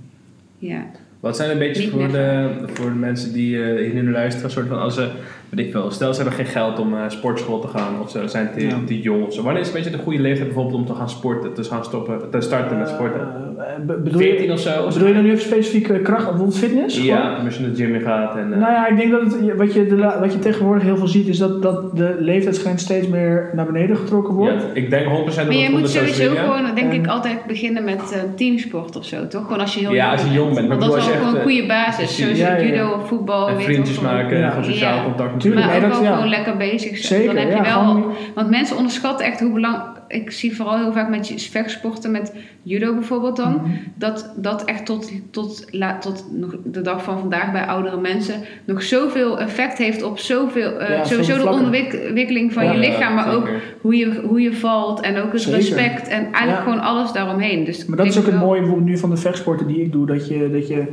[SPEAKER 1] Ja.
[SPEAKER 2] Wat zijn een beetje
[SPEAKER 1] Niet
[SPEAKER 2] voor
[SPEAKER 1] meer
[SPEAKER 2] de, voor de mensen die eh, hier nu luisteren, soort van als ze, weet ik veel, stel ze hebben geen geld om naar sportschool te gaan of ze zijn te,
[SPEAKER 3] Ja.
[SPEAKER 2] te jong of zo. Wanneer is een beetje de goede leeftijd bijvoorbeeld om te gaan sporten, te gaan stoppen, te starten met sporten?
[SPEAKER 3] Eh, eh, be- bedoel, je,
[SPEAKER 2] 14 of zo?
[SPEAKER 3] bedoel je dan nu even specifiek eh, kracht, bijvoorbeeld fitness? Gewoon?
[SPEAKER 2] Ja, als je naar de gym in gaat en... eh,
[SPEAKER 3] Nou ja, ik denk dat het, wat, je de la- wat je tegenwoordig heel veel ziet is dat, dat de leeftijdsgrens steeds meer naar beneden getrokken wordt.
[SPEAKER 2] ja, ik denk 100% dat het
[SPEAKER 1] Nou, Maar je
[SPEAKER 2] onder
[SPEAKER 1] moet
[SPEAKER 2] social
[SPEAKER 1] sowieso
[SPEAKER 2] media-
[SPEAKER 1] gewoon, denk ik,
[SPEAKER 3] En-
[SPEAKER 1] altijd beginnen met eh, teamsport of zo, toch? Gewoon als je heel
[SPEAKER 2] Ja, als je jong bent. Maar
[SPEAKER 1] Want dat
[SPEAKER 2] ik
[SPEAKER 1] is
[SPEAKER 2] bedoel, als
[SPEAKER 1] wel
[SPEAKER 2] je
[SPEAKER 1] gewoon een
[SPEAKER 2] echt,
[SPEAKER 1] goede basis.
[SPEAKER 2] precies.
[SPEAKER 1] Zoals
[SPEAKER 3] Ja, ja, ja.
[SPEAKER 1] judo of voetbal.
[SPEAKER 2] en
[SPEAKER 1] weet
[SPEAKER 2] vriendjes
[SPEAKER 1] ik wel.
[SPEAKER 2] maken,
[SPEAKER 3] Ja.
[SPEAKER 2] en gewoon sociaal
[SPEAKER 1] Ja.
[SPEAKER 2] contact
[SPEAKER 3] Tuurlijk,
[SPEAKER 1] maar
[SPEAKER 3] nee,
[SPEAKER 1] ook
[SPEAKER 3] dat-
[SPEAKER 1] wel
[SPEAKER 3] ja.
[SPEAKER 1] gewoon lekker bezig zijn.
[SPEAKER 3] Zeker,
[SPEAKER 1] dan heb
[SPEAKER 3] ja,
[SPEAKER 1] je wel,
[SPEAKER 3] gewoon-
[SPEAKER 1] Want mensen onderschatten echt hoe belangrijk... Ik zie vooral heel vaak met je- vechtsporten, met judo bijvoorbeeld dan...
[SPEAKER 3] Mhm.
[SPEAKER 1] dat dat echt tot, tot, la- tot nog de dag van vandaag bij oudere mensen... nog zoveel effect heeft op zoveel... eh,
[SPEAKER 3] Ja,
[SPEAKER 1] sowieso
[SPEAKER 3] zoveel
[SPEAKER 1] de
[SPEAKER 3] vlakken.
[SPEAKER 1] ontwikkeling van
[SPEAKER 3] Ja,
[SPEAKER 1] je lichaam... maar ook
[SPEAKER 2] zeker.
[SPEAKER 1] hoe je, hoe je valt en ook het
[SPEAKER 3] Zeker.
[SPEAKER 1] respect... en eigenlijk
[SPEAKER 3] Ja.
[SPEAKER 1] gewoon alles daaromheen. Dus
[SPEAKER 3] Maar dat
[SPEAKER 1] ik
[SPEAKER 3] is ook het
[SPEAKER 1] wel-
[SPEAKER 3] mooie bijvoorbeeld nu van de vechtsporten die ik doe. Dat je, dat je,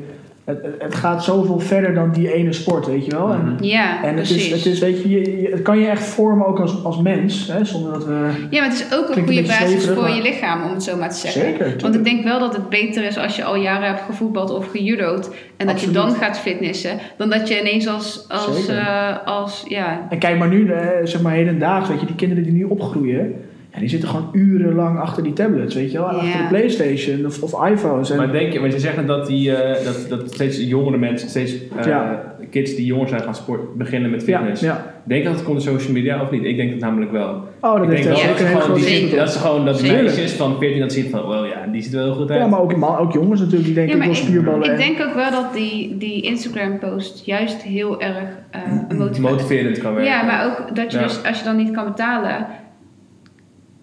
[SPEAKER 3] het, het gaat zoveel verder dan die ene sport, weet je wel. En,
[SPEAKER 2] Mhm.
[SPEAKER 1] Ja,
[SPEAKER 3] en het,
[SPEAKER 1] precies.
[SPEAKER 3] is, het, is, weet je, je- je- het kan je echt vormen ook als, als mens. Hè, zonder dat we...
[SPEAKER 1] Ja, maar het is ook een
[SPEAKER 3] Klinkt een
[SPEAKER 1] goede
[SPEAKER 3] beetje
[SPEAKER 1] basis
[SPEAKER 3] zweverig,
[SPEAKER 1] voor
[SPEAKER 3] maar-
[SPEAKER 1] je lichaam, om het zo maar te zeggen.
[SPEAKER 3] Zeker,
[SPEAKER 1] Want
[SPEAKER 3] tuurlijk.
[SPEAKER 1] ik denk wel dat het beter is als je al jaren hebt gevoetbald of gejudo'd. En dat je
[SPEAKER 3] Absoluut.
[SPEAKER 1] dan gaat fitnessen. Dan dat je ineens als, als,
[SPEAKER 3] Zeker.
[SPEAKER 1] eh, als ja.
[SPEAKER 3] En kijk maar nu, eh, zeg maar hedendaags, weet je, die kinderen die nu opgroeien. Ja, die zitten gewoon urenlang achter die tablets, weet je wel. en
[SPEAKER 1] Ja.
[SPEAKER 3] Achter de Playstation of, of iPhones. En,
[SPEAKER 4] Maar denk je, want je zegt net dat, die, eh, dat, dat steeds jongere mensen, steeds eh,
[SPEAKER 3] Ja.
[SPEAKER 4] kids die jonger zijn gaan sport, beginnen met
[SPEAKER 3] ja,
[SPEAKER 4] fitness.
[SPEAKER 3] ja.
[SPEAKER 4] Denk je dat het komt door social media of niet? Ik denk het namelijk wel.
[SPEAKER 3] Oh, dat
[SPEAKER 4] ik
[SPEAKER 3] heeft
[SPEAKER 4] denk
[SPEAKER 3] wel
[SPEAKER 4] wel dat
[SPEAKER 3] zeker
[SPEAKER 4] ze
[SPEAKER 3] een hele
[SPEAKER 4] gewoon
[SPEAKER 3] grote
[SPEAKER 4] die-
[SPEAKER 1] invloed op.
[SPEAKER 4] dat ze gewoon dat
[SPEAKER 1] Zeker.
[SPEAKER 4] meisjes van 14 dat zien van, wel ja, die ziet er wel heel goed uit.
[SPEAKER 3] Ja, maar ook, maar ook jongens natuurlijk, die denken
[SPEAKER 1] Ja,
[SPEAKER 3] ik
[SPEAKER 1] maar
[SPEAKER 3] wil spierballen.
[SPEAKER 1] ik
[SPEAKER 3] en-
[SPEAKER 1] denk ook wel dat die, die Instagram-post juist heel erg eh
[SPEAKER 3] Mm,
[SPEAKER 1] motiverend
[SPEAKER 4] Motiverend kan werken.
[SPEAKER 1] Ja, maar ook dat je
[SPEAKER 4] Ja.
[SPEAKER 1] dus, als je dan niet kan betalen.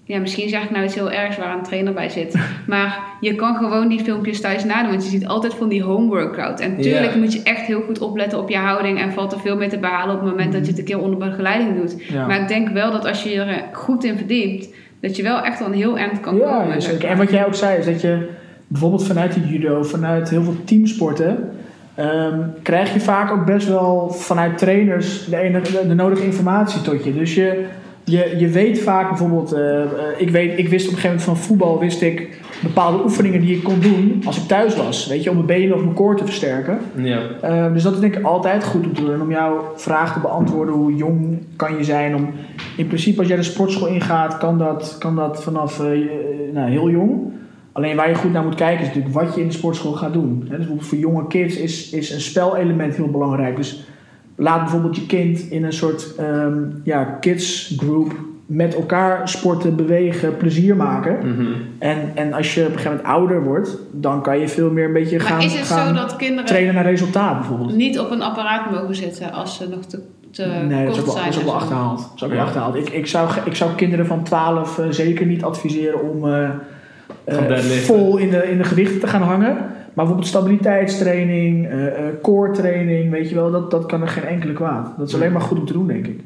[SPEAKER 1] Ja, misschien zeg ik nou iets heel ergs waar een trainer bij zit. Maar je kan gewoon die filmpjes thuis nadoen. Want je ziet altijd van die home workout. En tuurlijk
[SPEAKER 2] Ja.
[SPEAKER 1] moet je echt heel goed opletten op je houding. En valt er veel meer te behalen op het moment dat je het een keer onder begeleiding doet.
[SPEAKER 3] Mm. Ja.
[SPEAKER 1] Maar ik denk wel dat als je je er goed in verdiept. Dat je wel echt al een heel eind kan
[SPEAKER 3] ja,
[SPEAKER 1] komen. zeg
[SPEAKER 3] zeker.
[SPEAKER 1] maar.
[SPEAKER 3] En wat jij ook zei, is dat je bijvoorbeeld vanuit de judo, vanuit heel veel teamsporten, ehm, krijg je vaak ook best wel vanuit trainers de, enige, de, de nodige informatie tot je. Dus je, je, je weet vaak bijvoorbeeld, eh, eh, ik, weet, ik wist op een gegeven moment van voetbal, wist ik bepaalde oefeningen die ik kon doen als ik thuis was. Weet je, om mijn benen of mijn koor te versterken.
[SPEAKER 2] Ja.
[SPEAKER 3] Ehm, dus dat is denk ik altijd goed om te doen. En om jouw vraag te beantwoorden, hoe jong kan je zijn? Om, in principe, als jij de sportschool ingaat, kan dat, kan dat vanaf eh, je- nou, heel jong. Alleen waar je goed naar moet kijken is natuurlijk wat je in de sportschool gaat doen. Hè, dus bijvoorbeeld voor jonge kids is, is een spelelement heel belangrijk. Dus laat bijvoorbeeld je kind in een soort ehm ja, kids group met elkaar sporten, bewegen, plezier maken.
[SPEAKER 2] Mhm.
[SPEAKER 3] En, en als je op een gegeven moment ouder wordt, dan kan je veel meer een beetje gaan,
[SPEAKER 1] maar is het
[SPEAKER 3] gaan
[SPEAKER 1] zo dat kinderen
[SPEAKER 3] trainen naar resultaat bijvoorbeeld.
[SPEAKER 1] niet op een apparaat mogen zitten als ze nog te, te
[SPEAKER 3] Nee, dat
[SPEAKER 1] kort
[SPEAKER 3] is ook wel,
[SPEAKER 1] zijn?
[SPEAKER 3] dat is ook wel
[SPEAKER 1] en zo?
[SPEAKER 3] achterhaald. Dat is ook wel
[SPEAKER 2] Ja.
[SPEAKER 3] achterhaald. Ik, ik, zou, ge- ik zou kinderen van 12 eh, zeker niet adviseren om eh, eh,
[SPEAKER 2] deadliften.
[SPEAKER 3] vol in de, in de gewichten te gaan hangen. Maar bijvoorbeeld stabiliteitstraining, eh eh, core training, weet je wel, dat, dat kan er geen enkele kwaad. Dat is alleen maar goed om te doen, denk ik.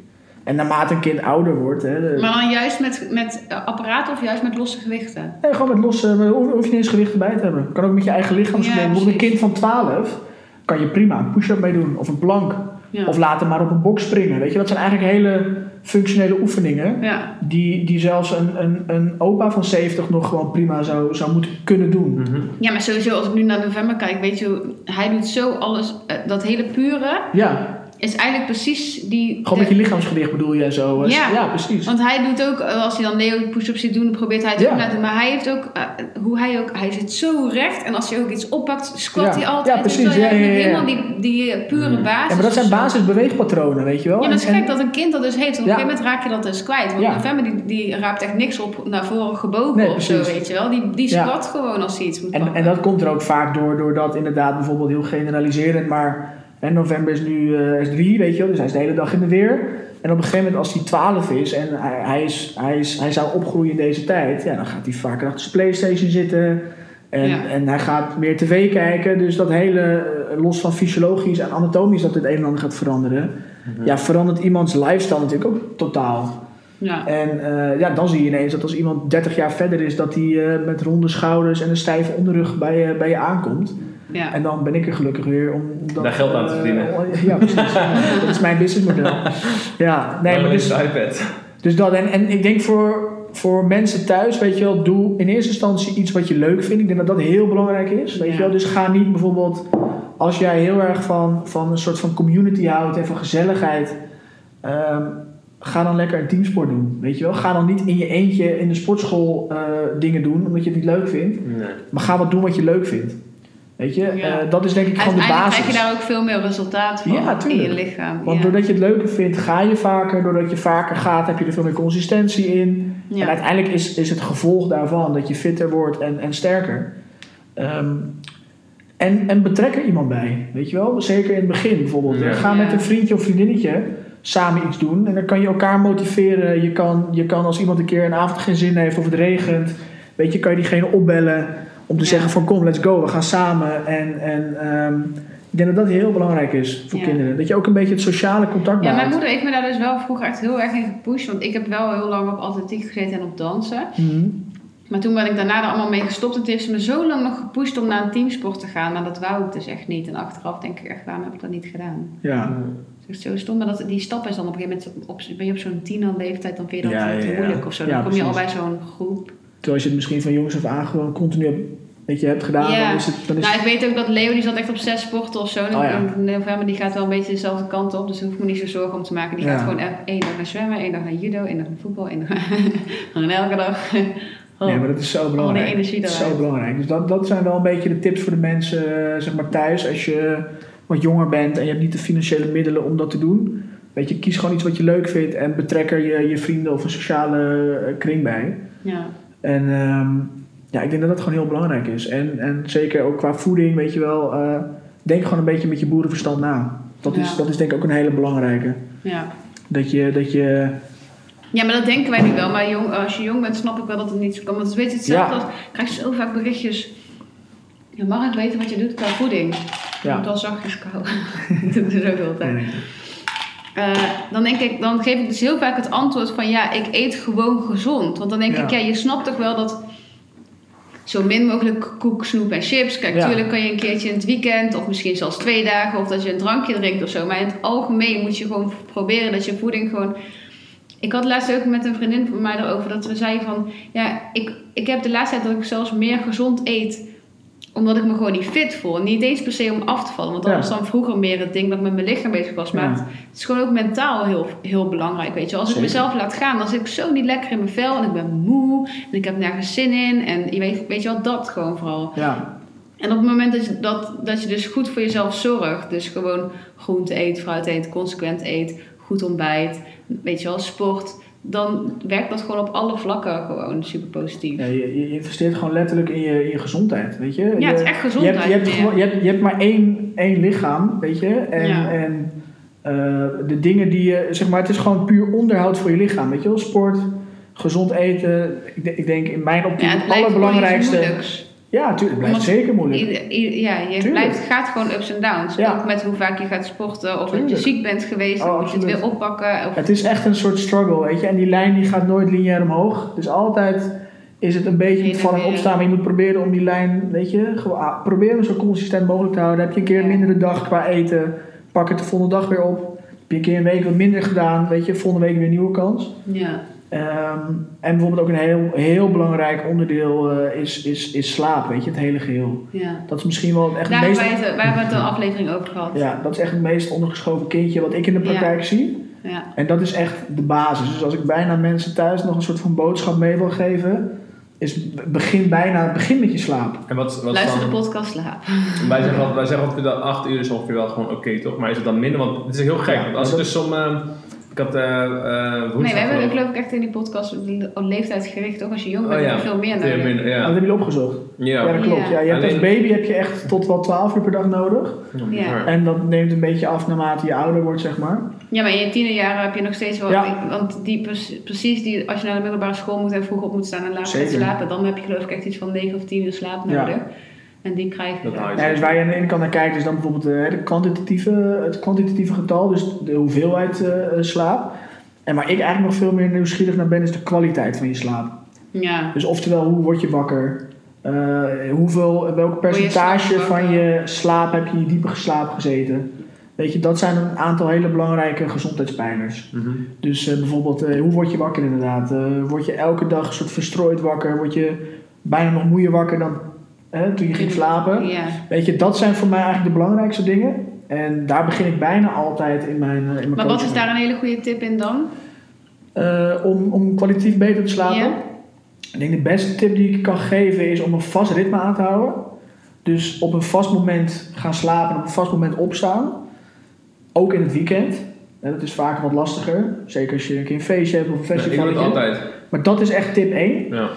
[SPEAKER 3] En naarmate een kind ouder wordt, hè, de-
[SPEAKER 1] Maar dan juist met, met eh, apparaten of juist met losse gewichten?
[SPEAKER 3] nee, gewoon met losse, maar hoef, hoef je niet eens gewichten bij te hebben. Kan ook met je eigen lichaam.
[SPEAKER 1] Ja,
[SPEAKER 3] bijvoorbeeld een
[SPEAKER 1] precies.
[SPEAKER 3] kind van 12 kan je prima een push-up mee doen of een plank.
[SPEAKER 1] Ja.
[SPEAKER 3] Of later maar op een box springen. Weet je, dat zijn eigenlijk hele functionele oefeningen.
[SPEAKER 1] ja.
[SPEAKER 3] Die, die zelfs een, een, een opa van 70 nog gewoon prima zou, zou moeten kunnen doen.
[SPEAKER 4] Mhm.
[SPEAKER 1] ja, maar sowieso als ik nu naar november kijk, weet je, hoe- hij doet zo alles. eh, dat hele pure
[SPEAKER 3] Ja,
[SPEAKER 1] is eigenlijk precies die.
[SPEAKER 3] gewoon
[SPEAKER 1] de-
[SPEAKER 3] met je lichaamsgewicht bedoel je en zo.
[SPEAKER 1] Ja.
[SPEAKER 3] precies.
[SPEAKER 1] want hij doet ook, eh, als hij dan Leo push-ups ziet doen, probeert hij het
[SPEAKER 3] Ja.
[SPEAKER 1] ook na te doen. Maar hij heeft ook, eh, hoe hij ook, hij zit zo recht. En als hij ook iets oppakt, squat
[SPEAKER 3] Ja.
[SPEAKER 1] hij altijd.
[SPEAKER 3] Ja, precies.
[SPEAKER 1] terwijl
[SPEAKER 3] Ja,
[SPEAKER 1] hij
[SPEAKER 3] ja, ja, ja.
[SPEAKER 1] Helemaal die, die eh, pure basis.
[SPEAKER 3] Ja, maar dat zijn
[SPEAKER 1] of zo.
[SPEAKER 3] basisbeweegpatronen, weet je wel.
[SPEAKER 1] Ja, maar het is
[SPEAKER 3] En- en-
[SPEAKER 1] gek dat een kind dat dus heeft. Want
[SPEAKER 3] Ja.
[SPEAKER 1] op een gegeven moment raak je dat dus kwijt. Want
[SPEAKER 3] Ja.
[SPEAKER 1] november die, die raapt echt niks op naar voren gebogen
[SPEAKER 3] Nee,
[SPEAKER 1] of zo,
[SPEAKER 3] precies.
[SPEAKER 1] weet je wel. Die, die
[SPEAKER 3] Ja.
[SPEAKER 1] squat gewoon als hij iets moet
[SPEAKER 3] En,
[SPEAKER 1] pakken.
[SPEAKER 3] en dat komt er ook vaak door, doordat inderdaad bijvoorbeeld heel generaliserend, maar hè, november is nu eh, is drie, weet je wel, dus hij is de hele dag in de weer. En op een gegeven moment als hij 12 is en hij, hij, is, hij, is, hij zou opgroeien in deze tijd, ja, dan gaat hij vaker achter zijn Playstation zitten en,
[SPEAKER 1] Ja.
[SPEAKER 3] en hij gaat meer tv kijken. Dus dat hele, eh, los van fysiologisch en anatomisch, dat het een en ander gaat veranderen. Ja, verandert iemands lifestyle natuurlijk ook totaal.
[SPEAKER 1] ja.
[SPEAKER 3] En eh, ja, dan zie je ineens dat als iemand 30 jaar verder is, dat hij eh, met ronde schouders en een stijve onderrug bij, je- bij je aankomt.
[SPEAKER 1] Ja.
[SPEAKER 3] En dan ben ik er gelukkig weer om dat,
[SPEAKER 2] Daar geld aan te
[SPEAKER 3] eh,
[SPEAKER 2] verdienen.
[SPEAKER 3] ja, precies. dat is mijn businessmodel. Ja, nee, maar
[SPEAKER 2] Dan
[SPEAKER 3] dus,
[SPEAKER 2] is de iPad.
[SPEAKER 3] dus dat. En, en ik denk voor, voor mensen thuis, weet je wel, doe in eerste instantie iets wat je leuk vindt. Ik denk dat dat heel belangrijk is. Weet je
[SPEAKER 1] Ja.
[SPEAKER 3] wel, dus ga niet bijvoorbeeld, als jij heel erg van, van een soort van community houdt en van gezelligheid. ehm, ga dan lekker een teamsport doen, weet je wel. Ga dan niet in je eentje in de sportschool eh, dingen doen, omdat je het niet leuk vindt.
[SPEAKER 2] Nee.
[SPEAKER 3] Maar ga wat doen wat je leuk vindt. Weet je,
[SPEAKER 1] Ja.
[SPEAKER 3] Eh, dat is denk ik gewoon de
[SPEAKER 1] Uiteindelijk
[SPEAKER 3] basis.
[SPEAKER 1] krijg je daar ook veel meer resultaat van
[SPEAKER 3] Ja,
[SPEAKER 1] in
[SPEAKER 3] tuurlijk.
[SPEAKER 1] je lichaam.
[SPEAKER 3] Want
[SPEAKER 1] ja.
[SPEAKER 3] doordat je het leuker vindt, ga je vaker. Doordat je vaker gaat, heb je er veel meer consistentie in.
[SPEAKER 1] Ja.
[SPEAKER 3] En uiteindelijk is, is het gevolg daarvan dat je fitter wordt en, en sterker. Ehm, en, en betrek er iemand bij, weet je wel? Zeker in het begin bijvoorbeeld.
[SPEAKER 2] Ja.
[SPEAKER 3] Ga
[SPEAKER 1] Ja.
[SPEAKER 3] met een vriendje of vriendinnetje. samen iets doen. En dan kan je elkaar motiveren. Je kan, je kan als iemand een keer een avond geen zin heeft of het regent, weet je, kan je diegene opbellen om te
[SPEAKER 1] Ja.
[SPEAKER 3] zeggen van kom, let's go, we gaan samen. En, en ehm, ik denk dat dat heel belangrijk is voor
[SPEAKER 1] Ja.
[SPEAKER 3] kinderen. Dat je ook een beetje het sociale contact
[SPEAKER 1] Ja,
[SPEAKER 3] maakt.
[SPEAKER 1] mijn moeder heeft me daar dus wel vroeger echt heel erg in gepusht. Want ik heb wel heel lang op atletiek gezeten en op dansen.
[SPEAKER 3] Mhm.
[SPEAKER 1] Maar toen ben ik daarna er allemaal mee gestopt. En toen heeft ze me zo lang nog gepusht om naar een teamsport te gaan. Maar dat wou ik dus echt niet. En achteraf denk ik echt, waarom heb ik dat niet gedaan?
[SPEAKER 3] Ja.
[SPEAKER 1] Het is echt zo stom. Maar dat, die stap is dan op een gegeven moment... Op, ben je op zo'n tienerleeftijd, dan vind je dat
[SPEAKER 3] Ja,
[SPEAKER 1] te
[SPEAKER 3] ja, ja.
[SPEAKER 1] moeilijk of zo. Dan
[SPEAKER 3] Ja,
[SPEAKER 1] kom je al bij
[SPEAKER 3] precies.
[SPEAKER 1] zo'n groep.
[SPEAKER 3] Terwijl als je het misschien van jongens af aan gewoon continu hebt- weet je, hebt gedaan,
[SPEAKER 1] Ja.
[SPEAKER 3] dan is het... Dan is
[SPEAKER 1] Nou, ik weet ook dat Leo, die zat echt op zes sporten of zo. En
[SPEAKER 3] Oh, ja.
[SPEAKER 1] in november, die gaat wel een beetje dezelfde kant op. Dus daar hoef ik me niet zo zorgen om te maken. Die
[SPEAKER 3] Ja.
[SPEAKER 1] gaat gewoon elke- één dag naar zwemmen, één dag naar judo, één dag naar voetbal, één dag gewoon elke dag. Oh.
[SPEAKER 3] Nee, maar dat is zo belangrijk.
[SPEAKER 1] die energie
[SPEAKER 3] dat is
[SPEAKER 1] eruit.
[SPEAKER 3] zo belangrijk. Dus dat, dat zijn wel een beetje de tips voor de mensen eh, zeg maar thuis. Als je wat jonger bent en je hebt niet de financiële middelen om dat te doen. Weet je, kies gewoon iets wat je leuk vindt en betrek er je, je vrienden of een sociale eh, kring bij.
[SPEAKER 1] Ja.
[SPEAKER 3] En ehm, ja, ik denk dat dat gewoon heel belangrijk is. En, en zeker ook qua voeding, weet je wel. eh, denk gewoon een beetje met je boerenverstand na. Dat, is,
[SPEAKER 1] Ja.
[SPEAKER 3] dat is denk ik ook een hele belangrijke.
[SPEAKER 1] ja.
[SPEAKER 3] Dat je, dat je
[SPEAKER 1] Ja, maar dat denken wij nu wel. Maar jong, als je jong bent, snap ik wel dat het niet zo kan. Want het is weet je hetzelfde
[SPEAKER 3] Ja.
[SPEAKER 1] als... Ik krijg zo vaak berichtjes. Je mag het weten wat je doet qua voeding.
[SPEAKER 3] Ja.
[SPEAKER 1] Ja. moet wel zachtjes kouden. dat doe ik dus ook altijd.
[SPEAKER 3] Nee, nee.
[SPEAKER 1] Eh, dan, denk ik, dan geef ik dus heel vaak het antwoord van... Ja, ik eet gewoon gezond. Want dan denk
[SPEAKER 3] Ja.
[SPEAKER 1] ik, ja, je snapt toch wel dat... Zo min mogelijk koek, snoep en chips. Kijk,
[SPEAKER 3] Ja.
[SPEAKER 1] tuurlijk kan je een keertje in het weekend... of misschien zelfs twee dagen... of dat je een drankje drinkt of zo. Maar in het algemeen moet je gewoon proberen dat je voeding gewoon... Ik had laatst ook met een vriendin van mij erover dat we zeiden van... Ja, ik, ik heb de laatste tijd dat ik zelfs meer gezond eet. Omdat ik me gewoon niet fit voel. Niet eens per se om af te vallen. Want dat
[SPEAKER 3] Ja.
[SPEAKER 1] was dan vroeger meer het ding dat ik met mijn lichaam bezig was. Maar
[SPEAKER 3] Ja.
[SPEAKER 1] het, het is gewoon ook mentaal heel, heel belangrijk, weet je. wel. Als
[SPEAKER 3] Zeker.
[SPEAKER 1] ik mezelf laat gaan, dan zit ik zo niet lekker in mijn vel. En ik ben moe. En ik heb nergens zin in. En je weet, weet je wel, dat gewoon vooral.
[SPEAKER 3] ja,
[SPEAKER 1] En op het moment dat je, dat, dat je dus goed voor jezelf zorgt, dus gewoon groente eet, fruit eet, consequent eet, goed ontbijt, weet je wel, sport, dan werkt dat gewoon op alle vlakken gewoon super positief.
[SPEAKER 3] ja
[SPEAKER 1] Ja,
[SPEAKER 3] je, je investeert gewoon letterlijk in je, in je gezondheid, weet je. je,
[SPEAKER 1] het is echt
[SPEAKER 3] je hebt,
[SPEAKER 1] gezondheid.
[SPEAKER 3] je, hebt
[SPEAKER 1] meer.
[SPEAKER 3] gewoon- je, hebt, je hebt maar één, één lichaam, weet je. En,
[SPEAKER 1] Ja.
[SPEAKER 3] en eh, de dingen die je, zeg maar, het is gewoon puur onderhoud voor je lichaam, weet je wel. Sport, gezond eten. Ik, de- ik denk in mijn optiek
[SPEAKER 1] ja, het
[SPEAKER 3] het
[SPEAKER 1] lijkt
[SPEAKER 3] allerbelangrijkste.
[SPEAKER 1] gewoon iets moeilijks.
[SPEAKER 3] Ja, tuurlijk, het blijft
[SPEAKER 1] Omdat-
[SPEAKER 3] zeker moeilijk.
[SPEAKER 1] Ieder- ieder- ja, je
[SPEAKER 3] Tuurlijk.
[SPEAKER 1] blijft, gaat gewoon ups en downs.
[SPEAKER 3] Ja.
[SPEAKER 1] Ook met hoe vaak je gaat sporten of dat
[SPEAKER 3] Tuurlijk.
[SPEAKER 1] je ziek bent geweest,
[SPEAKER 3] Oh,
[SPEAKER 1] dan moet je het
[SPEAKER 3] absoluut.
[SPEAKER 1] weer oppakken. Of,
[SPEAKER 3] Het is echt een soort struggle, weet je. En die lijn die gaat nooit lineair omhoog. Dus altijd is het een beetje
[SPEAKER 1] Heen
[SPEAKER 3] met
[SPEAKER 1] en
[SPEAKER 3] vallen en
[SPEAKER 1] weer.
[SPEAKER 3] opstaan. Maar je moet proberen om die lijn, weet je, gewoon, ah, probeer hem zo consistent mogelijk te houden. Heb je een keer een
[SPEAKER 1] Ja.
[SPEAKER 3] mindere dag qua eten, pak het de volgende dag weer op. Heb je een keer een week wat minder gedaan, weet je, volgende week weer een nieuwe kans.
[SPEAKER 1] ja.
[SPEAKER 3] Ehm, en bijvoorbeeld ook een heel, heel belangrijk onderdeel eh, is, is, is slaap, weet je, het hele geheel.
[SPEAKER 1] Ja.
[SPEAKER 3] Dat is misschien wel echt
[SPEAKER 1] Daar
[SPEAKER 3] het
[SPEAKER 1] hebben
[SPEAKER 3] meest...
[SPEAKER 1] wij het, waar hebben we het een aflevering over gehad.
[SPEAKER 3] Ja, dat is echt het meest ondergeschoven kindje wat ik in de
[SPEAKER 1] Ja.
[SPEAKER 3] praktijk zie.
[SPEAKER 1] Ja.
[SPEAKER 3] En dat is echt de basis. Dus als ik bijna mensen thuis nog een soort van boodschap mee wil geven, is be- begin bijna, begin met je slaap.
[SPEAKER 4] En wat, wat
[SPEAKER 1] Luister de
[SPEAKER 4] dan-
[SPEAKER 1] podcast slaap.
[SPEAKER 4] Wij zeggen, altijd, wij zeggen altijd dat 8 uur is ongeveer wel gewoon oké, toch? Maar is het dan minder? Want het is heel gek.
[SPEAKER 3] Ja,
[SPEAKER 4] want als ik
[SPEAKER 3] dat-
[SPEAKER 4] dus som... eh, ik had eh eh, woensdag...
[SPEAKER 1] Nee, we hebben
[SPEAKER 4] geloof
[SPEAKER 1] het
[SPEAKER 4] ik-
[SPEAKER 1] geloof ik echt in die podcast op leeftijd gericht. Ook als je jong
[SPEAKER 4] Oh
[SPEAKER 1] bent,
[SPEAKER 4] ja,
[SPEAKER 1] heb je veel meer
[SPEAKER 4] Veel
[SPEAKER 1] nodig.
[SPEAKER 4] minder,
[SPEAKER 3] Ja.
[SPEAKER 4] ja.
[SPEAKER 3] Dat heb je opgezocht. Ja,
[SPEAKER 4] Ja.
[SPEAKER 3] dat klopt. Ja, je hebt als
[SPEAKER 4] Alleen-
[SPEAKER 3] baby heb je echt tot wel 12 uur per dag nodig.
[SPEAKER 1] Ja.
[SPEAKER 3] En dat neemt een beetje af naarmate je ouder wordt, zeg maar.
[SPEAKER 1] Ja, maar in je tienerjaren heb je nog steeds wel...
[SPEAKER 3] Ja.
[SPEAKER 1] Want die, pers- precies die, als je naar de middelbare school moet en vroeg op moet staan en laat gaat
[SPEAKER 3] Zeker.
[SPEAKER 1] slapen... dan heb je geloof ik echt iets van 9 of 10 uur slaap
[SPEAKER 3] Ja.
[SPEAKER 1] nodig. En die krijg je.
[SPEAKER 4] Dat haal je
[SPEAKER 3] Ja, dus waar je aan de ene kant naar kijkt is dan bijvoorbeeld eh, de kwantitatieve, het kwantitatieve getal, dus de hoeveelheid eh, eh, slaap. En waar ik eigenlijk nog veel meer nieuwsgierig naar ben, is de kwaliteit van je slaap.
[SPEAKER 1] Ja.
[SPEAKER 3] Dus oftewel, hoe word je wakker? Eh, hoeveel, welk
[SPEAKER 1] je
[SPEAKER 3] percentage
[SPEAKER 1] slaap wakker?
[SPEAKER 3] van je slaap heb je in je diepe slaap gezeten? Weet je, dat zijn een aantal hele belangrijke gezondheidspijlers.
[SPEAKER 4] Mhm.
[SPEAKER 3] Dus eh, bijvoorbeeld, eh, hoe word je wakker inderdaad? Eh, word je elke dag een soort verstrooid wakker? Word je bijna nog moeier wakker dan eh, toen je ging slapen?
[SPEAKER 1] Ja.
[SPEAKER 3] Weet je, dat zijn voor mij eigenlijk de belangrijkste dingen. En daar begin ik bijna altijd in mijn, eh, in mijn
[SPEAKER 1] Maar wat is
[SPEAKER 3] coaching.
[SPEAKER 1] daar een hele goede tip in dan?
[SPEAKER 3] Eh, om, om kwalitatief beter te slapen.
[SPEAKER 1] Ja.
[SPEAKER 3] Ik denk de beste tip die ik kan geven is om een vast ritme aan te houden. Dus op een vast moment gaan slapen en op een vast moment opstaan. Ook in het weekend. Ja, dat is vaak wat lastiger. Zeker als je een keer een feestje hebt of een
[SPEAKER 4] Ja, ik doe het
[SPEAKER 3] festival.
[SPEAKER 4] altijd.
[SPEAKER 3] maar dat is echt tip 1.
[SPEAKER 4] Ja.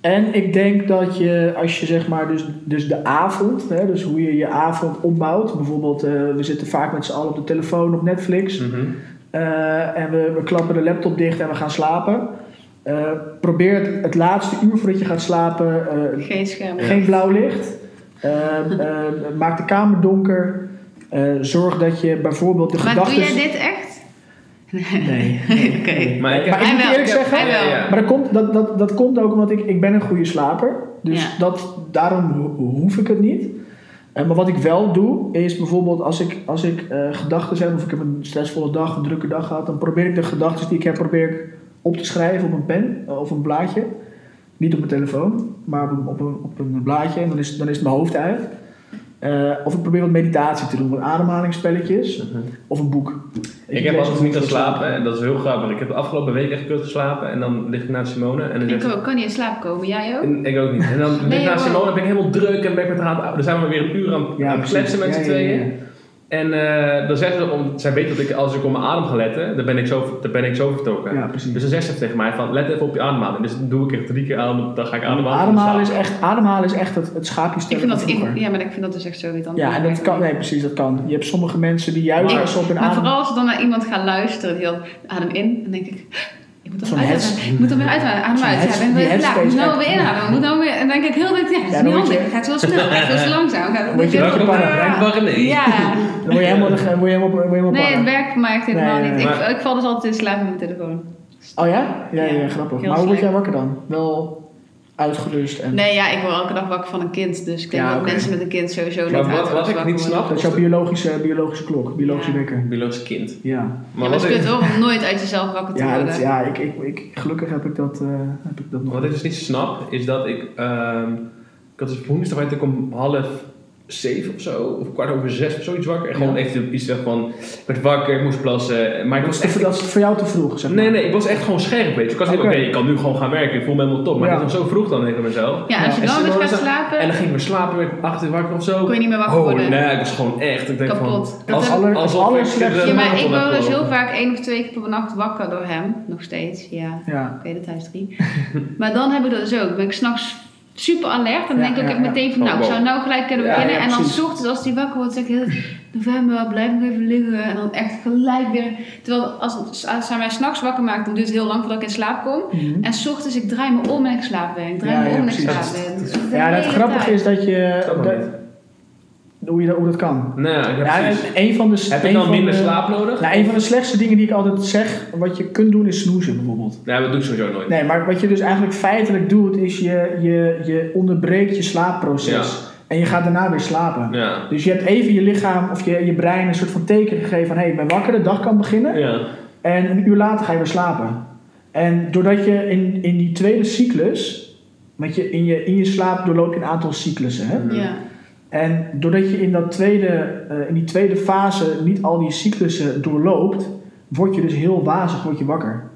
[SPEAKER 3] En ik denk dat je, als je zeg maar, dus, dus de avond, hè, dus hoe je je avond opbouwt. Bijvoorbeeld, eh, we zitten vaak met z'n allen op de telefoon op Netflix.
[SPEAKER 4] Mhm.
[SPEAKER 3] Eh, en we, we klappen de laptop dicht en we gaan slapen. Eh, probeer het, het laatste uur voordat je gaat slapen eh,
[SPEAKER 1] Geen scherm.
[SPEAKER 3] geen blauw licht. Eh, eh, maak de kamer donker. Eh, zorg dat je bijvoorbeeld de
[SPEAKER 1] Maar
[SPEAKER 3] gedachten.
[SPEAKER 1] doe jij dit echt?
[SPEAKER 3] Nee.
[SPEAKER 1] Oké.
[SPEAKER 2] Maar ik
[SPEAKER 3] Maar
[SPEAKER 2] heb...
[SPEAKER 3] ik
[SPEAKER 1] Hij
[SPEAKER 3] moet
[SPEAKER 1] wel.
[SPEAKER 3] eerlijk zeggen,
[SPEAKER 1] Hij wel.
[SPEAKER 2] Ja, ja.
[SPEAKER 3] maar dat komt, dat, dat, dat komt ook omdat ik, ik ben een goede slaper. Dus
[SPEAKER 1] Ja.
[SPEAKER 3] dat, daarom ho- hoef ik het niet. Eh, maar wat ik wel doe, is bijvoorbeeld als ik, als ik eh, gedachten heb... of ik heb een stressvolle dag, een drukke dag gehad... dan probeer ik de gedachten die ik heb probeer ik op te schrijven op een pen eh, of een blaadje. Niet op mijn telefoon, maar op een, op een, op een blaadje. En dan is, dan is mijn hoofd uit. Eh, of ik probeer wat meditatie te doen, wat ademhalingsspelletjes. Of een boek.
[SPEAKER 2] Ik heb
[SPEAKER 3] lees
[SPEAKER 2] altijd
[SPEAKER 3] een
[SPEAKER 2] niet
[SPEAKER 3] boek
[SPEAKER 2] gaan
[SPEAKER 3] voor het
[SPEAKER 2] slapen en dat is heel grappig. Ik heb de afgelopen week echt kut geslapen en dan lig ik naast Simone en dan
[SPEAKER 1] Ik
[SPEAKER 2] zegt ze-
[SPEAKER 1] ook, kan niet in slaap komen. Jij ook?
[SPEAKER 2] En Ik ook niet. En dan
[SPEAKER 1] Nee,
[SPEAKER 2] naast
[SPEAKER 1] joh.
[SPEAKER 2] Simone ben ik helemaal druk en ben ik met haar aan het- Dan zijn we weer een uur aan het aan het
[SPEAKER 3] precies.
[SPEAKER 2] kletsen met
[SPEAKER 3] Ja,
[SPEAKER 2] z'n
[SPEAKER 3] ja, ja,
[SPEAKER 2] tweeën.
[SPEAKER 3] ja.
[SPEAKER 2] En eh, dan zegt ze, om, zij weet dat ik als ik op mijn adem ga letten, dan ben ik zo, dan ben ik zo vertrokken.
[SPEAKER 3] Ja, precies.
[SPEAKER 2] Dus dan zegt ze tegen mij van, let even op je ademhaling. Dus dan doe ik echt drie keer aan, dan ga ik ademhalen.
[SPEAKER 3] Ademhalen is echt, ademhalen is echt het, het schaapje
[SPEAKER 1] Ik
[SPEAKER 3] stellen
[SPEAKER 1] vind dat,
[SPEAKER 3] van vroeger.
[SPEAKER 1] ik, ja, maar ik vind dat dus echt zo niet anders.
[SPEAKER 3] ja, en dat kan, nee, precies, dat kan. Je hebt sommige mensen die juichen
[SPEAKER 1] Ik-
[SPEAKER 3] als ze op hun
[SPEAKER 1] Maar
[SPEAKER 3] adem...
[SPEAKER 1] vooral als ik dan naar iemand ga luisteren, die dan adem in, dan denk ik, ik moet
[SPEAKER 3] Zo'n
[SPEAKER 1] hem uitademen.
[SPEAKER 3] heads-
[SPEAKER 1] Ik moet hem weer uitademen, adem
[SPEAKER 3] Zo'n
[SPEAKER 1] uit. Ja,
[SPEAKER 3] heads-
[SPEAKER 1] ik ben
[SPEAKER 3] die
[SPEAKER 1] weer klaar, ik moet nou
[SPEAKER 3] headspace
[SPEAKER 1] weer inademen. ik Moet nou weer, en dan denk ik heel dit, ja, het is
[SPEAKER 3] Ja, dan
[SPEAKER 1] niet
[SPEAKER 3] word je-
[SPEAKER 1] handig. Het gaat zo snel, het gaat zo langzaam. het Gaat,
[SPEAKER 3] word je
[SPEAKER 1] ik-
[SPEAKER 3] ook
[SPEAKER 1] Ah.
[SPEAKER 5] pannen.
[SPEAKER 1] Ja,
[SPEAKER 3] Dan word je helemaal, dan word je helemaal, word je helemaal
[SPEAKER 1] nee, het
[SPEAKER 3] bang.
[SPEAKER 1] werkt voor mij echt helemaal
[SPEAKER 3] Nee, nee,
[SPEAKER 1] niet. Ik,
[SPEAKER 2] maar-
[SPEAKER 1] ik val dus altijd in slaap met mijn telefoon.
[SPEAKER 3] Oh ja? Ja, ja,
[SPEAKER 1] Ja,
[SPEAKER 3] grappig.
[SPEAKER 1] heel
[SPEAKER 3] Maar hoe word
[SPEAKER 1] slecht.
[SPEAKER 3] jij wakker dan? Wel uitgerust en...
[SPEAKER 1] Nee, ja, ik word elke dag wakker van een kind. Dus ik denk
[SPEAKER 3] Ja,
[SPEAKER 1] dat
[SPEAKER 3] oké.
[SPEAKER 1] mensen met een kind sowieso niet
[SPEAKER 2] Maar wat-
[SPEAKER 1] uitgerust
[SPEAKER 2] wat ik
[SPEAKER 1] wakker
[SPEAKER 2] niet
[SPEAKER 1] worden.
[SPEAKER 2] snap-
[SPEAKER 3] Dat is jouw biologische, biologische klok, biologische
[SPEAKER 1] Ja.
[SPEAKER 3] wekker.
[SPEAKER 2] Biologisch kind.
[SPEAKER 3] Ja,
[SPEAKER 1] Ja,
[SPEAKER 2] Maar
[SPEAKER 1] maar
[SPEAKER 2] wat,
[SPEAKER 1] het is
[SPEAKER 2] ik,
[SPEAKER 1] kut hoor, om nooit uit jezelf wakker te
[SPEAKER 3] ja,
[SPEAKER 1] worden.
[SPEAKER 3] dat, ja ik, ik, ik, gelukkig heb ik dat, eh, heb ik dat nog.
[SPEAKER 2] wat ik dus niet snap, is dat ik... ehm ik had dus woensdag werd ik om half zeven of zo, of kwart over zes of zoiets wakker. En gewoon
[SPEAKER 3] Ja.
[SPEAKER 2] echt iets zeg van, ik werd wakker, ik moest plassen. Maar ik was
[SPEAKER 3] Dat is, te-
[SPEAKER 2] echt
[SPEAKER 3] dat is voor jou te vroeg, zeg maar.
[SPEAKER 2] Nee, nee, ik was echt gewoon scherp, weet je. Ik was niet,
[SPEAKER 3] Oké.
[SPEAKER 2] oké, ik kan nu gewoon gaan werken, ik voel me helemaal top. Maar
[SPEAKER 3] Ja.
[SPEAKER 2] ik was zo vroeg dan tegen mezelf.
[SPEAKER 1] Ja, als je
[SPEAKER 2] Ja,
[SPEAKER 1] dan
[SPEAKER 2] en
[SPEAKER 1] dus
[SPEAKER 2] Simone
[SPEAKER 1] gaat
[SPEAKER 2] is dan-
[SPEAKER 1] slapen,
[SPEAKER 2] En dan ging ik weer slapen, werd ik acht uur wakker of zo.
[SPEAKER 1] kon je niet meer wakker
[SPEAKER 2] oh,
[SPEAKER 1] worden.
[SPEAKER 2] nee, ik was gewoon echt, ik denk
[SPEAKER 1] Kapot.
[SPEAKER 2] van...
[SPEAKER 1] Dat heb-
[SPEAKER 3] aller-
[SPEAKER 2] alsof
[SPEAKER 3] aller
[SPEAKER 2] ik
[SPEAKER 3] slechtste-
[SPEAKER 2] de
[SPEAKER 1] Ja, maar ik
[SPEAKER 2] marathon
[SPEAKER 1] word
[SPEAKER 2] heb
[SPEAKER 1] dus heel
[SPEAKER 2] gelopen.
[SPEAKER 1] vaak één of twee keer per nacht wakker door hem. Nog steeds, ja. Oké,
[SPEAKER 3] Ja.
[SPEAKER 1] dat hij is drie. maar dan heb ik dat dus ook. Ben ik s'nachts super alert. Dan
[SPEAKER 3] Ja,
[SPEAKER 1] denk ik ook
[SPEAKER 3] ja,
[SPEAKER 1] echt
[SPEAKER 3] ja.
[SPEAKER 1] meteen van,
[SPEAKER 2] Oh,
[SPEAKER 1] nou, ik
[SPEAKER 2] wow.
[SPEAKER 1] zou nou gelijk kunnen
[SPEAKER 3] Ja,
[SPEAKER 1] beginnen.
[SPEAKER 3] ja,
[SPEAKER 1] en dan
[SPEAKER 3] precies.
[SPEAKER 1] s ochtends als hij wakker wordt, zeg ik heel... November, blijf nog even liggen. En dan echt gelijk weer... Terwijl als, als hij mij s'nachts wakker maakt, dan duurt het heel lang voordat ik in slaap kom.
[SPEAKER 3] Mhm.
[SPEAKER 1] En s ochtends, ik draai me om en ik slaap weer. Ik draai
[SPEAKER 3] Ja,
[SPEAKER 1] me
[SPEAKER 3] ja,
[SPEAKER 1] om en ik
[SPEAKER 3] precies.
[SPEAKER 1] slaap weer. Dat is echt de
[SPEAKER 3] Ja, en het
[SPEAKER 1] hele
[SPEAKER 3] grappige
[SPEAKER 1] tijd.
[SPEAKER 3] is dat je...
[SPEAKER 2] Dat kan
[SPEAKER 3] dat-
[SPEAKER 2] niet.
[SPEAKER 3] hoe, je, dat- hoe dat kan.
[SPEAKER 2] Nee, ik heb
[SPEAKER 3] Ja,
[SPEAKER 2] precies.
[SPEAKER 3] en een van de...
[SPEAKER 2] Heb
[SPEAKER 3] een
[SPEAKER 2] ik dan
[SPEAKER 3] van
[SPEAKER 2] minder
[SPEAKER 3] de-
[SPEAKER 2] slaap nodig?
[SPEAKER 3] Nou, een van de slechtste dingen die ik altijd zeg, wat je kunt doen, is snoezen bijvoorbeeld.
[SPEAKER 2] Nee, dat doe ik sowieso nooit.
[SPEAKER 3] Nee, maar wat je dus eigenlijk feitelijk doet, is je, je, je onderbreekt je slaapproces. En je gaat daarna weer slapen.
[SPEAKER 2] Ja.
[SPEAKER 3] Dus je hebt even je lichaam of je, je brein een soort van teken gegeven van hé, hey, ik ben wakker, de dag kan beginnen.
[SPEAKER 2] Ja.
[SPEAKER 3] En een uur later ga je weer slapen. En doordat je in, in die tweede cyclus, want je, in, je, in je slaap doorloop je een aantal cyclussen. Hè?
[SPEAKER 1] Ja.
[SPEAKER 3] En doordat je in, dat tweede, eh, in die tweede fase niet al die cyclussen doorloopt, word je dus heel wazig, word je wakker.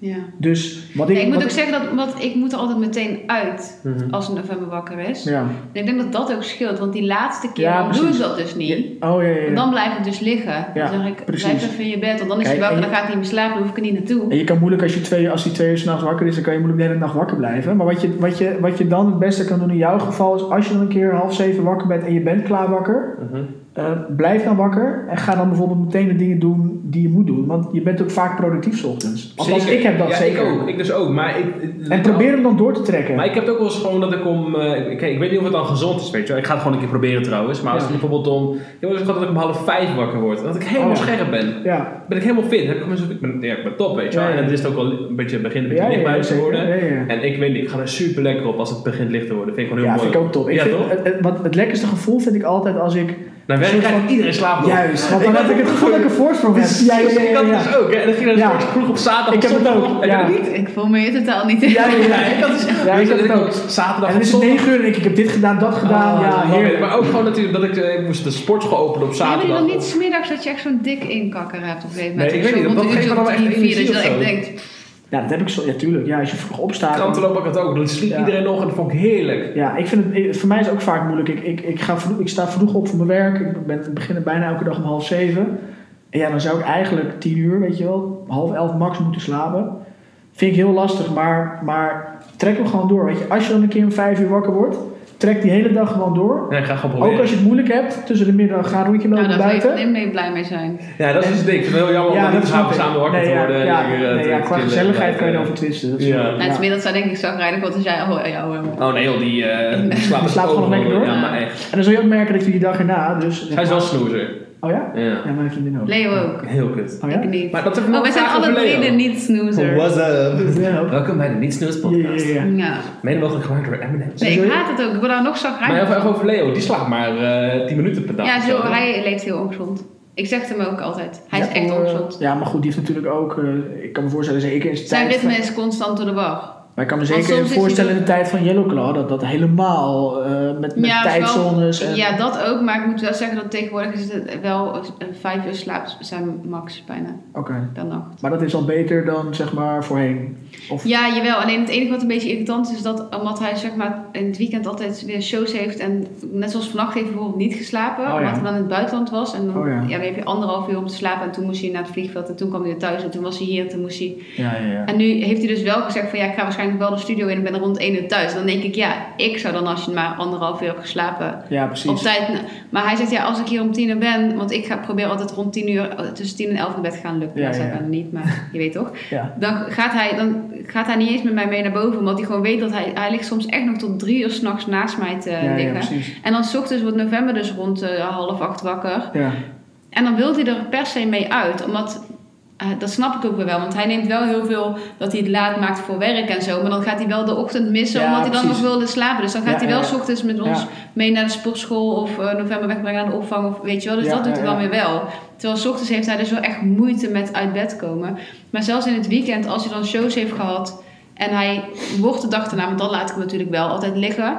[SPEAKER 1] Ja.
[SPEAKER 3] Dus wat ik.
[SPEAKER 1] Nee, ik moet
[SPEAKER 3] wat
[SPEAKER 1] ook zeggen dat want ik moet er altijd meteen uit
[SPEAKER 2] Mhm.
[SPEAKER 1] als een november wakker is.
[SPEAKER 3] Ja.
[SPEAKER 1] En ik denk dat dat ook scheelt, want die laatste keer
[SPEAKER 3] Ja,
[SPEAKER 1] dan doe ik
[SPEAKER 3] precies.
[SPEAKER 1] dat dus niet.
[SPEAKER 3] Oh ja, ja,
[SPEAKER 1] En
[SPEAKER 3] ja.
[SPEAKER 1] dan blijf ik dus liggen.
[SPEAKER 3] Ja,
[SPEAKER 1] dan zeg ik,
[SPEAKER 3] precies.
[SPEAKER 1] blijf even in je bed, want dan is
[SPEAKER 3] Kijk,
[SPEAKER 1] je wakker,
[SPEAKER 3] en
[SPEAKER 1] dan gaat hij niet meer slapen, dan hoef ik er niet naartoe.
[SPEAKER 3] En je kan moeilijk als, je twee, als die twee uur s'nachts wakker is, dan kan je moeilijk de hele nacht wakker blijven. Maar wat je, wat, je, wat je dan het beste kan doen in jouw geval is, als je dan een keer half zeven wakker bent en je bent klaar wakker,
[SPEAKER 2] Mhm.
[SPEAKER 3] eh, blijf dan wakker en ga dan bijvoorbeeld meteen de dingen doen die je moet doen. Want je bent ook vaak productief 's ochtends. Althans,
[SPEAKER 2] Zeker.
[SPEAKER 3] ik heb dat
[SPEAKER 2] ja,
[SPEAKER 3] zeker.
[SPEAKER 2] Ik ook, ik dus ook. Maar ik,
[SPEAKER 3] En probeer hem dan door te trekken.
[SPEAKER 2] Maar ik heb het ook wel eens gewoon dat ik om. eh, ik, ik weet niet of het dan gezond is, weet je wel. Ik ga het gewoon een keer proberen trouwens. Maar als
[SPEAKER 3] Ja.
[SPEAKER 2] het bijvoorbeeld om. Ik wil dus gewoon dat ik om half vijf wakker word. Dat ik helemaal
[SPEAKER 3] Oh.
[SPEAKER 2] scherp ben.
[SPEAKER 3] Ja.
[SPEAKER 2] Ben ik helemaal fit. Heb ik, gewoon zo- ik, ben, ja, ik ben top, weet je wel.
[SPEAKER 3] Ja, ja.
[SPEAKER 2] En het is ook wel een beetje begint een beetje
[SPEAKER 3] Ja, ja,
[SPEAKER 2] licht
[SPEAKER 3] ja,
[SPEAKER 2] buiten te
[SPEAKER 3] zeker.
[SPEAKER 2] worden.
[SPEAKER 3] Ja, ja.
[SPEAKER 2] En ik weet niet, ik ga er super lekker op als het begint licht te worden. Vind ik gewoon heel
[SPEAKER 3] Ja,
[SPEAKER 2] mooi.
[SPEAKER 3] vind ik ook top. Ik
[SPEAKER 2] ja,
[SPEAKER 3] vind,
[SPEAKER 2] toch?
[SPEAKER 3] het, het- wat, het lekkerste gevoel vind ik altijd als ik...
[SPEAKER 2] Naar werk
[SPEAKER 3] soort
[SPEAKER 2] krijgt
[SPEAKER 3] van-
[SPEAKER 2] iedereen slaap nog.
[SPEAKER 3] Juist, want dan heb ik het gevoel dat ik een voorsprong heb.
[SPEAKER 2] Precies,
[SPEAKER 3] Ja, ja, ja,
[SPEAKER 2] Ik
[SPEAKER 3] ja,
[SPEAKER 2] had
[SPEAKER 3] ja.
[SPEAKER 2] het dus ook. Hè. En dan ging dat
[SPEAKER 3] Ja.
[SPEAKER 2] ja. vroeg op zaterdag.
[SPEAKER 3] Ik heb het
[SPEAKER 2] of zondag.
[SPEAKER 3] ook,
[SPEAKER 2] Heb je
[SPEAKER 3] ja.
[SPEAKER 2] dat niet?
[SPEAKER 1] Ik voel me hier totaal niet in.
[SPEAKER 3] Ja, ja, ja.
[SPEAKER 2] Nee, dat is echt-
[SPEAKER 3] Ja, ik
[SPEAKER 2] Weet je,
[SPEAKER 3] heb het
[SPEAKER 2] dat
[SPEAKER 3] ook.
[SPEAKER 2] Zaterdag of
[SPEAKER 3] En dan is het
[SPEAKER 2] zondag.
[SPEAKER 3] negen uur en ik, ik heb dit gedaan, dat gedaan.
[SPEAKER 4] Oh,
[SPEAKER 2] Ah,
[SPEAKER 3] ja,
[SPEAKER 2] heerlijk.
[SPEAKER 3] heerlijk.
[SPEAKER 2] Maar ook gewoon natuurlijk dat ik, eh, ik moest de sportschool openen op
[SPEAKER 1] Hebben jullie
[SPEAKER 2] zaterdag.
[SPEAKER 1] dan niet smiddags dat je echt zo'n dik inkakker hebt op een gegeven moment?
[SPEAKER 2] Nee, ik weet
[SPEAKER 1] Zo
[SPEAKER 2] niet,
[SPEAKER 1] rond
[SPEAKER 2] dat
[SPEAKER 1] een
[SPEAKER 2] geeft
[SPEAKER 1] uurtje
[SPEAKER 2] me dan
[SPEAKER 1] of
[SPEAKER 2] wel echt
[SPEAKER 1] drie, vier, dat je dan echt
[SPEAKER 2] energie
[SPEAKER 1] denkt,
[SPEAKER 3] Ja, dat heb ik zo. Ja, tuurlijk. Ja, als je vroeg opstaat. dan-
[SPEAKER 2] Kanteloop had ik dat ook. Dan sliep
[SPEAKER 3] Ja.
[SPEAKER 2] iedereen nog en dat vond ik heerlijk.
[SPEAKER 3] Ja, ik vind het, ik- voor mij is het ook vaak moeilijk. Ik, ik, ik, ga vroeg, ik sta vroeg op voor mijn werk. Ik ben, ik begin er bijna elke dag om half zeven. En ja, dan zou ik eigenlijk tien uur, weet je wel, half elf max moeten slapen. Vind ik heel lastig, maar, maar trek hem gewoon door. Weet je, als je dan een keer om vijf uur wakker wordt, Trek die hele dag gewoon door.
[SPEAKER 4] Ja, ik ga gewoon
[SPEAKER 3] Ook
[SPEAKER 4] proberen.
[SPEAKER 3] als je het moeilijk hebt, tussen de middag ga een rondje
[SPEAKER 1] Nou,
[SPEAKER 3] lopen
[SPEAKER 1] daar zou je
[SPEAKER 3] buiten.
[SPEAKER 1] van Imlee blij mee zijn.
[SPEAKER 4] Ja, dat is dus het ding. Ik vind het heel jammer om niet
[SPEAKER 3] snap
[SPEAKER 4] samen,
[SPEAKER 3] ik.
[SPEAKER 4] samen wakker
[SPEAKER 3] Nee,
[SPEAKER 4] te
[SPEAKER 3] ja,
[SPEAKER 4] worden. en
[SPEAKER 3] Ja,
[SPEAKER 4] lekker, eh,
[SPEAKER 3] nee,
[SPEAKER 4] te
[SPEAKER 3] ja, qua
[SPEAKER 4] chillen.
[SPEAKER 3] gezelligheid kan je
[SPEAKER 4] Ja.
[SPEAKER 3] erover twisten. dat
[SPEAKER 4] Ja.
[SPEAKER 3] snap ik,
[SPEAKER 4] Nou,
[SPEAKER 1] Nou, tenminste, zou denk ik zagrijnig, want als jij... Oh, ja, oh, ja.
[SPEAKER 4] Oh nee, joh, die eh, die
[SPEAKER 3] Die
[SPEAKER 4] slaapt
[SPEAKER 3] slaapt gewoon
[SPEAKER 4] ook
[SPEAKER 3] lekker door.
[SPEAKER 4] Ja, maar echt.
[SPEAKER 3] En dan zul je ook merken dat je die dag erna, dus...
[SPEAKER 4] Hij is wel snoezer.
[SPEAKER 3] Oh ja?
[SPEAKER 4] Ja.
[SPEAKER 3] Ja, mijn vriendin ook.
[SPEAKER 1] Leo ook.
[SPEAKER 4] Heel kut.
[SPEAKER 3] Oh ja?
[SPEAKER 1] Ik niet.
[SPEAKER 4] Maar dat is even
[SPEAKER 1] Oh,
[SPEAKER 4] nog
[SPEAKER 1] wij
[SPEAKER 4] een
[SPEAKER 1] zijn
[SPEAKER 4] vraag
[SPEAKER 1] alle
[SPEAKER 4] over
[SPEAKER 1] drie
[SPEAKER 4] Leo.
[SPEAKER 1] de niet-snoozers.
[SPEAKER 2] up?
[SPEAKER 3] Ja, ook.
[SPEAKER 4] Welkom bij de Niet Snoes
[SPEAKER 3] Ja, ja,
[SPEAKER 4] podcast.
[SPEAKER 3] ja.
[SPEAKER 1] Ja.
[SPEAKER 4] Mede mogelijk gemaakt door Eminem.
[SPEAKER 1] Nee, ik
[SPEAKER 3] Sorry?
[SPEAKER 1] haat het ook. Ik word daar nog
[SPEAKER 4] Maar
[SPEAKER 1] zagrijnig
[SPEAKER 4] even, even
[SPEAKER 1] van.
[SPEAKER 4] over Leo, die slaapt maar eh 10 minuten per dag.
[SPEAKER 1] Ah, Ja,
[SPEAKER 4] of
[SPEAKER 1] zo,
[SPEAKER 4] hè?
[SPEAKER 1] hij leeft heel ongezond. Ik zeg het hem ook altijd. Hij is
[SPEAKER 3] Ja,
[SPEAKER 1] echt
[SPEAKER 3] eh,
[SPEAKER 1] ongezond.
[SPEAKER 3] Ja, maar goed, die heeft natuurlijk ook... eh, ik kan me voorstellen, zeker in de
[SPEAKER 1] Zijn
[SPEAKER 3] tijd... van-
[SPEAKER 1] ritme is constant door de war.
[SPEAKER 3] Maar ik kan me
[SPEAKER 1] Want
[SPEAKER 3] zeker
[SPEAKER 1] soms is
[SPEAKER 3] voorstellen in
[SPEAKER 1] die-
[SPEAKER 3] de tijd van Yellow Claw... dat dat helemaal eh, met, met
[SPEAKER 1] Ja, is wel-
[SPEAKER 3] tijdzones en...
[SPEAKER 1] Ja, dat ook. Maar ik moet wel zeggen dat tegenwoordig is het wel eh, vijf uur slaap zijn max bijna
[SPEAKER 3] Oké.
[SPEAKER 1] dan nog.
[SPEAKER 3] Maar dat is al beter dan, zeg maar, voorheen. Of...
[SPEAKER 1] Ja, jawel. Alleen het enige wat een beetje irritant is, is dat omdat hij zeg maar in het weekend altijd weer shows heeft en net zoals vannacht heeft hij bijvoorbeeld niet geslapen,
[SPEAKER 3] Oh ja.
[SPEAKER 1] omdat hij dan in het buitenland was. En dan,
[SPEAKER 3] Oh ja.
[SPEAKER 1] ja. dan heb je anderhalf uur om te slapen en toen moest hij naar het vliegveld en toen kwam hij weer thuis en toen was hij hier en toen moest hij...
[SPEAKER 3] ja, ja. ja.
[SPEAKER 1] En nu heeft hij dus wel gezegd van ja, ik ga waarschijnlijk wel de studio in en ben rond één uur thuis. Dan denk ik ja, ik zou dan als je maar anderhalf uur hebt geslapen
[SPEAKER 3] Ja, precies.
[SPEAKER 1] op tijd... na- Maar hij zegt ja, als ik hier om tien uur ben, want ik ga proberen altijd rond tien uur, eh, tussen tien en elf naar bed te gaan lukken.
[SPEAKER 3] Ja,
[SPEAKER 1] dat
[SPEAKER 3] ja,
[SPEAKER 1] zou ik
[SPEAKER 3] ja.
[SPEAKER 1] dan niet, maar je weet toch
[SPEAKER 3] Ja.
[SPEAKER 1] dan gaat, hij, dan gaat hij niet eens met mij mee naar boven. Omdat hij gewoon weet dat hij... Hij ligt soms echt nog tot drie uur s'nachts naast mij te
[SPEAKER 3] ja, ja,
[SPEAKER 1] liggen.
[SPEAKER 3] precies.
[SPEAKER 1] en dan 's ochtends wordt november dus rond eh, half acht wakker.
[SPEAKER 3] Ja.
[SPEAKER 1] En dan wil hij er per se mee uit. Omdat... eh, dat snap ik ook weer wel. Want hij neemt wel heel veel dat hij het laat maakt voor werk en zo. Maar dan gaat hij wel de ochtend missen.
[SPEAKER 3] Ja,
[SPEAKER 1] omdat hij dan
[SPEAKER 3] precies.
[SPEAKER 1] nog wilde slapen. Dus dan gaat
[SPEAKER 3] Ja,
[SPEAKER 1] hij
[SPEAKER 3] ja,
[SPEAKER 1] wel
[SPEAKER 3] ja.
[SPEAKER 1] s ochtends met ons
[SPEAKER 3] Ja.
[SPEAKER 1] mee naar de sportschool. Of eh, november wegbrengen naar de opvang. Of weet je wel. Dus
[SPEAKER 3] Ja,
[SPEAKER 1] dat doet hij
[SPEAKER 3] ja,
[SPEAKER 1] dan
[SPEAKER 3] ja.
[SPEAKER 1] weer wel. Terwijl s ochtends heeft hij dus wel echt moeite met uit bed komen. Maar zelfs in het weekend, als hij dan shows heeft gehad en hij wordt de dag erna, want dan laat ik hem natuurlijk wel altijd liggen.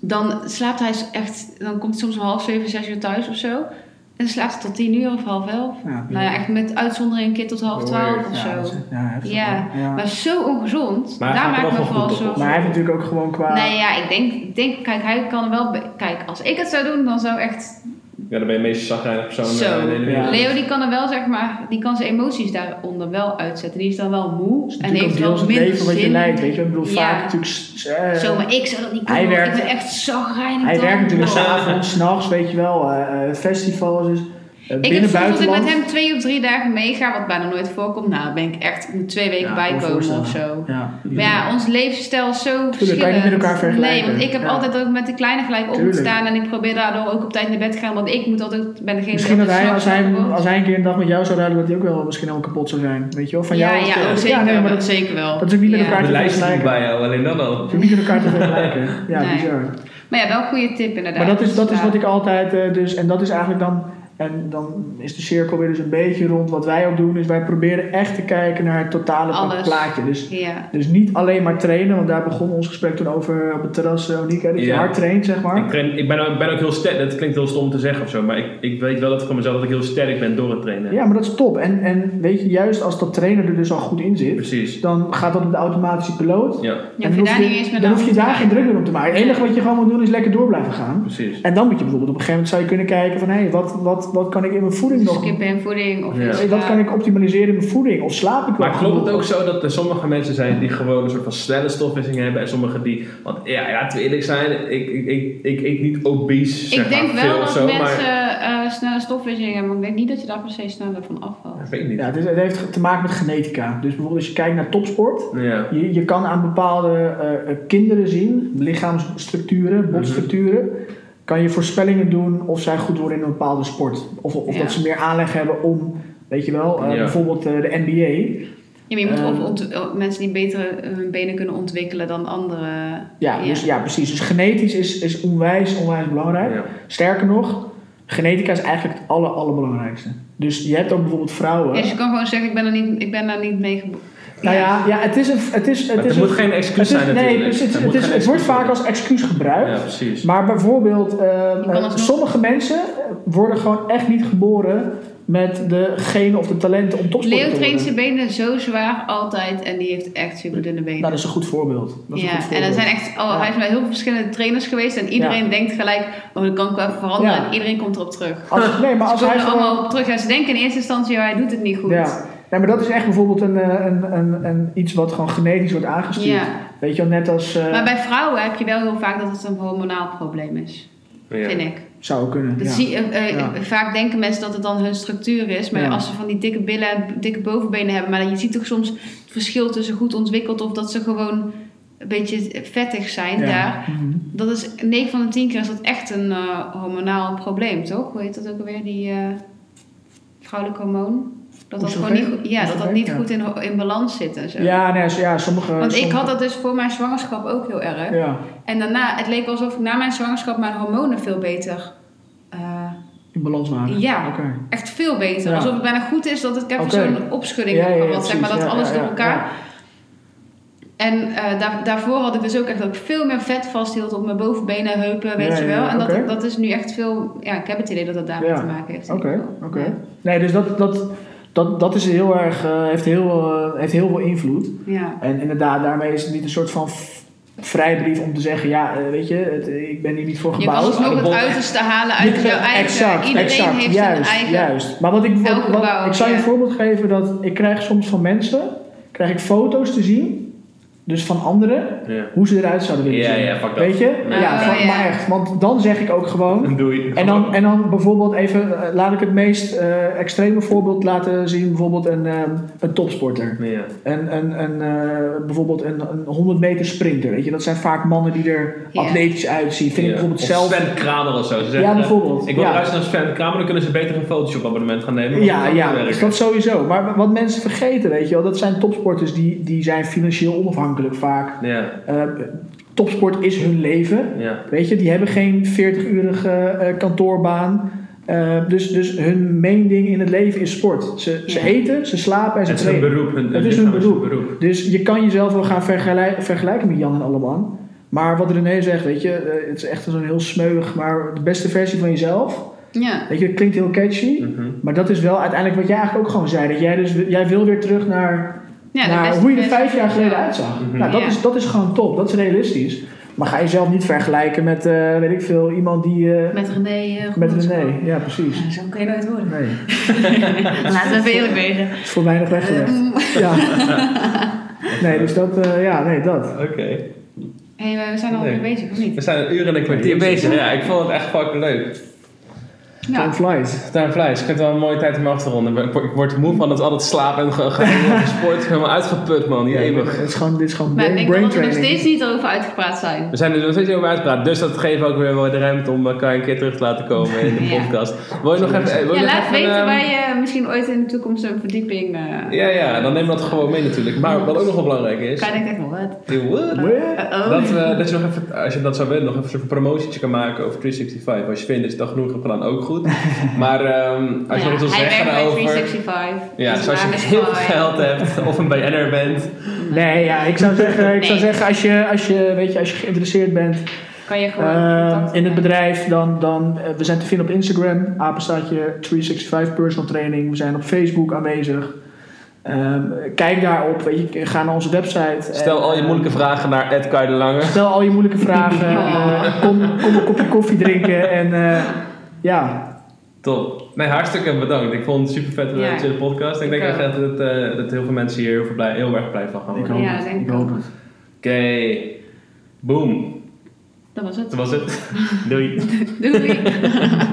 [SPEAKER 1] Dan slaapt hij echt, dan komt hij soms om half zeven, zes uur thuis of zo. En dan slaapt hij tot tien uur of half elf.
[SPEAKER 3] Ja,
[SPEAKER 1] Nou ja, echt met uitzondering een keer tot half twaalf of
[SPEAKER 3] Ja, dat
[SPEAKER 1] zo.
[SPEAKER 3] is- ja, heftig,
[SPEAKER 1] Ja,
[SPEAKER 3] hoor. Ja.
[SPEAKER 1] Maar zo ongezond,
[SPEAKER 4] Maar hij
[SPEAKER 1] daar
[SPEAKER 4] gaat er
[SPEAKER 1] maak ik
[SPEAKER 4] wel goed
[SPEAKER 1] me vooral
[SPEAKER 4] op,
[SPEAKER 1] zorgen.
[SPEAKER 3] Maar hij heeft natuurlijk ook gewoon qua...
[SPEAKER 1] Nee, ja, ik denk, ik denk, kijk, hij kan wel. be- Kijk, als ik het zou doen, dan zou echt
[SPEAKER 4] Ja, dan ben je de meest zagrijnige persoon
[SPEAKER 1] Zo.
[SPEAKER 4] eh, in de hele wereld.
[SPEAKER 1] Leo die kan er wel, zeg maar, die kan zijn emoties daaronder wel uitzetten. Die is dan wel moe en
[SPEAKER 3] natuurlijk
[SPEAKER 1] heeft
[SPEAKER 3] ook deels
[SPEAKER 1] wel
[SPEAKER 3] het
[SPEAKER 1] minder
[SPEAKER 3] leven wat je
[SPEAKER 1] zin.
[SPEAKER 3] leidt, weet je. Ik bedoel,
[SPEAKER 1] Ja.
[SPEAKER 3] vaak natuurlijk... s- eh,
[SPEAKER 1] Zo, maar ik zou dat niet
[SPEAKER 3] Hij
[SPEAKER 1] kunnen. want Ik
[SPEAKER 3] werkt-
[SPEAKER 1] ben echt zagrijnig
[SPEAKER 3] hij
[SPEAKER 1] dan.
[SPEAKER 3] werkt natuurlijk
[SPEAKER 1] Oh.
[SPEAKER 3] s'avonds, s'nachts, weet je wel. eh, eh, festivals, dus, eh,
[SPEAKER 1] Ik heb
[SPEAKER 3] binnen,
[SPEAKER 1] soms dat ik
[SPEAKER 3] buitenland.
[SPEAKER 1] met hem twee of drie dagen meega, wat bijna nooit voorkomt. Nou, dan ben ik echt in twee weken
[SPEAKER 3] Ja, kan me
[SPEAKER 1] bijkomen
[SPEAKER 3] voorstellen.
[SPEAKER 1] of zo.
[SPEAKER 3] Ja,
[SPEAKER 1] Maar ja, ons levensstijl is zo
[SPEAKER 3] kan je
[SPEAKER 1] verschillend.
[SPEAKER 3] niet met elkaar vergelijken.
[SPEAKER 1] Nee, want ik heb
[SPEAKER 3] Ja.
[SPEAKER 1] altijd ook met de kleine gelijk op moeten
[SPEAKER 3] Tuurlijk.
[SPEAKER 1] staan. En ik probeer daardoor ook op tijd naar bed te gaan. Want ik moet altijd, ben degene
[SPEAKER 3] Misschien
[SPEAKER 1] die
[SPEAKER 3] dat
[SPEAKER 1] altijd
[SPEAKER 3] hij als,
[SPEAKER 1] s'nachts
[SPEAKER 3] hij,
[SPEAKER 1] wakker wordt.
[SPEAKER 3] als hij een keer een dag met jou zou ruilen, dat hij ook wel misschien helemaal kapot zou zijn. Weet je wel, van
[SPEAKER 1] ja,
[SPEAKER 3] jou.
[SPEAKER 1] ja,
[SPEAKER 3] of-
[SPEAKER 1] oh, zeker,
[SPEAKER 3] ja, nee, maar
[SPEAKER 1] wel,
[SPEAKER 3] dat
[SPEAKER 1] zeker wel.
[SPEAKER 3] dat is ook niet met
[SPEAKER 1] Ja.
[SPEAKER 3] elkaar
[SPEAKER 4] De lijst is niet
[SPEAKER 3] vergelijken.
[SPEAKER 4] bij jou, alleen dan al.
[SPEAKER 3] is niet met elkaar te vergelijken. Ja,
[SPEAKER 1] Nee.
[SPEAKER 3] bizar.
[SPEAKER 1] Maar ja, wel een goede tip inderdaad.
[SPEAKER 3] Maar dat is, dat is
[SPEAKER 1] Ja.
[SPEAKER 3] wat ik altijd, eh, dus, en dat is eigenlijk dan, en dan is de cirkel weer dus een beetje rond. Wat wij ook doen, is wij proberen echt te kijken naar het totale pla-
[SPEAKER 1] Alles.
[SPEAKER 3] plaatje. Dus,
[SPEAKER 1] eh, Ja.
[SPEAKER 3] dus niet alleen maar trainen, want daar begon ons gesprek toen over op het terras, eh, Nieke, dat je
[SPEAKER 4] Ja.
[SPEAKER 3] hard traint, zeg maar.
[SPEAKER 4] Ik, train- ik ben, ook- ik ben ook heel sterk, dat klinkt heel stom te zeggen of zo, maar ik, ik weet wel dat van mezelf dat ik heel sterk ben door het trainen.
[SPEAKER 3] Ja, maar dat is top. En, en weet je, juist als dat trainen er dus al goed in zit,
[SPEAKER 4] Precies.
[SPEAKER 3] dan gaat dat op de automatische piloot.
[SPEAKER 4] Ja,
[SPEAKER 1] Ja,
[SPEAKER 3] En
[SPEAKER 1] hoef je
[SPEAKER 3] dan
[SPEAKER 1] daar
[SPEAKER 3] hoef
[SPEAKER 1] niet eens meer
[SPEAKER 3] dan
[SPEAKER 1] aan
[SPEAKER 3] hoef je
[SPEAKER 1] te
[SPEAKER 3] daar
[SPEAKER 1] kijken.
[SPEAKER 3] geen druk meer om te maken. Het enige wat je gewoon moet doen is lekker door blijven gaan.
[SPEAKER 4] precies.
[SPEAKER 3] En dan moet je bijvoorbeeld op een gegeven moment zou je kunnen kijken van hé, hey, wat, wat, wat kan ik in mijn voeding nog.
[SPEAKER 1] Skippen en Dus voeding. Of
[SPEAKER 4] Ja.
[SPEAKER 1] iets, eh,
[SPEAKER 3] Hey, wat kan ik optimaliseren in mijn voeding? Of slaap ik wel?
[SPEAKER 4] Maar klopt het
[SPEAKER 3] genoeg?
[SPEAKER 4] ook zo dat er sommige mensen zijn die gewoon een soort van snelle stofwisseling hebben en sommige die, want ja, laten we eerlijk zijn, ik, ik, ik, ik eet niet obese, zeg
[SPEAKER 1] Ik denk
[SPEAKER 4] maar, veel
[SPEAKER 1] wel
[SPEAKER 4] of
[SPEAKER 1] dat
[SPEAKER 4] zo,
[SPEAKER 1] mensen
[SPEAKER 4] maar
[SPEAKER 1] eh, snelle stofwisseling hebben. Maar ik denk niet dat je daar per se sneller van afvalt.
[SPEAKER 4] ik weet niet.
[SPEAKER 3] Ja, het, is- het heeft te maken met genetica. Dus bijvoorbeeld als je kijkt naar topsport.
[SPEAKER 4] Ja.
[SPEAKER 3] Je, je kan aan bepaalde eh, eh, kinderen zien,
[SPEAKER 4] Mhm.
[SPEAKER 3] lichaamsstructuren, botstructuren. Kan je voorspellingen doen of zij goed worden in een bepaalde sport. Of, of
[SPEAKER 1] Ja.
[SPEAKER 3] dat ze meer aanleg hebben om, weet je wel, eh,
[SPEAKER 4] Ja.
[SPEAKER 3] bijvoorbeeld eh, de NBA.
[SPEAKER 1] Ja, maar je moet
[SPEAKER 3] Ehm.
[SPEAKER 1] ook ont- eh, mensen die beter hun benen kunnen ontwikkelen dan anderen.
[SPEAKER 3] Ja, Dus, ja precies. Dus genetisch is, is onwijs, onwijs belangrijk.
[SPEAKER 4] Ja.
[SPEAKER 3] Sterker nog, genetica is eigenlijk het aller, allerbelangrijkste. Dus je hebt ook bijvoorbeeld vrouwen.
[SPEAKER 1] Ja, dus je kan gewoon zeggen, ik ben, er niet, ik ben daar niet mee geboren.
[SPEAKER 3] Nou ja, ja het is een. Het, is, het,
[SPEAKER 4] Maar
[SPEAKER 3] is
[SPEAKER 4] er moet
[SPEAKER 3] een-
[SPEAKER 4] geen excuus
[SPEAKER 3] het is-
[SPEAKER 4] zijn
[SPEAKER 3] Nee,
[SPEAKER 4] natuurlijk. Er
[SPEAKER 3] precies, het,
[SPEAKER 4] moet
[SPEAKER 3] is,
[SPEAKER 4] geen
[SPEAKER 3] het wordt
[SPEAKER 4] excuus
[SPEAKER 3] vaak als excuus gebruikt.
[SPEAKER 4] Ja, precies.
[SPEAKER 3] Maar bijvoorbeeld, eh, eh,
[SPEAKER 1] kan alsnog-
[SPEAKER 3] sommige mensen worden gewoon echt niet geboren met de genen of de talenten om topsporter te
[SPEAKER 1] Leo
[SPEAKER 3] worden.
[SPEAKER 1] traint zijn benen zo zwaar altijd. En die heeft echt super dunne benen.
[SPEAKER 3] Nou, dat is een goed voorbeeld. Dat is een goed
[SPEAKER 1] ja, en
[SPEAKER 3] voorbeeld.
[SPEAKER 1] er zijn echt, oh, hij heeft bij heel veel verschillende trainers geweest. En iedereen
[SPEAKER 3] Ja.
[SPEAKER 1] denkt gelijk, oh, dat kan ik wel even veranderen.
[SPEAKER 3] Ja.
[SPEAKER 1] En iedereen komt erop terug.
[SPEAKER 3] Als, nee, maar
[SPEAKER 1] Maar
[SPEAKER 3] als
[SPEAKER 1] ze
[SPEAKER 3] hij
[SPEAKER 1] komen er
[SPEAKER 3] gewoon...
[SPEAKER 1] allemaal op terug. Ja, ze denken in eerste instantie, ja, hij oh, doet het niet goed.
[SPEAKER 3] Ja. Nee, maar dat is echt bijvoorbeeld een, eh, een, een, een iets wat gewoon genetisch wordt aangestuurd.
[SPEAKER 1] Ja.
[SPEAKER 3] Weet je wel, net als... eh,
[SPEAKER 1] Maar bij vrouwen heb je wel heel vaak dat het een hormonaal probleem is, vind ik.
[SPEAKER 3] Zou kunnen,
[SPEAKER 1] Dat
[SPEAKER 3] ja.
[SPEAKER 1] zie, eh, eh,
[SPEAKER 3] Ja.
[SPEAKER 1] Vaak denken mensen dat het dan hun structuur is. Maar
[SPEAKER 3] Ja.
[SPEAKER 1] als ze van die dikke billen en dikke bovenbenen hebben. Maar je ziet toch soms het verschil tussen goed ontwikkeld of dat ze gewoon een beetje vettig zijn
[SPEAKER 3] Ja.
[SPEAKER 1] daar.
[SPEAKER 3] Mhm.
[SPEAKER 1] Dat is 9 van de 10 keer is dat echt een eh, hormonaal probleem, toch? Hoe heet dat ook alweer? Die eh, vrouwelijk hormoon? Dat dat gewoon niet,
[SPEAKER 3] Oestrogeen?
[SPEAKER 1] goed- ja, dat dat
[SPEAKER 3] Oestrogeen,
[SPEAKER 1] niet
[SPEAKER 3] ja.
[SPEAKER 1] goed in, ho- in balans zit en zo.
[SPEAKER 3] Ja, nee, zo- ja, sommige...
[SPEAKER 1] Want ik
[SPEAKER 3] sommige-
[SPEAKER 1] had dat dus voor mijn zwangerschap ook heel erg.
[SPEAKER 3] Ja,
[SPEAKER 1] En daarna, het leek alsof ik na mijn zwangerschap mijn hormonen veel beter. eh,
[SPEAKER 3] in balans maken.
[SPEAKER 1] Ja.
[SPEAKER 3] Oké.
[SPEAKER 1] echt veel beter.
[SPEAKER 3] Ja.
[SPEAKER 1] Alsof het bijna goed is dat het ik even
[SPEAKER 3] Oké.
[SPEAKER 1] zo'n opschudding
[SPEAKER 3] Ja,
[SPEAKER 1] heb
[SPEAKER 3] ja, ja,
[SPEAKER 1] gehad, zeg maar, dat
[SPEAKER 3] precies. Ja,
[SPEAKER 1] alles
[SPEAKER 3] ja,
[SPEAKER 1] door
[SPEAKER 3] ja,
[SPEAKER 1] elkaar. En eh, daar, daarvoor had ik dus ook echt dat ik veel meer vet vasthield op mijn bovenbenen, heupen, weet
[SPEAKER 3] Ja,
[SPEAKER 1] je
[SPEAKER 3] ja,
[SPEAKER 1] wel.
[SPEAKER 3] ja,
[SPEAKER 1] en dat,
[SPEAKER 3] oké.
[SPEAKER 1] dat is nu echt veel, ja, ik heb het idee dat dat daarmee
[SPEAKER 3] Ja.
[SPEAKER 1] te maken heeft. in
[SPEAKER 3] Oké,
[SPEAKER 1] ieder geval.
[SPEAKER 3] oké. Nee, dus dat, dat, dat, dat is heel erg, eh, heeft, heel, eh, heeft heel veel invloed.
[SPEAKER 1] Ja.
[SPEAKER 3] En inderdaad, daarmee is het niet een soort van v- vrijbrief om te zeggen, ja, eh, weet je, het, ik ben hier niet voor
[SPEAKER 1] Je kan
[SPEAKER 3] gebouwd.
[SPEAKER 1] alsnog
[SPEAKER 3] Maar
[SPEAKER 1] het
[SPEAKER 3] dat-
[SPEAKER 1] uiterste halen uit
[SPEAKER 3] Je-
[SPEAKER 1] jouw eigen.
[SPEAKER 3] Exact,
[SPEAKER 1] Iedereen
[SPEAKER 3] exact,
[SPEAKER 1] heeft
[SPEAKER 3] juist,
[SPEAKER 1] zijn eigen.
[SPEAKER 3] Juist. Maar wat ik, wat,
[SPEAKER 1] Elke
[SPEAKER 3] wat-
[SPEAKER 1] bouw,
[SPEAKER 3] ik zou je
[SPEAKER 1] ja.
[SPEAKER 3] een voorbeeld geven dat ik krijg soms van mensen, krijg ik foto's te zien, dus van anderen,
[SPEAKER 2] Ja.
[SPEAKER 3] hoe ze eruit zouden willen
[SPEAKER 6] Ja,
[SPEAKER 3] zien.
[SPEAKER 6] ja, fuck dat.
[SPEAKER 3] Weet je?
[SPEAKER 1] Ja.
[SPEAKER 3] Ja,
[SPEAKER 1] Oh, ja.
[SPEAKER 3] van- maar echt. Want dan zeg ik ook gewoon,
[SPEAKER 2] Doei.
[SPEAKER 3] Hm? en dan, en dan bijvoorbeeld even, eh, laat ik het meest eh, extreme voorbeeld laten zien. Bijvoorbeeld een, ehm, een topsporter.
[SPEAKER 2] Ja.
[SPEAKER 3] Een, een, een, eh, bijvoorbeeld een, een 100 meter sprinter. Weet je? Dat zijn vaak mannen die er
[SPEAKER 1] Ja.
[SPEAKER 3] atletisch uitzien. Vind
[SPEAKER 2] Ja.
[SPEAKER 3] ik bijvoorbeeld
[SPEAKER 2] Of
[SPEAKER 3] zelf.
[SPEAKER 2] Sven Kramer of zo. Ze zeggen,
[SPEAKER 3] Ja, bijvoorbeeld.
[SPEAKER 2] Ik wil
[SPEAKER 3] ja.
[SPEAKER 2] luisteren naar Sven Kramer, dan kunnen ze beter een Photoshop abonnement gaan nemen. want
[SPEAKER 3] Ja,
[SPEAKER 2] dat
[SPEAKER 3] ja,
[SPEAKER 2] werkt.
[SPEAKER 3] dus dat sowieso. Maar wat mensen vergeten, weet je wel, dat zijn topsporters die, die zijn financieel onafhankelijk vaak.
[SPEAKER 2] Ja,
[SPEAKER 3] Eh, topsport is hun leven.
[SPEAKER 2] ja.
[SPEAKER 3] Weet je, die hebben geen 40-urige eh, kantoorbaan. Eh, dus, dus hun main ding in het leven is sport. Ze, ze
[SPEAKER 1] Ja.
[SPEAKER 3] eten, ze slapen en ze
[SPEAKER 2] Het is hun
[SPEAKER 3] trainen.
[SPEAKER 2] beroep. Hun,
[SPEAKER 3] Het is hun
[SPEAKER 2] lichaam
[SPEAKER 3] beroep. Dus je kan jezelf wel gaan vergelij- vergelijken met Jan en Alleman. Maar wat René zegt, weet je, eh, het is echt zo'n heel smeuig, maar de beste versie van jezelf.
[SPEAKER 1] Ja.
[SPEAKER 3] Weet je, het klinkt heel catchy.
[SPEAKER 2] Mhm.
[SPEAKER 3] Maar dat is wel uiteindelijk wat jij eigenlijk ook gewoon zei. Dat jij, dus, jij wil weer terug naar
[SPEAKER 1] Ja, de
[SPEAKER 3] nou,
[SPEAKER 1] beste
[SPEAKER 3] hoe je er
[SPEAKER 1] versie
[SPEAKER 3] vijf jaar
[SPEAKER 1] van
[SPEAKER 3] geleden
[SPEAKER 1] jezelf.
[SPEAKER 3] uitzag.
[SPEAKER 2] Mhm.
[SPEAKER 3] Nou, dat,
[SPEAKER 1] Ja.
[SPEAKER 3] is, dat is gewoon top. Dat is realistisch. Maar ga jezelf niet vergelijken met, eh, weet ik veel, iemand die... eh,
[SPEAKER 1] Met René. eh,
[SPEAKER 3] met
[SPEAKER 1] Groenteman.
[SPEAKER 3] René. Ja, precies.
[SPEAKER 1] Ja, Zo kun je nooit worden.
[SPEAKER 3] Nee,
[SPEAKER 1] Laten we even eerlijk wezen.
[SPEAKER 3] het is voor weinig weggelegd.
[SPEAKER 1] Ehm,
[SPEAKER 3] Ja. Nee, dus dat... eh, ja, nee, dat.
[SPEAKER 2] Oké.
[SPEAKER 1] Hé, hey, we zijn al
[SPEAKER 2] Nee.
[SPEAKER 1] weer bezig, of niet?
[SPEAKER 2] We zijn een uur en een kwartier bezig. Ja, ik vond het echt fucking leuk.
[SPEAKER 3] Time
[SPEAKER 1] Ja.
[SPEAKER 3] flies.
[SPEAKER 2] Time flies. Ik vind het wel een mooie tijd om af te ronden. Ik word- Ik word moe van het altijd slapen en ge- ge- en sport. Ik ben helemaal uitgeput, man.
[SPEAKER 3] Ja,
[SPEAKER 2] Jemig.
[SPEAKER 3] het is gewoon, dit is gewoon
[SPEAKER 1] Maar ik
[SPEAKER 3] brain,
[SPEAKER 1] denk wel
[SPEAKER 3] brain
[SPEAKER 1] dat we nog steeds
[SPEAKER 3] training.
[SPEAKER 1] niet over uitgepraat zijn.
[SPEAKER 2] We zijn er nog steeds niet over uitgepraat, dus dat geeft ook weer wel de ruimte om elkaar een keer terug te laten komen in de
[SPEAKER 1] Ja.
[SPEAKER 2] podcast. Wil je nog even... eh, Wil
[SPEAKER 1] Ja,
[SPEAKER 2] je nog
[SPEAKER 1] laat
[SPEAKER 2] even,
[SPEAKER 1] weten
[SPEAKER 2] ehm,
[SPEAKER 1] waar je misschien ooit in de toekomst een verdieping... eh
[SPEAKER 2] Ja, ja, dan neem dat gewoon mee natuurlijk. Maar wat ook nog wel belangrijk is...
[SPEAKER 1] Kan ik echt nog wat?
[SPEAKER 2] Je would.
[SPEAKER 3] What?
[SPEAKER 1] Uh-oh.
[SPEAKER 2] Dat, we, dat je nog even, als je dat zou willen, nog even een soort promotietje kan maken over 365. Als je vindt dat je dat genoeg hebt gedaan, ook goed. Maar ehm, als je nog
[SPEAKER 1] Nou
[SPEAKER 2] iets wil
[SPEAKER 1] ja, hij werkt
[SPEAKER 2] zeggen
[SPEAKER 1] bij
[SPEAKER 2] daarover.
[SPEAKER 1] 365.
[SPEAKER 2] Ja,
[SPEAKER 1] dus
[SPEAKER 2] dus als je
[SPEAKER 1] naam is
[SPEAKER 2] heel
[SPEAKER 1] Paul,
[SPEAKER 2] veel geld hebt of een BN'er bent.
[SPEAKER 3] Nee, ja, ik zou zeggen, ik zou
[SPEAKER 1] Nee. Oh,
[SPEAKER 3] zeggen als, je, als, je, weet je, als je geïnteresseerd bent
[SPEAKER 1] Kan je gewoon...
[SPEAKER 3] eh,
[SPEAKER 1] contact
[SPEAKER 3] in het
[SPEAKER 1] maken.
[SPEAKER 3] bedrijf, dan, dan eh, we zijn te vinden op Instagram, apenstaatje 365 personal training. We zijn op Facebook aanwezig. Ehm, kijk daarop, weet je, ga naar onze website.
[SPEAKER 2] Stel
[SPEAKER 3] En,
[SPEAKER 2] al je
[SPEAKER 3] eh,
[SPEAKER 2] moeilijke vragen naar Ed Kai de Lange.
[SPEAKER 3] Stel al je moeilijke vragen.
[SPEAKER 1] Oh.
[SPEAKER 3] eh, kom, kom een kopje koffie drinken. En eh, ja,
[SPEAKER 2] Top. Nee, hartstikke bedankt. Ik vond het super vet
[SPEAKER 1] Ja.
[SPEAKER 2] een chille podcast. Ik
[SPEAKER 1] Ik
[SPEAKER 2] denk echt
[SPEAKER 1] ook.
[SPEAKER 2] dat, het, eh, dat heel veel mensen hier heel, veel blij, heel erg blij van gaan worden.
[SPEAKER 1] hoop Ja, het, denk ik ik hoop ook.
[SPEAKER 3] het.
[SPEAKER 2] Oké. Boom.
[SPEAKER 1] Dat was het.
[SPEAKER 2] Dat was het. Doei.
[SPEAKER 1] Doei.